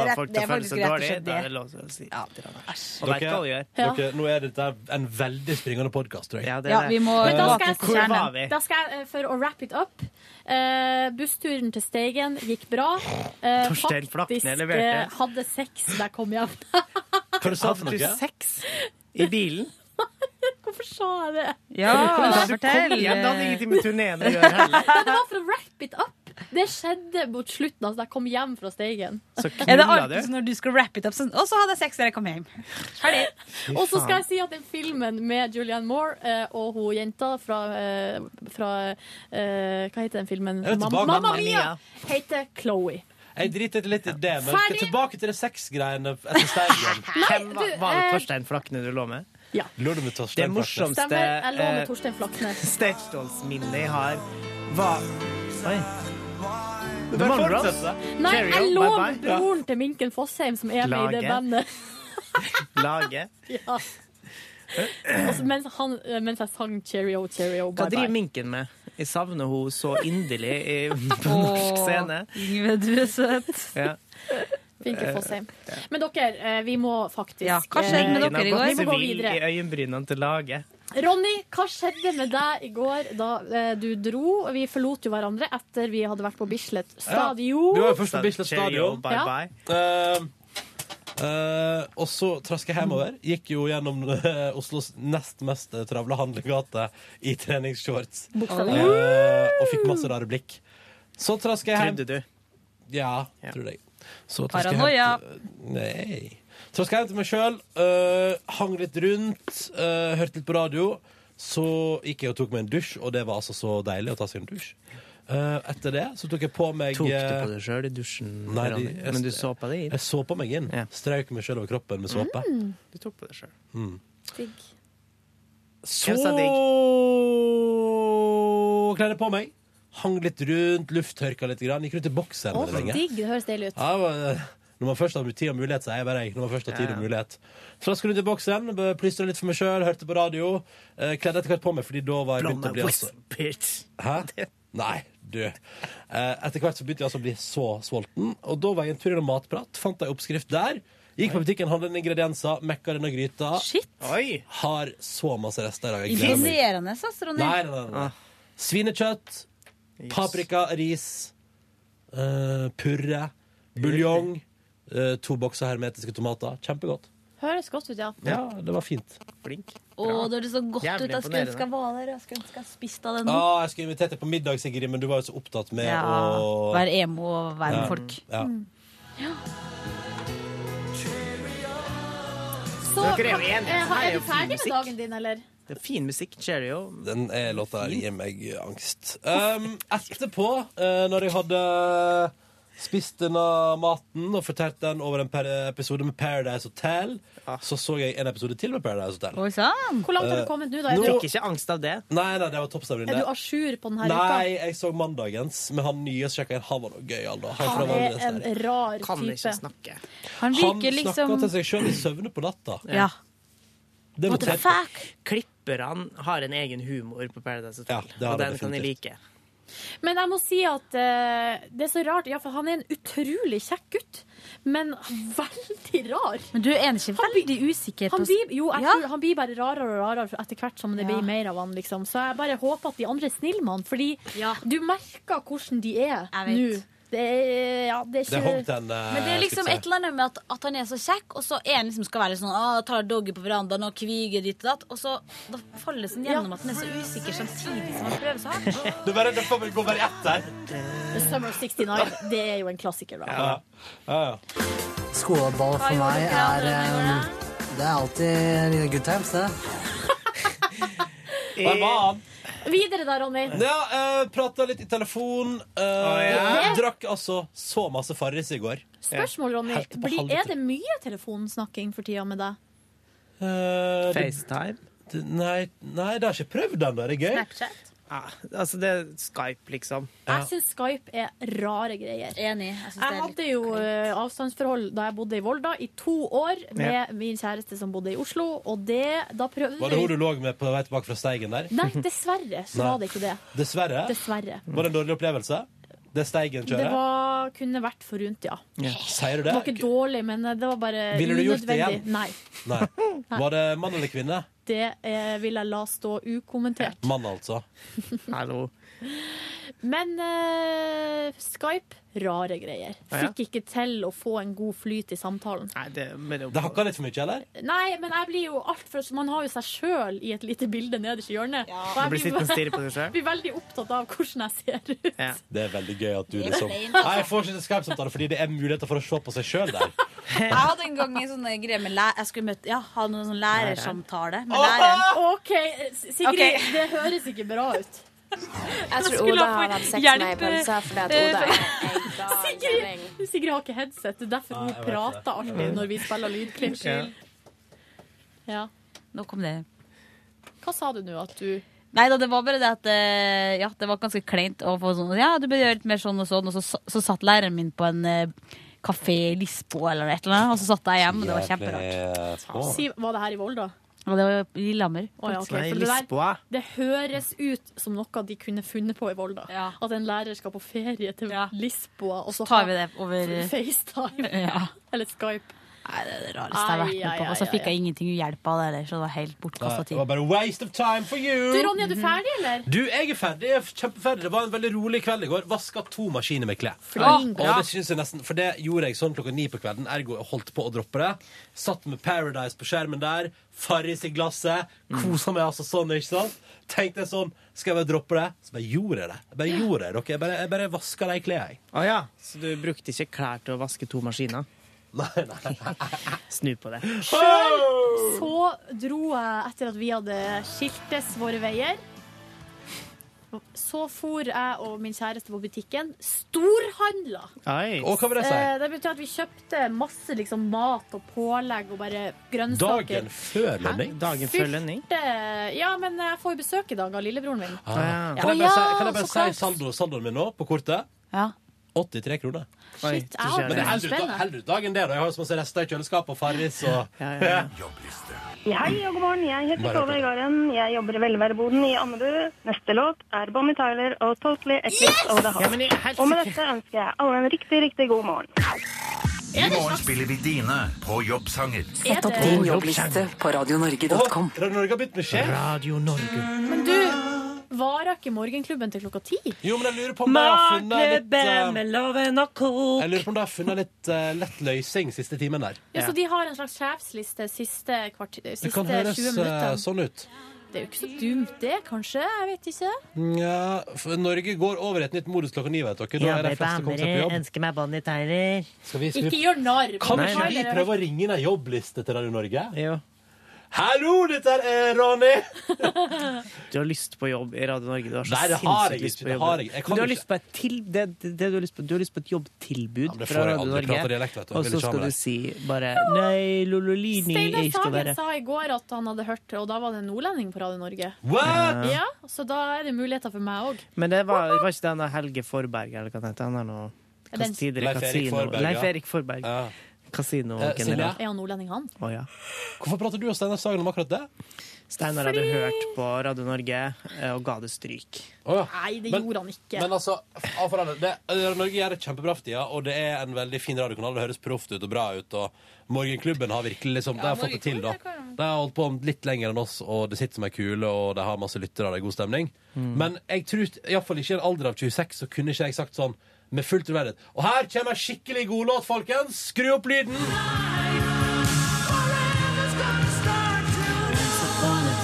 rett-
folk
det
til
er
å føle
faktisk
seg
rett og
dårlig.
slett
Da
det.
er det lov til å si litt. grann. Og
Dere-
vet hva vi gjør.
dere- nå er dette en veldig springende podkast, tror jeg.
det er Ja, det. vi må
Men da
Eh,
skal jeg,
Hvor var vi?
Da skal jeg, eh, for å wrap it up eh, Bussturen til Steigen gikk bra. Eh,
Torstein Flakne
faktisk,
leverte.
eh, hadde sex da jeg kom hjem.
Hva
sa du for noe?
Hadde du sex i bilen?
Hvorfor sa jeg det?
Ja,
Hvorfor-
fortell. Kom igjen, det hadde ingenting med turneen å gjøre heller.
Nei, det var for å wrap it up. Det skjedde mot slutten, altså da jeg kom hjem fra Steigen.
Er det alltid sånn når du skal wrap it up sånn Og så hadde jeg sex da jeg kom hjem. Ferdig.
Og så skal jeg si at den filmen med Julianne Moore eh, og hun jenta fra, eh, fra eh, Hva heter den filmen?
Jeg vet
Mam-
tilbake.
Mamma
Mamma
Mia!
Mia.
Heter Chloé.
Jeg driter litt i det, men
Ferdig.
tilbake til det sexgreiene etter Steigen.
Hvem var,
du,
var det
eh,
Torstein Flakne du lå med?
Ja.
Lå du med
Det
Torstein Flakne?
morsomste
Stemmer. Jeg lå med
eh,
Torstein Flaknes.
Steinsdalsminnet jeg har, var Oi. The
bare
Monroes.
fortsette. Nei,
Cheerio,
jeg lå
bye-bye.
med broren til Minken Fossheim, som er med i det
Laget.
bandet.
Lage.
Ja. Altså, mens, han, mens jeg sang Cheerio, Cheerio,
Hva
bye
driver
bye.
minken med? Jeg savner henne så inderlig i- på norsk
Åh,
scene.
Yngve, du er søt.
Ja.
Minken Fossheim. Eh, Men dere, eh, vi må faktisk
Ja, hva skjedde med
eh,
dere i går?
Vi må gå
Sivil
videre.
i øyenbrynene til laget.
Ronny, hva skjedde med deg i går da eh, du dro? Vi forlot jo hverandre etter vi hadde vært på Bislett stadion.
Du var jo først på
Sånn,
Bislett
Cheerio,
stadion.
bye bye.
Eh, eh, og så traska jeg hjemover. Gikk jo gjennom eh, Oslos nest mest travle handlegate i treningsshorts.
Bokstavelig.
Eh, og fikk masse rare blikk. Så traska jeg hjem.
Trodde du?
Ja, tror jeg. Så traska jeg hjem
Paranoia.
Nei. Så skal jeg hjem til meg sjøl. hang litt rundt, øh, hørte litt på radio. Så gikk jeg og tok meg en dusj, og det var altså så deilig å ta seg en dusj. Eh, etter det så tok jeg på meg
Tok du
eh,
på deg sjøl i dusjen?
Nei,
Ronny?
de- jeg-
Men du så på deg inn?
Jeg så på meg inn. Strøk meg sjøl over kroppen med såpe.
Mm. Du tok på deg sjøl.
Mm.
Digg.
Så
sa
kledde jeg på meg. Hang litt rundt, lufttørka litt. Grann. Gikk rundt i boksen
Å,
veldig lenge.
digg. Det høres deilig ut.
Ja, det var- når man først har tid og mulighet, sier jeg bare jeg. Når man først har tid og mulighet. Så da skulle jeg ut i boksen, plystra litt for meg sjøl, hørte på radio. eh, Kledde etter hvert på meg, fordi da var jeg begynt å bli altså
Bitch.
Hæ? Nei, du. Eh, Etter hvert så begynte jeg altså å bli så sulten, og da var jeg en tur innom Matprat. Fant ei oppskrift der. Gikk på butikken, handlet inn ingredienser, mekka denne gryta.
Shit.
Oi.
Har så masse rester i dag. jeg gleder meg.
Imponerende, ass, Ronny.
Nei, nei, nei, nei. Svinekjøtt, paprika, ris, eh, purre, buljong, eh, to bokser hermetiske tomater. Kjempegodt.
Høres godt ut, ja.
Ja, det var fint.
Flink.
Å, det høres så godt
Jævlig
ut. Jeg skulle
imponerende.
ønske jeg var der. Jeg skulle ønske jeg spiste av den.
Ah, jeg skulle invitert deg på middag, Sigrid, men du var jo så opptatt med
Ja,
å
Være emo og være med folk.
Ja.
Så,
Dere er jo enige,
eh,
så her er
er
jo
du
fin
ferdig med
musikk.
dagen din, eller?
Det er fin musikk. Cheerio.
Den er låta der gir meg angst. Um, etterpå, eh, når jeg hadde spist denne maten og fortært den over en per episode med Paradise Hotel, så så jeg en episode til med Paradise Hotel.
Ah. Oi sann!
Hvor langt har
Eh,
du kommet nå, da?
nå-
Er
Fikk
du,
Ikke angst av det.
Nei, nei, det var toppstemmen.
er du à jour på denne
Nei,
uka?
jeg så mandagens, men han nye så sjekka jeg han var noe gøyal, da. Han, fra
Han er
Valdres
en
der.
rar type.
Kan ikke snakke.
han
Han virker liksom
snakka til seg sjøl i søvne på natta.
Ja.
Det må
What
se
the
på.
fuck?
Klipperne har en egen humor på Paradise Hotel,
det har
og
de
den kan jeg like.
Men jeg må si at eh, det er så rart. Ja, for han er en utrolig kjekk gutt, men veldig rar.
Men du er enig ikke veldig usikker
Han
på
blir, jo, jeg
Ja.
tror, han blir bare rarere og rarere etter hvert som det blir mer av han. Liksom. Så jeg bare håper at de andre er snille med han, fordi du merker hvordan de er nå.
vet.
Det er, ja, det
Det
er ikke
holdt den. eh,
Men det er liksom
skal vi
et eller annet med at, at han er så kjekk, og så er han liksom skal være litt sånn ah, tar doggy på verandaen og kviger ditt og datt, og så da faller det sånn gjennom at han er så usikker samtidig som han prøver så hardt.
se. Du bare, det får vel gå bare ett der.
The Summer of 69. Det er jo en klassiker, da.
Ja. Ja, ja.
Skålball for meg er eh, Det er alltid mine good times, det.
Hva var han?
Videre da, Ronny.
Ja, eh, prata litt i telefon. Eh,
ja.
Drakk altså så masse Farris i går.
Spørsmål, Ronny.
Helt på
Blir,
halvdelen.
er det mye telefonsnakking for tida med deg?
Eh, det-
FaceTime.
det- Nei, nei, det har jeg ikke prøvd ennå. Det er gøy.
Snapchat?
Ja, altså, det er Skype, liksom.
Jeg syns Skype er rare greier.
Enig.
Jeg,
synes det er litt
hadde jo eh, avstandsforhold da jeg bodde i Volda, i to år med
Ja.
min kjæreste som bodde i Oslo, og det Da prøvde
Var det hun
vi
du lå med på vei tilbake fra Steigen der?
Nei, dessverre så
Nei.
var det ikke det.
Dessverre.
Dessverre.
Var det en dårlig opplevelse? Det
Det
Steigen-kjøret?
var, kunne vært forunt, ja.
Ja. Sier du det?
Det var ikke dårlig, men eh, det var bare
Ville du gjort det igjen?
Nei.
Nei. Var det mann eller kvinne?
Det eh, vil jeg la stå ukommentert.
Mann, altså.
Hallo.
Men eh, Skype, rare greier.
Ja, ja.
Fikk ikke til å få en god flyt i samtalen.
Nei, det, men
Det hakka litt for mye, eller?
Nei, men jeg blir jo alt for Man har jo seg sjøl i et lite bilde nederst i hjørnet. Og jeg
Du blir sittende og stirre på deg selv?
blir veldig opptatt av hvordan jeg ser ut.
Det er veldig gøy at du
Det er
liksom
plain, altså.
Nei, jeg får ikke til Skype-samtale fordi det er muligheter for å se på seg sjøl der.
Jeg hadde en gang en sånn greie med læ Jeg skulle møte, ja, ha noen sånn lærersamtale med
Åh!
læreren.
OK, Sigrid,
Ok.
det høres ikke bra ut. Jeg
tror Oda har hatt sex med ei pølse, fordi at Oda er
Sigrid, Sigrid har ikke headset, det er derfor hun
jeg vet Mm. det.
prater alltid når vi spiller lydklipp.
Unnskyld.
Ja.
Nok om det.
Hva sa du nå at du
Nei da, det var bare det at eh, Ja, det var ganske kleint å få sånn Ja, du bør gjøre litt mer sånn og sånn, og så, sa- så satt læreren min på en eh, kafé i Lisboa eller et eller annet, og så satt jeg hjemme, og det var kjemperart.
eh,
si, Var det her i Volda?
Og det var i Lillehammer.
Å ja, ok, for det, der, det høres ut som noe de kunne funnet på i Volda. At en lærer skal på ferie til Lisboa, og så,
Så tar
har
vi det over-
FaceTime
Ja.
eller Skype.
Nei, det er det rareste jeg har vært med på. Og så fikk jeg ingenting hjelp av det heller, så det var helt bortkasta
Det
tid.
var bare waste of time for you!
Du, Ronja, er du ferdig, eller?
Du, jeg er ferdig. Jeg er kjempeferdig. Det var en veldig rolig kveld i går. Vaska to maskiner med klær.
Flink.
Og det synes jeg nesten, for det gjorde jeg sånn klokka ni på kvelden, ergo jeg holdt på å droppe det. Satt med Paradise på skjermen der, Farris i glasset, kosa meg altså sånn, ikke sant? Tenkte jeg sånn, skal jeg bare droppe det? Så bare gjorde jeg det. Jeg bare gjorde det, dere. Jeg bare, jeg bare vaska de klærne, jeg.
Å ja, så du brukte ikke klær til å vaske to maskiner?
Nei, nei.
Snu på det.
Sjøl så dro jeg, etter at vi hadde skiltes våre veier så for jeg og min kjæreste på butikken. Storhandla!
Oi. Og hva vil det si?
Eh, Det betyr at vi kjøpte masse liksom, mat og pålegg og bare grønnsaker.
Dagen før lønning.
Dagen før lønning.
Fylte- Ja, men jeg får jo besøk i dag av lillebroren min.
Ah.
Ja.
Kan jeg
Ja,
bare si, kan jeg
så
bare si
klart.
saldo, saldoen min nå, på kortet? 83 kroner.
Oi, Shit, jeg har
Men det
det.
holder ut, holder ut dagen, det. da. Jeg har jo så masse rester i kjøleskapet og Farris og
Ja, Hei og god morgen, jeg heter
Bare
Tove Øygarden. Jeg jobber i velværeboden i Andebu. Neste låt er Bonnie Tyler og Totally Eclipse of the
Ja, men i
Heart.
helsike.
Og med dette ønsker jeg alle en riktig, riktig god morgen.
I morgen spiller vi dine på jobbsanger.
Sett opp din jobbliste på radionorge.com.
Radio Norge har begynt med sjef.
Radio Norge.
Men du, varer ikke morgenklubben til klokka ti?
Jo, men jeg lurer på om de har funnet litt
Matklubben
eh,
med loven og kok.
Jeg lurer på om de har funnet litt eh, lett løsning siste timen der.
Ja, Så de har en slags sjefsliste siste, kvart...
det
siste
kan
20
høres eh,
minutter?
sånn ut.
Det er jo ikke så dumt, det, kanskje? Jeg vet ikke.
Nja, for Norge går over i et nytt modus klokka ni, vet dere. Da
Ja,
er de
baby,
fleste kommet seg på jobb.
ønsker meg Bonnie Tyler.
Skal vi, skal
Ikke
vi...
gjør narr.
Kan ikke vi prøve å ringe inn ei jobbliste til Radio Norge? Hallo, dette er eh, Ronny!
Du har lyst på jobb i Radio Norge. Du har så
Nei, det har jeg
sinnssykt
ikke.
lyst på
Det
jobb.
har jeg- jeg kan
Men du har
ikke.
lyst på et til, det, det, det du har lyst på. Du har lyst på et jobbtilbud
men det
fra
får jeg
Radio
aldri.
Norge.
Prater dialekt, vet du. Jeg
og
vil
så
ikke ha
skal
med
du
det.
si bare Nei, Lololini,
Steinar
jeg skal
Sagen
være
sa i går at han hadde hørt, og da var det en nordlending på Radio Norge.
What?
Ja, Så da er det muligheter for meg òg.
Men det var, var ikke den der Helge Forberg, eller hva det heter. Han er noe
Er den-
kas- tidligere
Leif Erik
kasino...
Forberg, ja.
Leif Erik Forberg.
Eh, Silje?
Kasinogeneral.
Er han nordlending, han?
Å ja.
Hvorfor prater du og Steinar Sagen om akkurat det?
Steinar hadde hørt på Radio Norge eh, og ga det stryk.
Nei, det
Men-
gjorde han ikke.
Men altså, av for alle, det, Radio Norge gjør det kjempebra for tida, og det er en veldig fin radiokanal. Det høres proft ut og bra ut, og Morgenklubben har virkelig liksom, de har fått det til, da. De har holdt på litt lenger enn oss, og det sitter som ei kule, og de har masse lyttere, og det er god stemning. Men jeg tror iallfall ikke i en alder av 26 så kunne ikke jeg sagt sånn med full troverdighet Og her kommer ei skikkelig god låt, folkens! Skru opp lyden!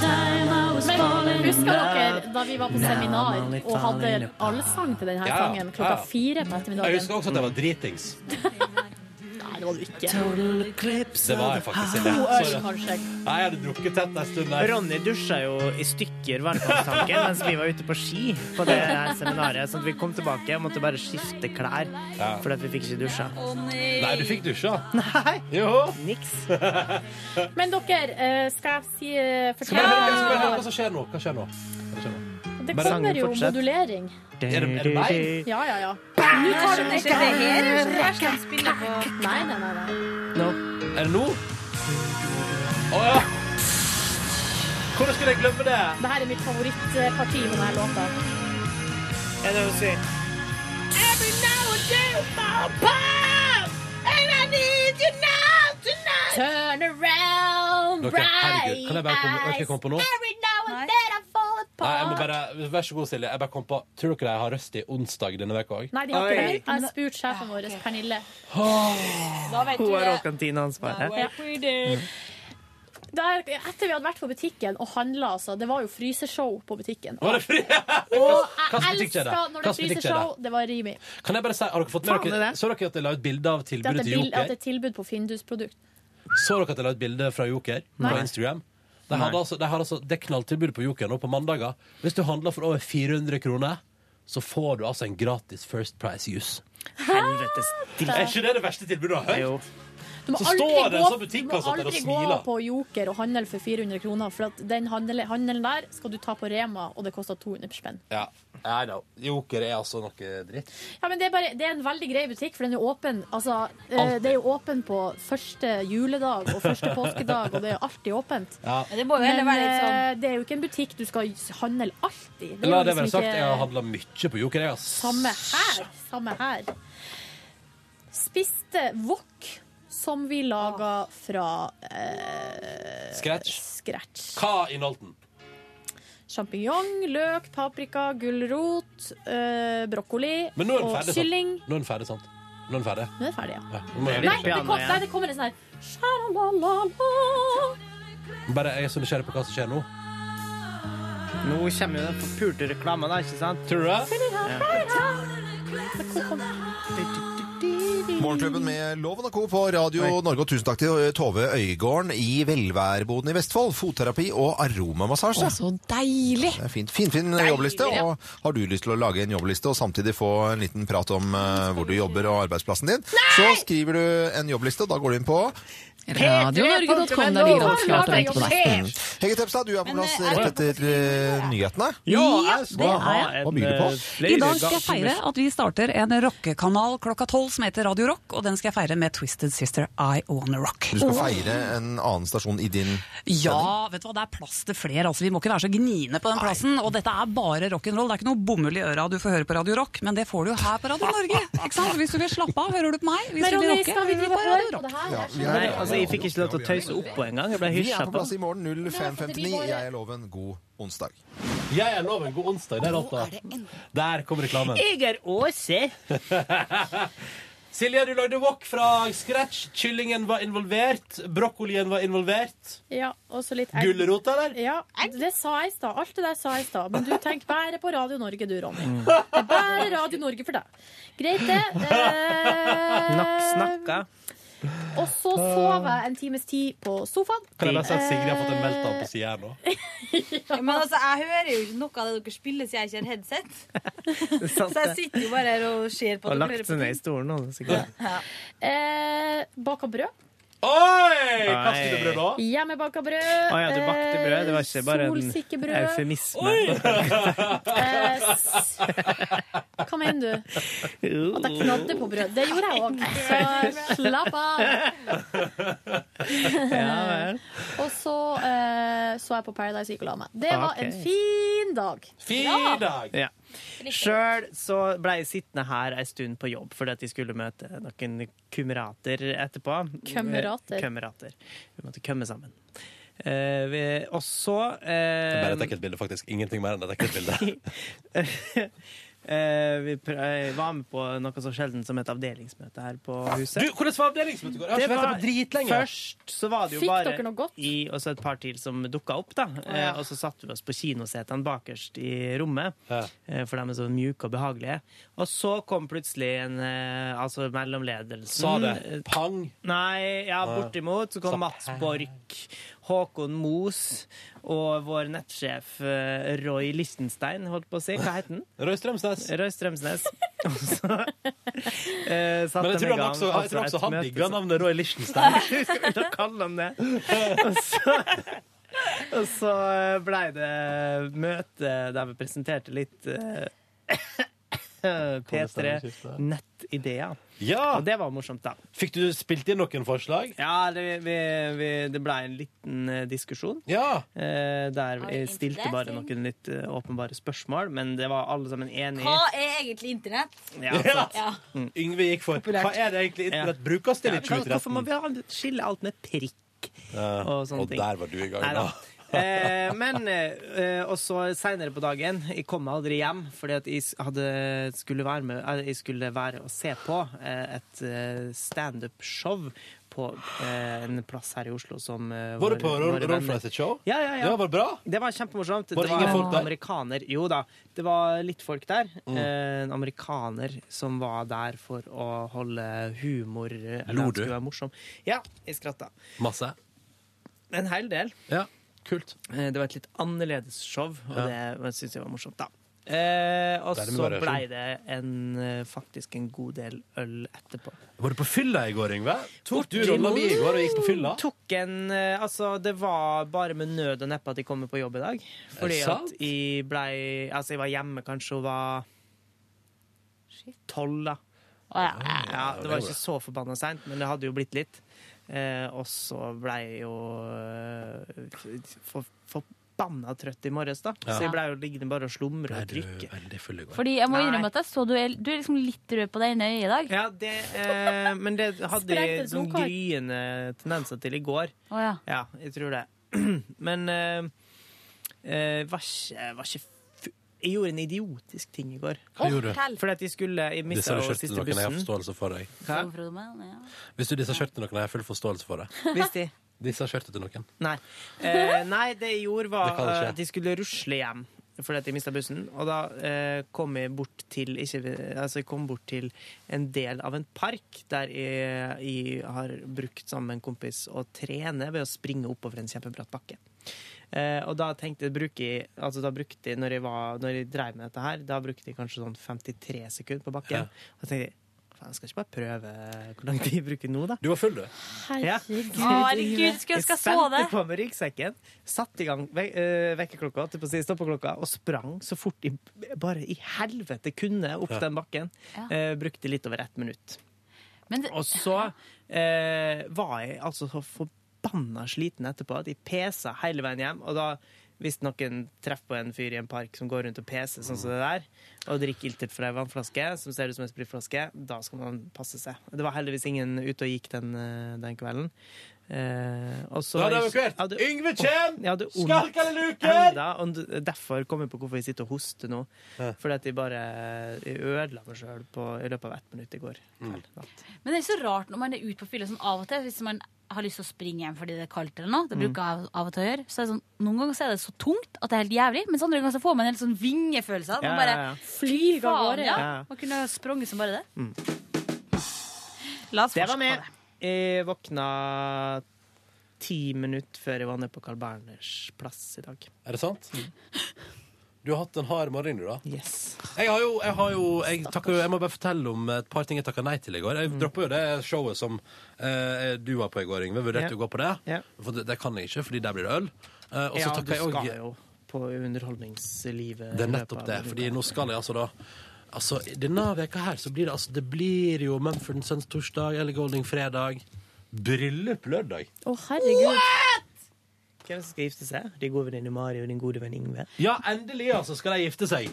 Men husker dere da vi var på seminar og hadde allsang til denne
Ja,
sangen
ja.
klokka fire
Jeg
på
husker
ettermiddagen?
også at jeg var dritings.
Nei, det var du ikke.
Det var jeg faktisk
To
ikke.
øl,
Sorry.
kanskje.
Nei, jeg hadde drukket tett en stund der.
Ronny dusja jo i stykker velkomsttanken mens vi var ute på ski på det her seminaret. Sånn at vi kom tilbake og måtte bare skifte klær
Ja.
fordi at vi fikk ikke dusja.
Nei, du fikk dusja.
Nei.
Jo.
Niks.
Men dere, eh, skal jeg si eh,
Skal vi høre, skal vi høre hva
fortelle
som skjer nå? Hva skjer nå? Hva skjer nå?
Det
Bare-
kommer jo
Fortsett.
modulering.
Er det- er det meg?
Ja, ja, ja.
Nå tar den
ikke det her, jeg skjønner ikke hvem
spiller på Nei, nei, nei. nei.
Er det nå?
Å ja! Hvordan skulle jeg glemme det?
Det her er mitt favorittparti med denne låta.
Er det å si
Every now and then, I'll pop, and I need you now tonight.
Turn around,
Dere, herregud, kan jeg bare komme, kan jeg komme på noe?
Every now and then, I fall
Nei, jeg må
apart.
bare, Vær så god, Silje. Jeg bare kom på, Tror dere jeg har røst i onsdag denne uka òg?
Nei, de har ikke det. Jeg har spurt sjefen vår, Pernille. Da vet
Hun
du
har òg
det.
kantineansvaret.
Ja.
Mm.
Der, etter vi hadde vært på butikken og handla, altså. Det var jo fryseshow på butikken.
Var det fri?
Og
Hva slags
jeg
butikk er det?
elska
Hva
når det er
slags butikk er det?
fryseshow. Det var Rimi.
Kan jeg bare si, har dere fått med
Faen,
dere,
det er.
Så dere at jeg la ut bilde av
Det at
tilbudet
det, er
til
bil, at
Joker?
det er tilbud på Findus-produkt.
Så dere at jeg la ut bilde fra Joker på
Nei.
Instagram? De hadde altså, de har altså, det er knalltilbud på Joker nå på mandager. Hvis du handler for over 400 kroner, så får du altså en gratis First Price juice.
Helvetes
dritt.
Er ikke det det verste tilbudet du har hørt?
Du må
Så
aldri
står det en
gå-
sånn butikk
du må
altså der og
aldri
smiler.
gå på Joker og handle for 400 kroner, for at den handel- handelen der skal du ta på Rema, og det koster 200 spenn.
Ja. Nei da. Joker er altså noe dritt.
Ja, men det er, bare, det er en veldig grei butikk, for den er åpen. Altså, eh,
Alltid.
det er jo åpen på første juledag og første påskedag, og det er alltid åpent.
Ja.
Men det må jo heller
Men,
være litt sånn-
eh, det er jo ikke en butikk du skal handle alltid. Det er
La
jo
det være
liksom
sagt,
ikke-
jeg har handla mye på Joker, jeg, ass.
Samme her. Samme her. Spiste wok som vi
Ah.
laga fra eh,
Scratch.
scratch.
Hva inneholdt den?
Sjampinjong, løk, paprika, gulrot, eh, brokkoli
Men nå er den
og
ferdig, sant?
kylling.
Nå er den ferdig, sant? Nå er den ferdig.
Nå er den ferdig, ja.
Ja, nå må
Nei,
jeg-
det kom, nei, det kommer en sånn her Sjalalala.
Bare jeg er så nysgjerrig på hva som skjer nå.
Nå kommer jo den forpulte reklamen, da, ikke sant?
Tror du
det?
Morgenklubben med Loven og Co. på Radio Norge, og tusen takk til Tove Øygården i Velværboden i Vestfold. Fotterapi og aromamassasje.
Å, så deilig!
Det er fint. Finfin fin
Deilig,
jobbliste.
ja.
Og har du lyst til å lage en jobbliste og samtidig få en liten prat om eh, hvor du jobber og arbeidsplassen din, så skriver du en jobbliste, og da går du inn på
Radionorge.com, der ligger alt klart og venter på deg.
Hege Tepstad, du er på plass
er det-
rett etter eh, nyhetene.
Ja, det
Hva-
er jeg.
Hva byr du på?
I dag skal jeg feire at vi starter en rockekanal klokka tolv som heter Radio Rock, og den skal jeg feire med Twisted Sister I Wanna Rock.
Du skal feire en annen stasjon i din
Ja, vet du hva, det er plass til flere. Altså, vi må ikke være så gniene på den plassen. Og dette er bare rock'n'roll. Det er ikke noe bomull i øra du får høre på Radio Rock, men det får du jo her på Radio Norge. Ikke sant? Så Hvis du vil slappe av, hører du på meg. Hvis
Men
du vil
Ronny,
rocke,
skal vi
hører du
drive
på
og
Radio
høre på
Rock.
det her?
Ja, vi er-
Nei, altså, jeg fikk ikke lov til å tøyse oppå engang. Jeg ble
Vi er
hysja
på
på.
plass i morgen 0559.
bare-
Jeg er Loven. God onsdag.
Jeg er loven. God onsdag. Det er låta. Der kom reklamen.
eh,
Jeg er Åse.
Silje, du lagde wok fra scratch. Kyllingen var involvert. Brokkolien var involvert.
Ja, og så litt
Gulrot, eller?
Ja, det sa jeg i stad. Alt det der sa jeg i stad. Men du tenker bare på Radio Norge, du, Ronny. Det er bare Radio Norge for deg. Greit, det. Eh,
Nok snakka.
og så sov jeg en times tid på sofaen.
Kan jeg bare si at Sigrid har fått en meltdown på sida her nå?
Ja, men altså, jeg hører jo ikke noe av det dere spiller, siden jeg ikke har headset. Så
Sant
jeg
det.
sitter jo bare her og ser på
Og
dere.
lagt seg ned i stolen. og sikkert.
Eh, baka brød.
Oi!
Kastet du brød da?
Hjemmebaka brød.
Å ja, du bakte brød. Det var ikke bare en
Solsikkebrød.
eufemisme.
Eh, s- Hva mener du? At jeg knadde på brød. Det gjorde jeg òg, så slapp av. og så eh, så jeg på Paradise Week og la meg. Det var
Ok.
en fin dag.
Fin dag! Ja. Sjøl så ble jeg sittende her ei stund på jobb fordi at jeg skulle møte noen kumrater etterpå.
Kumrater?
Eh, Kumrater. Vi måtte kømme sammen. Eh, vi, og så eh,
Bare et ekkelt bilde, faktisk. Ingenting mer enn et ekkelt bilde.
eh, Vi pr eh, var med på noe så sjelden som et avdelingsmøte her på huset.
Du, hvordan var avdelingsmøtet i går? Jeg har
Det
ikke vært
var-
der på dritlenge.
Først så var det jo
Fikk
bare
dere noe godt?
i, og så et par til som dukka opp, da.
ja.
Eh, og så satte vi oss på kinosetene bakerst i rommet, eh, for de er så mjuke og behagelige. Og så kom plutselig en eh, Altså mellomledelsen.
Sa
Mm,
det pang?
Nei, ja,
Nei.
bortimot. Så kom
Sa
Mats
pang.
Borch, Håkon Moos og vår nettsjef eh, Roy Lichtenstein, holdt på å si. Hva het han?
Roy Strømsnes.
Roy Strømsnes. Og så eh, satte
Men jeg
de
tror
i
han
gang
også, jeg tror
et
også han
møte
digga
som-
navnet Roy Lichtenstein.
Skal vi da kalle han det? Og så, Og så blei det møte der vi presenterte litt eh, P3 Nettideer.
Ja.
Og det var morsomt, da.
Fikk du spilt inn noen forslag?
Ja, det, vi, vi, det blei en liten eh, diskusjon. Eh, der vi stilte bare noen litt eh, åpenbare spørsmål, men det var alle sammen enig i.
Hva er egentlig internett?
Ja, altså. sant. Mm.
ja.
Yngve gikk for Hva er det egentlig internett brukes til i
Ja, Hvorfor må
2013?
vi ha- skille alt med prikk?
og,
sånne ting.
der var du i gang,
Nei
da.
da. Eh, men eh, Og så seinere på dagen Jeg kom aldri hjem, fordi at jeg s- hadde, skulle, være med, eh, jeg skulle være og se på eh, et eh, standup-show på eh, en plass her i Oslo som eh,
Var du
våre-
på Rolf-
våre
Rolf
venner-
Reisets show?
Ja, ja, ja.
Det var bra?
Det var kjempemorsomt.
Var det ingen folk der?
amerikaner Jo da, det var litt folk der.
Mm.
Eh, en amerikaner som var der for å holde humor eller
Lo
han
du?
skulle være morsom. Ja, jeg skratta.
Masse?
En hel del.
Ja, kult.
Eh, Det var et litt annerledes show, og
Ja.
det syns jeg var morsomt, da. Eh, og
Det er det med
så
variasjon.
blei det en, eh, faktisk en god del øl etterpå.
Var du på fylla i går, Yngve? Tok du rolla mi i går og gikk på fylla?
Tok en, eh, altså, det var bare med nød og neppe at jeg kommer på jobb i dag. Fordi
det sant?
at jeg blei Altså, jeg var hjemme kanskje og var tolv, da. Ja, det var ikke så forbanna seint, men det hadde jo blitt litt. Eh, og så blei jeg jo eh, f- for, forbanna trøtt i morges, da.
Ja.
Så jeg blei jo liggende bare og slumre og
drikke.
Fordi jeg må innrømme at jeg så du er, du er liksom litt rød på det ene øyet i dag.
Ja, det, eh, men det hadde
Sprengte
jeg
et
sånn
blodkar.
gryende tendenser til i går.
Å, ja.
jeg tror det. Men eh, eh, var ikke, var ikke fu- jeg gjorde en idiotisk ting i går.
Hva gjorde du? Fortell.
Fordi at jeg skulle Jeg
Disse
mista
har
jo
kjørt
siste
noen jeg har
bussen.
forståelse for deg.
Hæ?
Hvis du disse skjørtene noen, jeg har full forståelse for det.
Hvis de
Disse skjørtet til noen.
Nei. Eh, nei, det jeg gjorde
Det
var
kan skje.
eh, at jeg skulle rusle hjem fordi at jeg mista bussen. Og da eh, kom jeg bort til ikke, Altså, jeg kom bort til en del av en park der jeg, jeg har brukt sammen med en kompis å trene ved å springe oppover en kjempebratt bakke. Eh, og da tenkte jeg, bruker jeg altså da brukte jeg, når jeg, var, når jeg drev med dette her, da brukte jeg kanskje sånn 53 sekunder på bakken. Og da tenkte jeg faen, skal jeg ikke bare prøve hvor lang tid jeg bruker nå, da?
Du var full, du.
Herregud,
Å, herregud, skulle ønske jeg så det.
spente på meg ryggsekken, satte i gang ve eh, vekkerklokka, holdt jeg på å si, stoppeklokka, og sprang så fort jeg bare i helvete kunne opp
Ja.
den bakken.
Ja.
Eh, brukte litt over ett minutt.
Men det-
Og så eh, var jeg altså så forbanna sliten etterpå at jeg pesa hele veien hjem. Og da hvis noen treffer på en fyr i en park som går rundt og peser sånn som det der, og drikker iltert fra ei vannflaske som ser ut som en spritflaske, da skal man passe seg. Det var heldigvis ingen ute og gikk den, eh, den kvelden. Eh, og så
Da er det evakuert.
Ja, det-
Yngve kjem!
Ja, det er ondt
Skalk eller luker?
enda, og d- derfor kom jeg på hvorfor jeg sitter og hoster nå. Fordi at jeg bare jeg ødela meg sjøl i løpet av ett minutt i går.
Mm.
Men det er ikke så rart når man er ute på fylla sånn av og til, hvis man har lyst til å springe hjem fordi det er kaldt eller noe. Det
Mm.
bruker jeg av, av og til å gjøre. Så er det sånn, noen ganger så er det så tungt at det er helt jævlig, mens andre ganger så får man en helt sånn vingefølelse. At
Ja,
man bare
ja, ja.
flyr av
gårde,
gårde. Ja.
ja.
Man kunne ha sprunget som bare det.
La
oss
det
forske
var med.
på
Jeg våkna ti minutter før jeg var nede på Carl Berners plass i dag.
Er det sant? Du har hatt en hard morgen, du, da.
Yes.
Jeg har jo, jeg, har jo jeg, takker, jo- jeg må bare fortelle om et par ting jeg takka nei til i går. Jeg
Mm.
droppa jo det showet som eh, du var på i går, Yngve. Vurderte
Ja.
å gå på det.
Ja.
For det, det kan jeg ikke, fordi der blir det øl. Eh, og så
ja, du
takka jeg
skal
òg
jo på underholdningslivet.
Det er
i løpet
nettopp
av
det,
en
fordi
uke.
nå skal jeg altså da Altså, denne veka her så blir det altså Det blir jo Mumford Sons torsdag, Ellie Golding fredag, bryllup lørdag.
Å, herregud.
Hvem som skal gifte seg? Din gode venninne Mari og din gode venn Ingve.
Ja, endelig altså skal de gifte seg.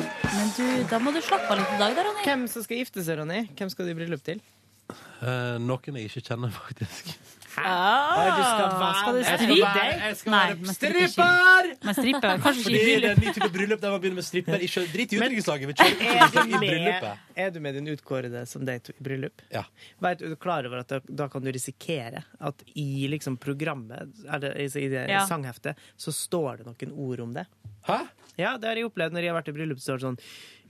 Men du, da må du slappe av litt i dag, da, Ronny.
Hvem som skal gifte seg, Ronny? Hvem skal du i bryllup til?
Eh, noen jeg ikke kjenner, faktisk.
Oi, du skal være med.
du
Jeg skal
strippe?
være- jeg skal
Nei,
være
man stripper ikke.
stripper!
Man stripper kanskje ikke i
Fordi det er
bryllup.
en ny type bryllup der man begynner med stripper. Ikke, drit i utdrikningslaget, vi kjører
Er du,
utdrikningslag i
med,
bryllupet.
er du med din utkårede som deg to i bryllup?
Ja.
Veit du er du klar over at da, da kan du risikere at i liksom programmet, eller i, i det
Ja.
sangheftet, så står det noen ord om det?
Hæ?
Ja, det har jeg opplevd når jeg har vært i bryllup. Så er det sånn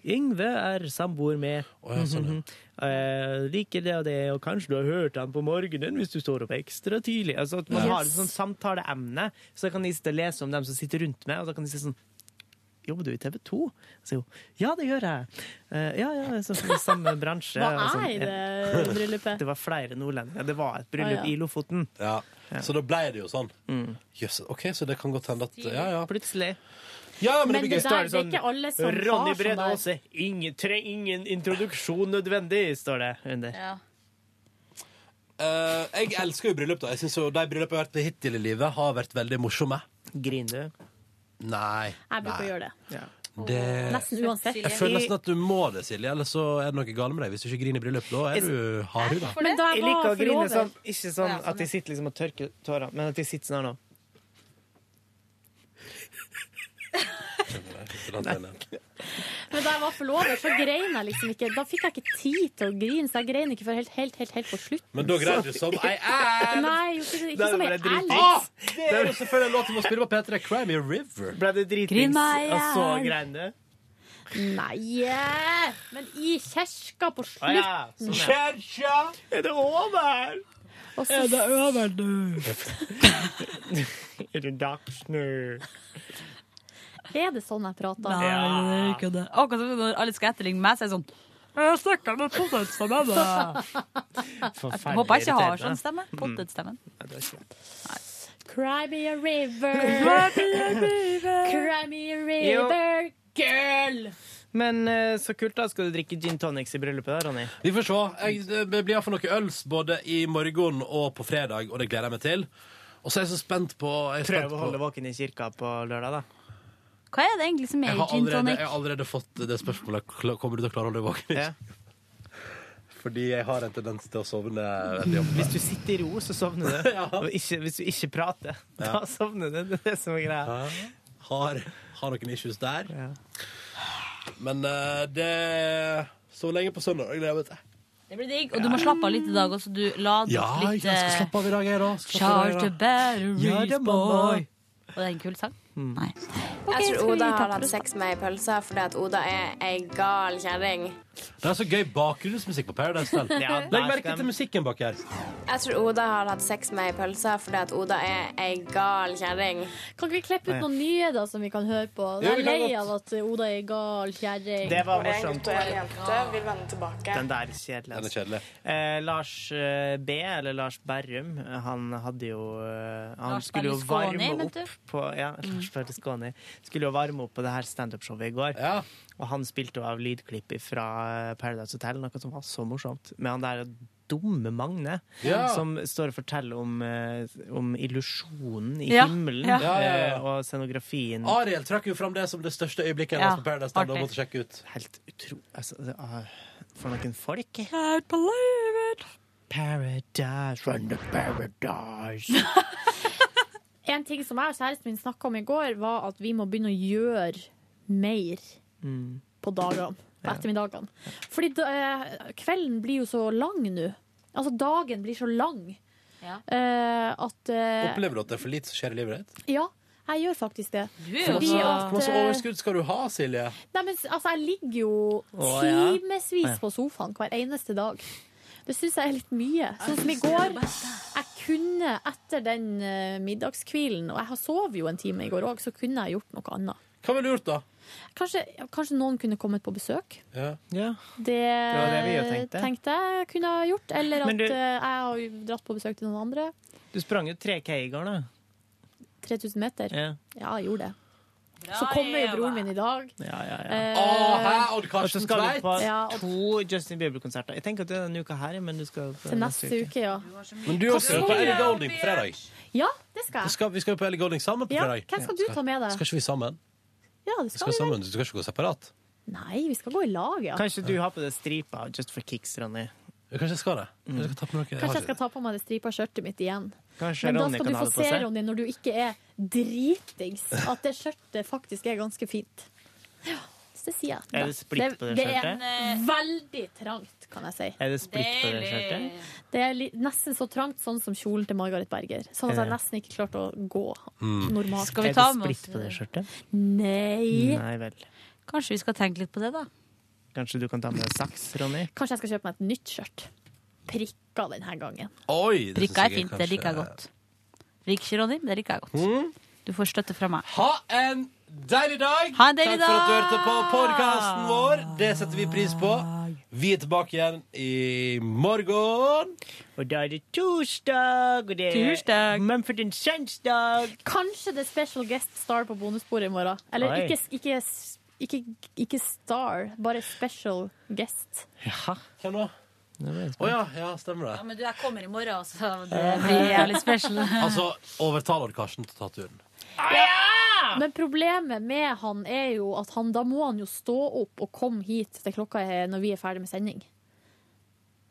Yngve er samboer med
ja, sånn,
Eh, Liker det og det, og kanskje du har hørt han på morgenen hvis du står opp ekstra tidlig. Altså at Man
Ja.
har et sånt samtaleemne, så kan de sitte og lese om dem som sitter rundt meg, og da kan de si sånn jobber du i TV 2? Så jo, ja, det gjør jeg. Eh, ja, ja, så fra samme bransje.
Hva
og sånn.
er
Ja.
det bryllupet?
Det var flere nordlendinger. Det var et bryllup
Å, ja.
i Lofoten.
Ja. Så da ble det jo sånn. Jøss, OK, så det kan godt hende at Ja, ja.
Plutselig.
Ja, men, det blir gøy.
står sånn, Ronny Brede
Aase.
Aase, ingen, tre- ingen introduksjon nødvendig, står det under.
Eh, jeg elsker jo bryllup, da. Jeg synes jo De bryllupene jeg har vært på hittil i livet, har vært veldig morsomme.
Griner du?
Nei.
Jeg bruker å
nei.
gjøre det.
Det...
Nesten uansett.
Jeg føler nesten at du må det, Silje, ellers så er det noe galt med deg. Hvis du ikke griner i bryllup, da er du hardhuda.
Men da jeg
jeg liker
var
å grine sånn,
forlover-
ikke sånn
Ja, sånn,
at de sitter liksom og tørker tårer, men at de sitter sånn her nå.
Men da jeg var forlover, så grein jeg liksom ikke. Da fikk jeg ikke tid til å grine, så jeg grein ikke før helt, helt, helt, helt på slutt.
Men da grein du som ei elv.
Nei, jo, ikke,
Da
ikke
er
som ei
det bare
elv.
dritings. Ah, Det er jo selvfølgelig en låt vi må spille på P3, 'Cry Me a River'.
Ble det
Grin meg
Og så
igjen.
grein du?
Nei, eh, men i kjerka på
Å ja,
slutten.
sånn, ja. Er det over?
Og så- Er det
over nå? er det dags nå?
Er det sånn jeg prater?
Nei, det er ikke det. Akkurat som når alle skal etterligne meg, så er det sånn Jeg snakker med potetstemmen. Jeg håper jeg ikke har sånn stemme.
Mm.
Potetstemmen.
sånn.
Cry me a river.
Cry me a river.
Cry me a river, girl.
Men eh, så kult, da. Skal du drikke gin tonics i bryllupet, da, Ronny?
Vi får se. Jeg, det blir iallfall noe øls både i morgen og på fredag, og det gleder jeg meg til. Og så er jeg så spent på jeg er spent
Prøv å holde våken i kirka på lørdag, da.
Hva er det egentlig som er
Jeg
i
har
gin
allerede, jeg
tonic?
har allerede fått det spørsmålet. Kla- Kommer du til å klare å holde våken? Fordi jeg har en tendens til å sovne veldig ofte.
Hvis du sitter i ro, så sovner du. Og ikke, hvis du ikke prater,
Ja.
da sovner du. Det er det som er greia.
Har, har noen issues der. Men eh, det Så lenge på søndag. Jeg gleder meg til
Det blir digg. Og du må slappe av litt i dag også. Du la
Ja,
litt eh,
jeg
eh,
skal slappe av i dag, jeg, da. Slappe av i dag.
Charge the batteries,
Ja, det må
boy.
jeg.
Og det er en kul sang. Nei.
Jeg
skal
tror
vi
Oda
ta
har
på
hatt
det?
sex med ei pølse fordi at Oda er ei gal kjerring.
Det er så gøy bakgrunnsmusikk på Paradise Hotel.
Ja, der
Legg merke
skal-
til musikken bak her.
Jeg tror Oda har hatt sex med ei pølse fordi at Oda er ei gal kjerring.
Kan ikke vi klippe ut noen nye da, som vi kan høre på?
Jo,
Jeg
vi
er
kan
lei
godt.
av at Oda er gal kjerring.
Det var morsomt. Og en
jente vil vende tilbake.
Den der kjedelige.
Den er kjedelig.
Eh, Lars eh, B, eller Lars Berrum, eh, han hadde jo eh, Han
Lars
skulle jo
Berlusconi,
varme
mente
opp
du? Mm.
på Ja, Lars Berlusconi. Skulle jo varme opp på det her standup-showet i går. Og han spilte jo av lydklipp fra Paradise Hotel, noe som var så morsomt. Med han der dumme Magne,
Ja.
som står og forteller om, eh, om illusjonen i
Ja.
himmelen
Ja. Ja, ja, ja. Ah.
eh, og scenografien.
Ariel trakk jo fram det som det største øyeblikket
Ja,
hennes på Paradise Hotel. og
artig.
måtte sjekke ut.
Helt utrolig altså, det er- For noen folk.
Can't believe it.
Paradise, run to paradise.
En ting som jeg og kjæresten min snakka om i går, var at vi må begynne å gjøre mer
Mm.
på dagene. På ettermiddagene. Fordi da, eh, kvelden blir jo så lang nå. Altså dagen blir så lang eh, at eh,
Opplever du at det er for lite som skjer i livet ditt?
Ja, jeg gjør faktisk det.
Hvor
Fordi
masse-
at,
hvor masse
eh,
overskudd skal du ha, Silje?
Nei, men altså, jeg ligger jo
Å, ja.
timevis på sofaen hver eneste dag. Det syns jeg er litt mye. Sånn som i går. Jeg kunne etter den eh, middagskvilen, og jeg har sov jo en time i går òg, så kunne jeg gjort noe annet.
Hva ville du gjort, da?
Kanskje, kanskje noen kunne kommet på besøk.
Ja.
Det,
var det vi jo tenkte.
jeg kunne ha gjort. Eller
Men
at
du-
eh, jeg har jo dratt på besøk til noen andre.
Du sprang jo 3K i går, da.
3000 meter.
Ja.
Ja, jeg gjorde det. Så kommer jo broren min i dag.
Ja, ja,
Eh,
Og så skal du på
Ja, og
to Justin Bieber-konserter. Jeg tenker at det er denne uka her, men du skal på
til neste uke, ja.
Men du også skal på Ellie Golding på fredag.
Ja, det skal
Vi
jeg.
skal, vi skal jo på Ellie Golding sammen på
Ja,
fredag.
hvem skal du ta med deg?
Skal ikke vi sammen?
Ja, det
Vi
skal
skal
vi vel.
sammen, Du skal ikke gå separat?
Nei, vi skal gå i lag, ja.
Kanskje du har på deg stripa Just for kicks, Ronny.
Kanskje jeg skal det. Kanskje jeg skal ta på noe. Jeg har
Kanskje jeg
ikke-
skal ta på meg det stripa skjørtet mitt igjen.
Kanskje
Men da
Ronny
skal
kan
du
ha
få
det på
se,
seg.
Ronny, når du ikke er dritings, at det skjørtet faktisk er ganske fint. Ja, så det sier jeg.
Er det splitt på det skjørtet?
Det er veldig trangt, kan jeg si.
Er det splitt på det skjørtet?
Det er li- nesten så trangt sånn som kjolen til Margaret Berger. Sånn at jeg
Ja.
nesten ikke klarte å gå
Mm.
normalt.
Skal vi Er ta det med splitt oss- på det skjørtet?
Mm.
Nei.
Nei vel.
Kanskje vi skal tenke litt på det, da.
Kanskje du kan ta med deg saks, Ronny?
Kanskje jeg skal kjøpe meg et nytt skjørt. Prikka denne gangen.
Oi, det synes
Prikka er
jeg
fint, det
kanskje-
liker jeg godt. Prikk, Ronny, det liker jeg godt. Du får støtte fra meg.
Ha en deilig dag!
Ha en deilig
Takk for at du
dag!
hørte på podkasten vår. Det setter vi pris på. Vi er tilbake igjen i morgen.
Og da er det torsdag, og det er
Torsdag.
Mumford Sons dag.
Kanskje det er special guest star på bonusbordet i morgen. Eller
Oi.
ikke, ikke, ikke, ikke star, bare special guest.
Hvem da? Å ja, ja, stemmer det.
men du, jeg kommer i morgen, altså. så det blir jævlig special.
altså, overtaler Karsten til å ta turen.
Men problemet med han er jo at han, da må han jo stå opp og komme hit til klokka er når vi er ferdig med sending.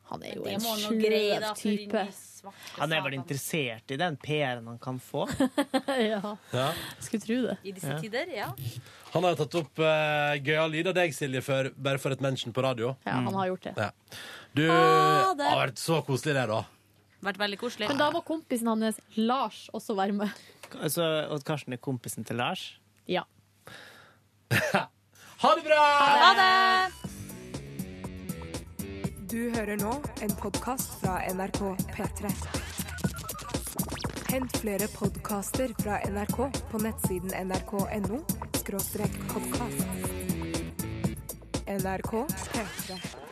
Han er jo
Det
en
må han jo greie, da,
sløv
for
type.
Han er vel interessert i den PR-en han kan få.
ja,
Ja.
skulle tro det.
I
Ja.
disse tider, ja.
Han har jo tatt opp uh, gøyal lyd av deg, Silje, før, bare for et mention på radio.
Ja, han har gjort det.
Ja. Du
Ha det.
har vært så koselig, det, da.
Vært veldig koselig.
Men da må kompisen hans, Lars, også være med.
Altså, og Karsten er kompisen til Lars.
Ja.
Ha det bra!
Ha det! Du hører nå en podkast fra NRK P3. Hent flere podkaster fra NRK på nettsiden nrk.no podkast. NRK P3.